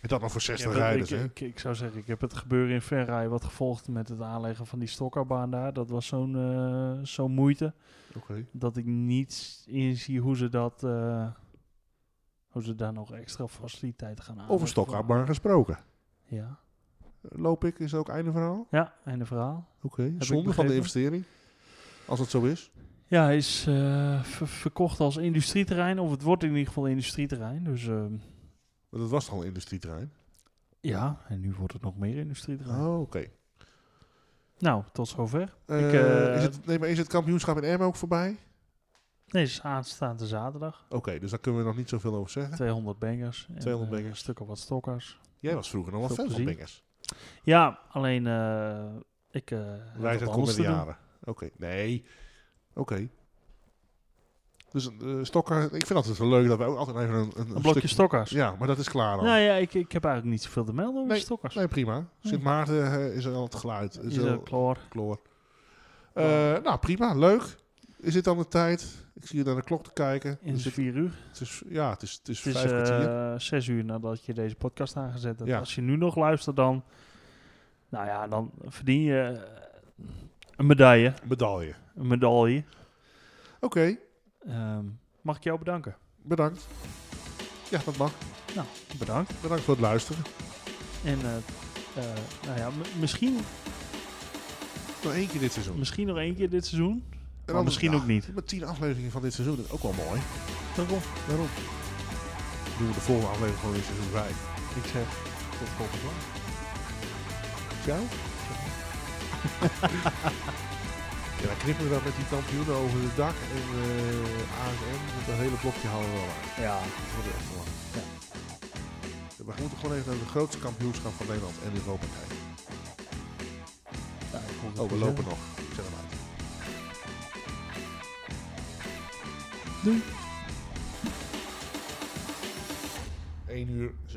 Speaker 1: En dat nog voor 60
Speaker 2: heb het-
Speaker 1: rijders,
Speaker 2: ik,
Speaker 1: hè?
Speaker 2: ik- ik zou zeggen, ik heb het gebeuren in Verrij wat gevolgd met het aanleggen van die stokkerbaan daar. Dat was zo'n eh, zo'n moeite.
Speaker 1: Oké.
Speaker 2: Dat ik niet inzie hoe ze dat... eh, hoe ze daar nog extra faciliteiten gaan aanleggen.
Speaker 1: Over stokkaartbaan gesproken.
Speaker 2: Ja.
Speaker 1: Loop ik, is dat ook einde verhaal?
Speaker 2: Ja, einde verhaal.
Speaker 1: Oké. Zonde van de
Speaker 2: begrepen.
Speaker 1: investering. Als het zo is.
Speaker 2: Ja, hij is eh, ver- verkocht als industrieterrein, of het wordt in ieder geval industrieterrein. Dus ehm,
Speaker 1: Want dat was toch al een industrieterrein?
Speaker 2: ja, en nu wordt het nog meer industrieterrein.
Speaker 1: Oh, oké.
Speaker 2: Nou, tot zover.
Speaker 1: Eh,
Speaker 2: eh,
Speaker 1: is, het- nee, maar is het kampioenschap in Ermen ook voorbij?
Speaker 2: Nee, het is aanstaande zaterdag.
Speaker 1: Oké, dus daar kunnen we nog niet zoveel over zeggen.
Speaker 2: 200 bangers. en,
Speaker 1: 200
Speaker 2: eh,
Speaker 1: bangers.
Speaker 2: stukken wat stokkers.
Speaker 1: Jij was vroeger nog wel
Speaker 2: Veel
Speaker 1: fan van
Speaker 2: plezier.
Speaker 1: Bengers.
Speaker 2: Ja, alleen eh, ik... eh heb
Speaker 1: Wij
Speaker 2: wat
Speaker 1: zijn
Speaker 2: anders te doen.
Speaker 1: comedianen. Oké, nee. Oké. Dus eh Stokker, ik vind altijd wel leuk dat wij ook altijd even een, een,
Speaker 2: Een blokje
Speaker 1: stuk-
Speaker 2: stokkers.
Speaker 1: Ja, maar dat is klaar dan.
Speaker 2: Nou ja, ik, ik heb eigenlijk niet zoveel te melden over
Speaker 1: Nee,
Speaker 2: stokkers.
Speaker 1: Nee, prima. Sint Maarten eh, is er al het geluid. Is
Speaker 2: Is
Speaker 1: er
Speaker 2: dat klaar?
Speaker 1: kloor. Eh, nou, prima. Leuk. Is dit dan de tijd? Ik zie je naar de klok te kijken.
Speaker 2: In
Speaker 1: Dus
Speaker 2: vier uur.
Speaker 1: het is, ja, het is, het is
Speaker 2: Het is
Speaker 1: vijf kwartier.
Speaker 2: eh, zes uur nadat je deze podcast aangezet hebt.
Speaker 1: Ja.
Speaker 2: Als je nu nog luistert, dan, nou ja, dan verdien je eh, een medaille.
Speaker 1: Medaille.
Speaker 2: Een medaille.
Speaker 1: Oké,
Speaker 2: Ehm, mag ik jou bedanken?
Speaker 1: bedankt. Ja, dat mag.
Speaker 2: Nou, bedankt.
Speaker 1: Bedankt voor het luisteren.
Speaker 2: En eh, eh, nou ja, m- misschien,
Speaker 1: Nog één keer dit seizoen.
Speaker 2: misschien nog één keer dit seizoen.
Speaker 1: En
Speaker 2: maar misschien ook niet.
Speaker 1: Met tien afleveringen van dit seizoen, dat is ook wel mooi.
Speaker 2: Daarom.
Speaker 1: Daarom doen we de volgende aflevering gewoon in seizoen 5.
Speaker 2: Ik zeg tot volgende keer.
Speaker 1: Ciao. ja, dan knippen we dat met die kampioenen over het dak en eh ASM. met Dat hele blokje halen we wel uit.
Speaker 2: Ja.
Speaker 1: Dat wordt echt lang.
Speaker 2: Ja.
Speaker 1: We moeten gewoon even naar de grootste kampioenschap van Nederland en Europa kijken.
Speaker 2: nou, ik vond het
Speaker 1: Oh, we
Speaker 2: gezellig.
Speaker 1: lopen nog. Ik zet hem uit.
Speaker 2: Doei.
Speaker 1: 1 uur 37.